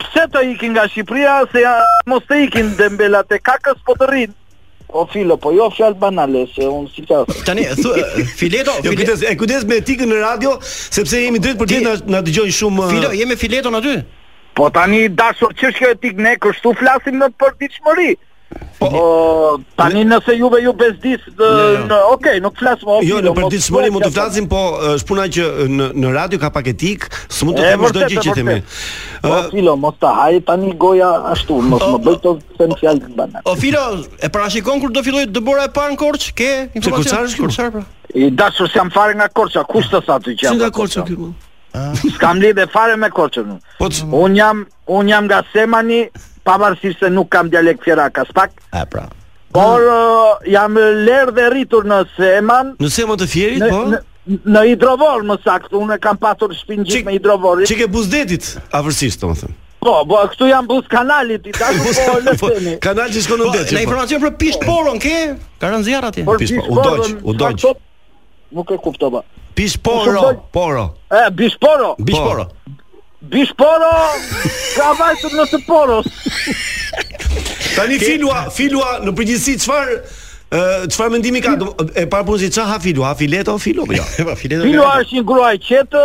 [SPEAKER 10] pse të ikin nga Shqipëria se ja, mos të ikin Dembela te kakës po të rrin. Po Filo, po jo fjalë banale se unë si ta.
[SPEAKER 4] Tani thu, Fileto,
[SPEAKER 8] Jo,
[SPEAKER 4] file,
[SPEAKER 8] kujdes, e kujdes me etikën në radio, sepse jemi drejt për
[SPEAKER 4] Ti-
[SPEAKER 8] drejt na, na dëgjojnë shumë.
[SPEAKER 4] Filo, je me Fileton aty?
[SPEAKER 10] Po tani dashur ç'është kjo etik ne kështu flasim në përditshmëri. Po tani nëse juve ju bezdis,
[SPEAKER 8] Jo, jo.
[SPEAKER 10] në- okay, nuk flas më. o,
[SPEAKER 8] Jo,
[SPEAKER 10] Filo,
[SPEAKER 8] në
[SPEAKER 10] mos-
[SPEAKER 8] përditshmëri mund të
[SPEAKER 10] flas-
[SPEAKER 8] flasim, po është puna që në në radio ka pak etik, s'mund të
[SPEAKER 10] E,
[SPEAKER 8] them çdo
[SPEAKER 10] vërtet,
[SPEAKER 8] gjë
[SPEAKER 10] e
[SPEAKER 8] që themi.
[SPEAKER 10] vërtet. Po filo, mos ta haj tani goja ashtu, mos më bëj të them fjalë të banale.
[SPEAKER 4] O Filo, e parashikon kur do filloj të bora e parë në Korçë? Ke informacion?
[SPEAKER 8] Korçar është kjo?
[SPEAKER 4] Korçar pra.
[SPEAKER 10] I dashur se jam fare nga Korça, kush të sa ty që jam?
[SPEAKER 8] Si nga
[SPEAKER 10] nga
[SPEAKER 8] Korça ky? po? mo?
[SPEAKER 10] S'kam lidhje fare me Korçën. unë.
[SPEAKER 8] Po c-
[SPEAKER 10] Un jam, un jam nga Semani, pavarësisht se nuk kam dialekt fjerak as pak,
[SPEAKER 4] A pra.
[SPEAKER 10] por uh, jam ler dhe rritur në Seman,
[SPEAKER 8] në semën të fjerit,
[SPEAKER 10] në,
[SPEAKER 8] po.
[SPEAKER 10] në, në hidrovor më saktë, unë e kam pasur shpinë
[SPEAKER 8] Çik-
[SPEAKER 10] gjithë me hidrovorin.
[SPEAKER 8] Çike buzdetit, afërsisht domethënë.
[SPEAKER 10] Po, po, këtu jam buz kanalit, i dashur po
[SPEAKER 8] Po,
[SPEAKER 10] lëseni.
[SPEAKER 8] Kanal që shkon në
[SPEAKER 4] Po,
[SPEAKER 8] det. që
[SPEAKER 4] në
[SPEAKER 8] po.
[SPEAKER 4] informacion për Pisht Poron ke? Ka rënë zjarr atje.
[SPEAKER 10] Por
[SPEAKER 8] Pispa,
[SPEAKER 10] Pispa,
[SPEAKER 8] u dogj, u
[SPEAKER 10] çfarë
[SPEAKER 8] dogj.
[SPEAKER 10] thot? Nuk e kuptova.
[SPEAKER 8] Bisporo, poro.
[SPEAKER 10] E, bisporo.
[SPEAKER 8] Bisporo.
[SPEAKER 10] Bisporo, ka vajtë në të poros.
[SPEAKER 8] Tani filua, filua në përgjithësi çfarë ë, çfarë mendimi ka? Do- E para punësi ç'a ha filua, ha fileta o filo po ja. Po fileta.
[SPEAKER 10] Filo është një grua e qetë,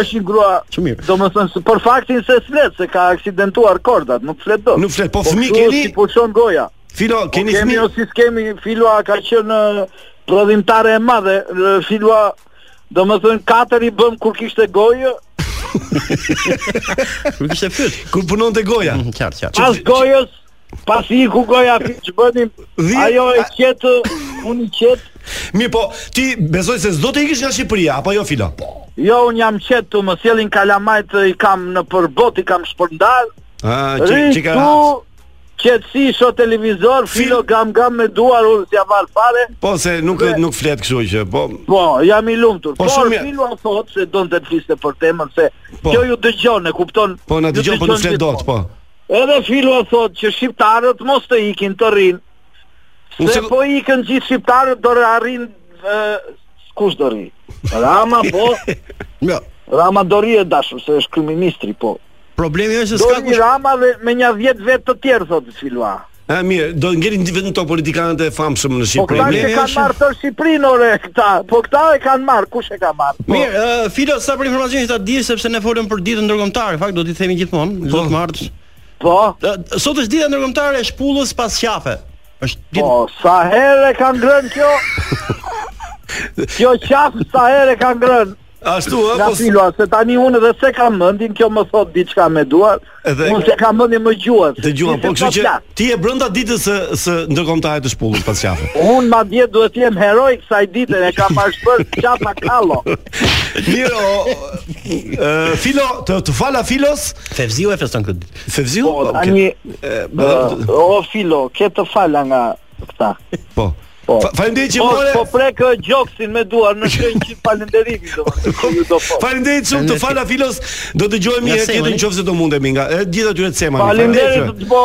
[SPEAKER 10] është një grua, do më thënë, se- për faktin se s'flet, se ka aksidentuar kordat, nuk flet do.
[SPEAKER 8] Nuk flet, po fëmi
[SPEAKER 10] kështu
[SPEAKER 8] keni?
[SPEAKER 10] Si pushon goja.
[SPEAKER 8] Filo, keni
[SPEAKER 10] po kemi
[SPEAKER 8] fëmi?
[SPEAKER 10] o si s'kemi, Filoa ka qenë në prodhimtare e madhe, në Filoa, do më thënë, katër i bëm kur kishte gojë,
[SPEAKER 4] Kur kishte fyt. Mm,
[SPEAKER 8] Kur punon te goja.
[SPEAKER 4] Qartë, qartë.
[SPEAKER 10] pas gojës, pas i ku goja fi që bënim, ajo e qetë, unë i qetë,
[SPEAKER 8] Mirë po, ti besoj se s'do të ikish nga Shqipëria apo jo filo? Po.
[SPEAKER 10] jo unë jam qetë tu, më sjellin kalamajt i kam në përbot, i kam shpërndar,
[SPEAKER 8] Ah, çi çi ka.
[SPEAKER 10] Ritu, qetësi, sho televizor, filo gam gam me duar, unë s'ja varë fare.
[SPEAKER 8] Po se nuk nuk flet kështu që po.
[SPEAKER 10] Po, jam i lumtur.
[SPEAKER 8] Po,
[SPEAKER 10] Por
[SPEAKER 8] shumë mirë.
[SPEAKER 10] filo a thot se donte të fliste për temën se
[SPEAKER 8] Po.
[SPEAKER 10] kjo ju dëgjon, e kupton.
[SPEAKER 8] Po na
[SPEAKER 10] ju
[SPEAKER 8] dëgjon po nuk flet
[SPEAKER 10] gjithmonë.
[SPEAKER 8] dot, po.
[SPEAKER 10] Edhe filo a thot që shqiptarët mos të ikin të rinë. Se
[SPEAKER 8] Unë se-
[SPEAKER 10] po ikën gjithë shqiptarët do rrin kush do rri? Rama po.
[SPEAKER 4] Jo.
[SPEAKER 10] Rama do rri e dashur se është kryeministri po.
[SPEAKER 4] Problemi është se
[SPEAKER 10] Do
[SPEAKER 4] s'ka
[SPEAKER 10] rri Rama dhe me një 10 vetë të tjerë thotë Filoa.
[SPEAKER 8] A mirë, do ngjelin vetëm to politikanët e famshëm në
[SPEAKER 10] Po
[SPEAKER 8] Shqipëri.
[SPEAKER 10] këta që
[SPEAKER 8] Problemi
[SPEAKER 10] kanë marrë të Shqipërinë ore këta, po këta e kanë marrë, kush e ka marrë?
[SPEAKER 4] Mirë, ë, Filo, sa për informacionin që ta di sepse ne folëm për ditën ndërkombëtare, fakt do t'i themi gjithmonë, çdo të martësh.
[SPEAKER 10] Po.
[SPEAKER 4] Sot është dita ndërkombëtare e shpullës pas qafe. Është ditë
[SPEAKER 10] Po, sa herë e kanë ngrënë kjo? kjo Jo, qafë sa herë e kanë ngrënë.
[SPEAKER 8] Ashtu, ë,
[SPEAKER 10] Nga
[SPEAKER 8] po s-
[SPEAKER 10] Filoa, se tani unë edhe se kam mendin, kjo më thot diçka me duar.
[SPEAKER 8] Edhe-
[SPEAKER 10] Unë se kam mendin më gjuhën.
[SPEAKER 8] Të gjuan, po kështu që ti je brenda ditës së së ndërkombëtarit të shpullës pas qafe.
[SPEAKER 10] Unë ma dje duhet jem heroj kësaj dite e kam ashpër qafa kallo.
[SPEAKER 8] Mirë, o, ë, Filo, të, të fala Filos.
[SPEAKER 4] Fevziu e feston këtë ditë.
[SPEAKER 8] Fevziu?
[SPEAKER 10] Po, tani, ë, o Filo, ke të Po, fala nga këta.
[SPEAKER 8] Po.
[SPEAKER 10] Po.
[SPEAKER 8] Fa- Faleminderit që
[SPEAKER 10] po,
[SPEAKER 8] more.
[SPEAKER 10] po prek ë, gjoksin me duar në shenjë që falënderimi domethënë. që ju do po.
[SPEAKER 8] Faleminderit shumë të fala Filos. Do dëgjohemi
[SPEAKER 4] Nga
[SPEAKER 8] herë tjetër
[SPEAKER 4] Semani.
[SPEAKER 8] nëse do mundemi nga e, gjithë atyre të semani.
[SPEAKER 10] Faleminderit po.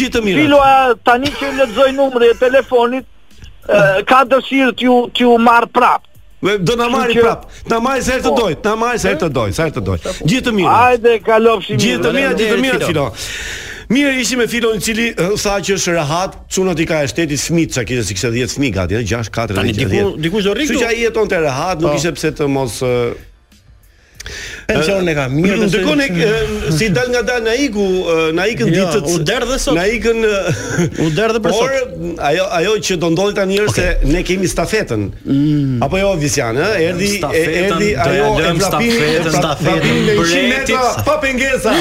[SPEAKER 8] Gjithë të mirë.
[SPEAKER 10] Filo ë, tani që lexoj numrin e telefonit ë, ka dëshirë t'ju t'ju marr prap.
[SPEAKER 8] Me- Do na marri
[SPEAKER 10] Kështu që-
[SPEAKER 8] prap. Na marri sa herë të
[SPEAKER 10] Po.
[SPEAKER 8] dojt, na marri sa herë të dojt, sa herë të dojt. Gjithë të mirë.
[SPEAKER 10] Hajde kalofshi
[SPEAKER 8] Gjithë të mira, gjithë të mira Filo. Mirë ishim me Filon i cili eh, tha që është rehat, çunat i ka e shtetit fëmijë, çka kishte si kishte 10 fëmijë gati, eh, 6, 4,
[SPEAKER 4] Tani
[SPEAKER 8] 10.
[SPEAKER 4] diku- dikush do rri
[SPEAKER 8] Kështu
[SPEAKER 4] këtu.
[SPEAKER 8] që ai jetonte rehat, nuk
[SPEAKER 4] Po.
[SPEAKER 8] ishte pse të mos eh,
[SPEAKER 4] pensionin e ka mirë. besoj-
[SPEAKER 8] Ndërkohë ne eh, si dal nga dal na iku, eh, na ikën
[SPEAKER 4] Jo,
[SPEAKER 8] ditët.
[SPEAKER 4] u der dhe sot.
[SPEAKER 8] Na ikën eh,
[SPEAKER 4] U der dhe për
[SPEAKER 8] Por
[SPEAKER 4] sot.
[SPEAKER 8] ajo ajo që do ndodhi tani është se ne kemi stafetën. Apo jo Visian, ë, erdhi e-
[SPEAKER 4] Stafetën,
[SPEAKER 8] erdhi
[SPEAKER 7] Mm. do
[SPEAKER 8] ajo
[SPEAKER 7] ja
[SPEAKER 8] e
[SPEAKER 7] lëm
[SPEAKER 8] vrapini, e
[SPEAKER 7] stafetën,
[SPEAKER 8] vrap-
[SPEAKER 7] stafetën,
[SPEAKER 8] vrapini me 100 metra
[SPEAKER 7] bretit.
[SPEAKER 8] pa pengesa.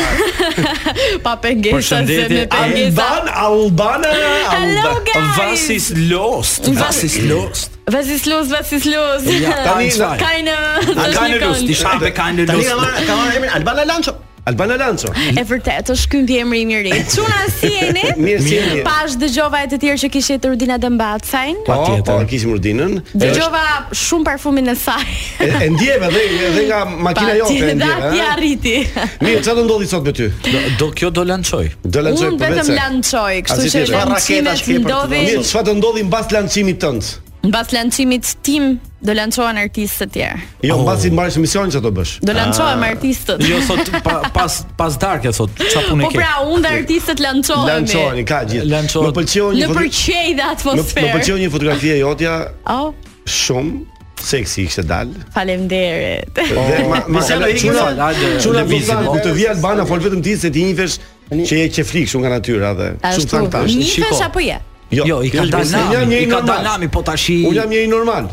[SPEAKER 12] Pa pengesa se me
[SPEAKER 7] Përshëndetje,
[SPEAKER 12] pengesa.
[SPEAKER 8] Alban, Albana,
[SPEAKER 12] Hello
[SPEAKER 8] Alban.
[SPEAKER 12] guys.
[SPEAKER 7] Vasis lost, vasis lost.
[SPEAKER 12] Vasislos, Vasislos.
[SPEAKER 7] Ja, tani na-
[SPEAKER 12] keine
[SPEAKER 8] keine Lust,
[SPEAKER 12] Lust.
[SPEAKER 8] ich habe keine
[SPEAKER 4] Tani ka marrë ka marrë emrin Albana Lanço.
[SPEAKER 8] Albana Lanco.
[SPEAKER 12] E vërtet, është ky ndi emri i mirë. Çuna si jeni?
[SPEAKER 8] Mirë si jeni?
[SPEAKER 12] Pash dëgjova e të tjerë që kishte të Rudina Dembacajn.
[SPEAKER 8] Po, po, kishim urdinën.
[SPEAKER 12] Dëgjova shumë parfumin e saj.
[SPEAKER 8] E, e ndjeve dhe edhe nga makina jote e
[SPEAKER 12] Dhe
[SPEAKER 8] ndjeve.
[SPEAKER 12] aty
[SPEAKER 4] eh?
[SPEAKER 8] ë?
[SPEAKER 12] arriti.
[SPEAKER 8] Mirë, çfarë do ndodhi sot me ty?
[SPEAKER 7] Do, do kjo do lançoj.
[SPEAKER 8] Do lançoj
[SPEAKER 12] Unë
[SPEAKER 8] për
[SPEAKER 12] vetëm
[SPEAKER 8] vetë.
[SPEAKER 12] lançoj, kështu
[SPEAKER 8] Asi
[SPEAKER 12] që
[SPEAKER 8] tjetër.
[SPEAKER 4] Raketash
[SPEAKER 12] lancimet
[SPEAKER 4] ke për të
[SPEAKER 12] ndodhin
[SPEAKER 8] Mirë, çfarë do ndodhi mbas lançimit tënd?
[SPEAKER 12] mbas lancimit tim do lançohen artistë të tjerë.
[SPEAKER 8] Jo, mbas i mbarësh misionin çfarë do bësh?
[SPEAKER 12] Do lançohem artistët.
[SPEAKER 7] Oh. Jo sot pa, pas pas darkë thot, çfarë punë
[SPEAKER 12] Po
[SPEAKER 7] ke?
[SPEAKER 12] pra, unë dhe artistët lançohemi.
[SPEAKER 8] Lançoheni ka gjithë.
[SPEAKER 7] Lançohet.
[SPEAKER 8] Më pëlqeu një
[SPEAKER 12] Në
[SPEAKER 8] foto-
[SPEAKER 12] përqej dhe
[SPEAKER 8] Më, më
[SPEAKER 12] atmosferë.
[SPEAKER 8] pëlqeu një fotografi e jotja
[SPEAKER 12] Oh,
[SPEAKER 8] shumë seksi kishte dal.
[SPEAKER 12] faleminderit.
[SPEAKER 8] Po, Dhe
[SPEAKER 7] Oh.
[SPEAKER 8] ma ma
[SPEAKER 4] Misiano
[SPEAKER 8] hala,
[SPEAKER 4] ikin,
[SPEAKER 8] çuna
[SPEAKER 7] fal, hajde,
[SPEAKER 8] çuna
[SPEAKER 7] lëvizim,
[SPEAKER 8] vizan
[SPEAKER 7] po.
[SPEAKER 8] kur të vi Albana fol vetëm ti se ti njifesh që je qeflik shumë nga natyra dhe shumë
[SPEAKER 12] Ashtu.
[SPEAKER 8] fantastish.
[SPEAKER 12] Nifesh apo je?
[SPEAKER 7] Jo, i ka
[SPEAKER 8] Unë
[SPEAKER 7] dalë
[SPEAKER 8] jam
[SPEAKER 7] nami, i
[SPEAKER 8] njeri
[SPEAKER 7] ka
[SPEAKER 8] normal.
[SPEAKER 7] dalë nami, po tash i
[SPEAKER 8] Unë jam njëri normal.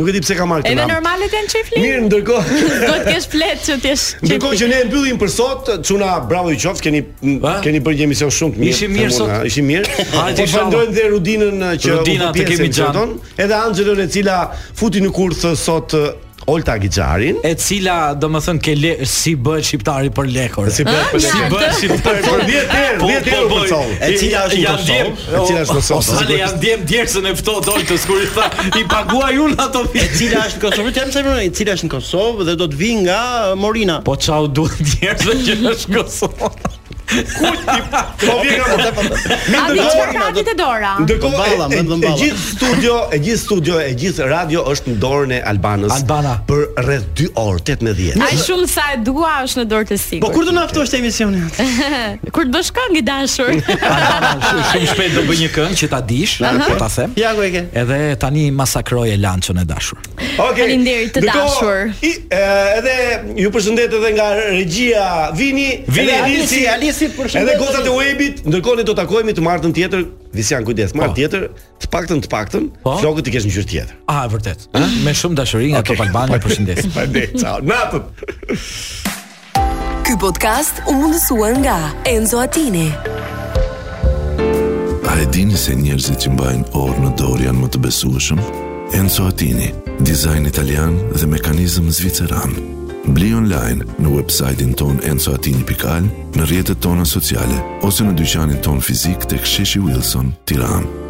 [SPEAKER 8] Nuk e di pse ka marrë këtë.
[SPEAKER 12] Edhe
[SPEAKER 8] nam.
[SPEAKER 12] normalet janë çifli.
[SPEAKER 8] Mirë, ndërkohë
[SPEAKER 12] Do të kesh flet që ti jesh
[SPEAKER 8] Ndërkohë që
[SPEAKER 12] çifli.
[SPEAKER 8] ne e mbyllim për sot, Çuna bravo i qoftë, keni
[SPEAKER 7] Va?
[SPEAKER 8] keni bërë një emision shumë të mirë.
[SPEAKER 7] Ishim mirë
[SPEAKER 8] Femuna,
[SPEAKER 7] sot.
[SPEAKER 8] Ishim mirë.
[SPEAKER 7] Hajde,
[SPEAKER 8] Po
[SPEAKER 7] inshallah.
[SPEAKER 8] falenderojmë dhe Rudinën uh, që
[SPEAKER 7] Rudina,
[SPEAKER 8] u bë
[SPEAKER 7] të
[SPEAKER 8] pjesë
[SPEAKER 7] kemi
[SPEAKER 8] e
[SPEAKER 7] gjan.
[SPEAKER 8] çerdon, edhe Anxhelën e cila futi në kurth uh, sot uh, Olta Gixharin.
[SPEAKER 7] e cila domethën ke le, si bëhet shqiptari për lekor. Ah,
[SPEAKER 8] Si bëhet për si bëhet shqiptar për 10 herë, 10 herë për sol.
[SPEAKER 4] Po, E cila është në
[SPEAKER 7] janë djem-
[SPEAKER 8] E
[SPEAKER 4] Kosovë?
[SPEAKER 8] cila është në Kosovë?
[SPEAKER 7] Ose janë djem djersën e ftohtë oltës kur i tha i paguaj unë ato
[SPEAKER 4] E
[SPEAKER 7] fjalë.
[SPEAKER 4] cila është në Kosovë? Jam se e cila është në Kosovë dhe do të vi nga Morina.
[SPEAKER 7] Po çau duhet djersën që është Kosovë.
[SPEAKER 8] Po vjen nga
[SPEAKER 12] A di çfarë ka ditë dora?
[SPEAKER 8] Ndërkohë e, e, e gjithë studio, e gjithë studio, e gjithë radio është në dorën e Albanës. Albana për rreth 2 orë 18.
[SPEAKER 12] Ai shumë sa e dua është në dorë të sigurt.
[SPEAKER 4] Po kur do na ftosh te emisioni atë?
[SPEAKER 12] kur të bësh këngë i dashur.
[SPEAKER 7] Shumë shumë shpejt do bëj një këngë që ta dish,
[SPEAKER 12] Aha.
[SPEAKER 7] po ta them.
[SPEAKER 4] Ja ku e ke.
[SPEAKER 7] Edhe tani masakroj e lançën e dashur.
[SPEAKER 8] Okej.
[SPEAKER 12] Faleminderit të
[SPEAKER 8] Ndërkohë,
[SPEAKER 12] dashur.
[SPEAKER 8] I, e, edhe ju përshëndet edhe nga regjia Vini,
[SPEAKER 4] Vini,
[SPEAKER 8] edhe
[SPEAKER 4] Alisi, Alisi, përshëndet.
[SPEAKER 8] Edhe gocat e webit, ndërkohë ne do takohemi të martën tjetër, Visian kujdes,
[SPEAKER 12] Po.
[SPEAKER 8] martën tjetër, të paktën të paktën, flokët i kesh në gjyrë tjetër.
[SPEAKER 7] Ah, e vërtet. Me shumë dashuri nga Top Albania, ju përshëndes.
[SPEAKER 8] Faleminderit. Ciao. Natën.
[SPEAKER 1] Ky podcast u mundësua nga Enzo Attini.
[SPEAKER 2] A e dini se njerëzit që mbajnë orë në dorë janë më të besueshëm? Enzo Attini, dizajn italian dhe mekanizëm zviceran. Bli online në websajtin ton enzoatini.al, në rrjetet tona sociale ose në dyqanin ton fizik tek Sheshi Wilson, Tiranë.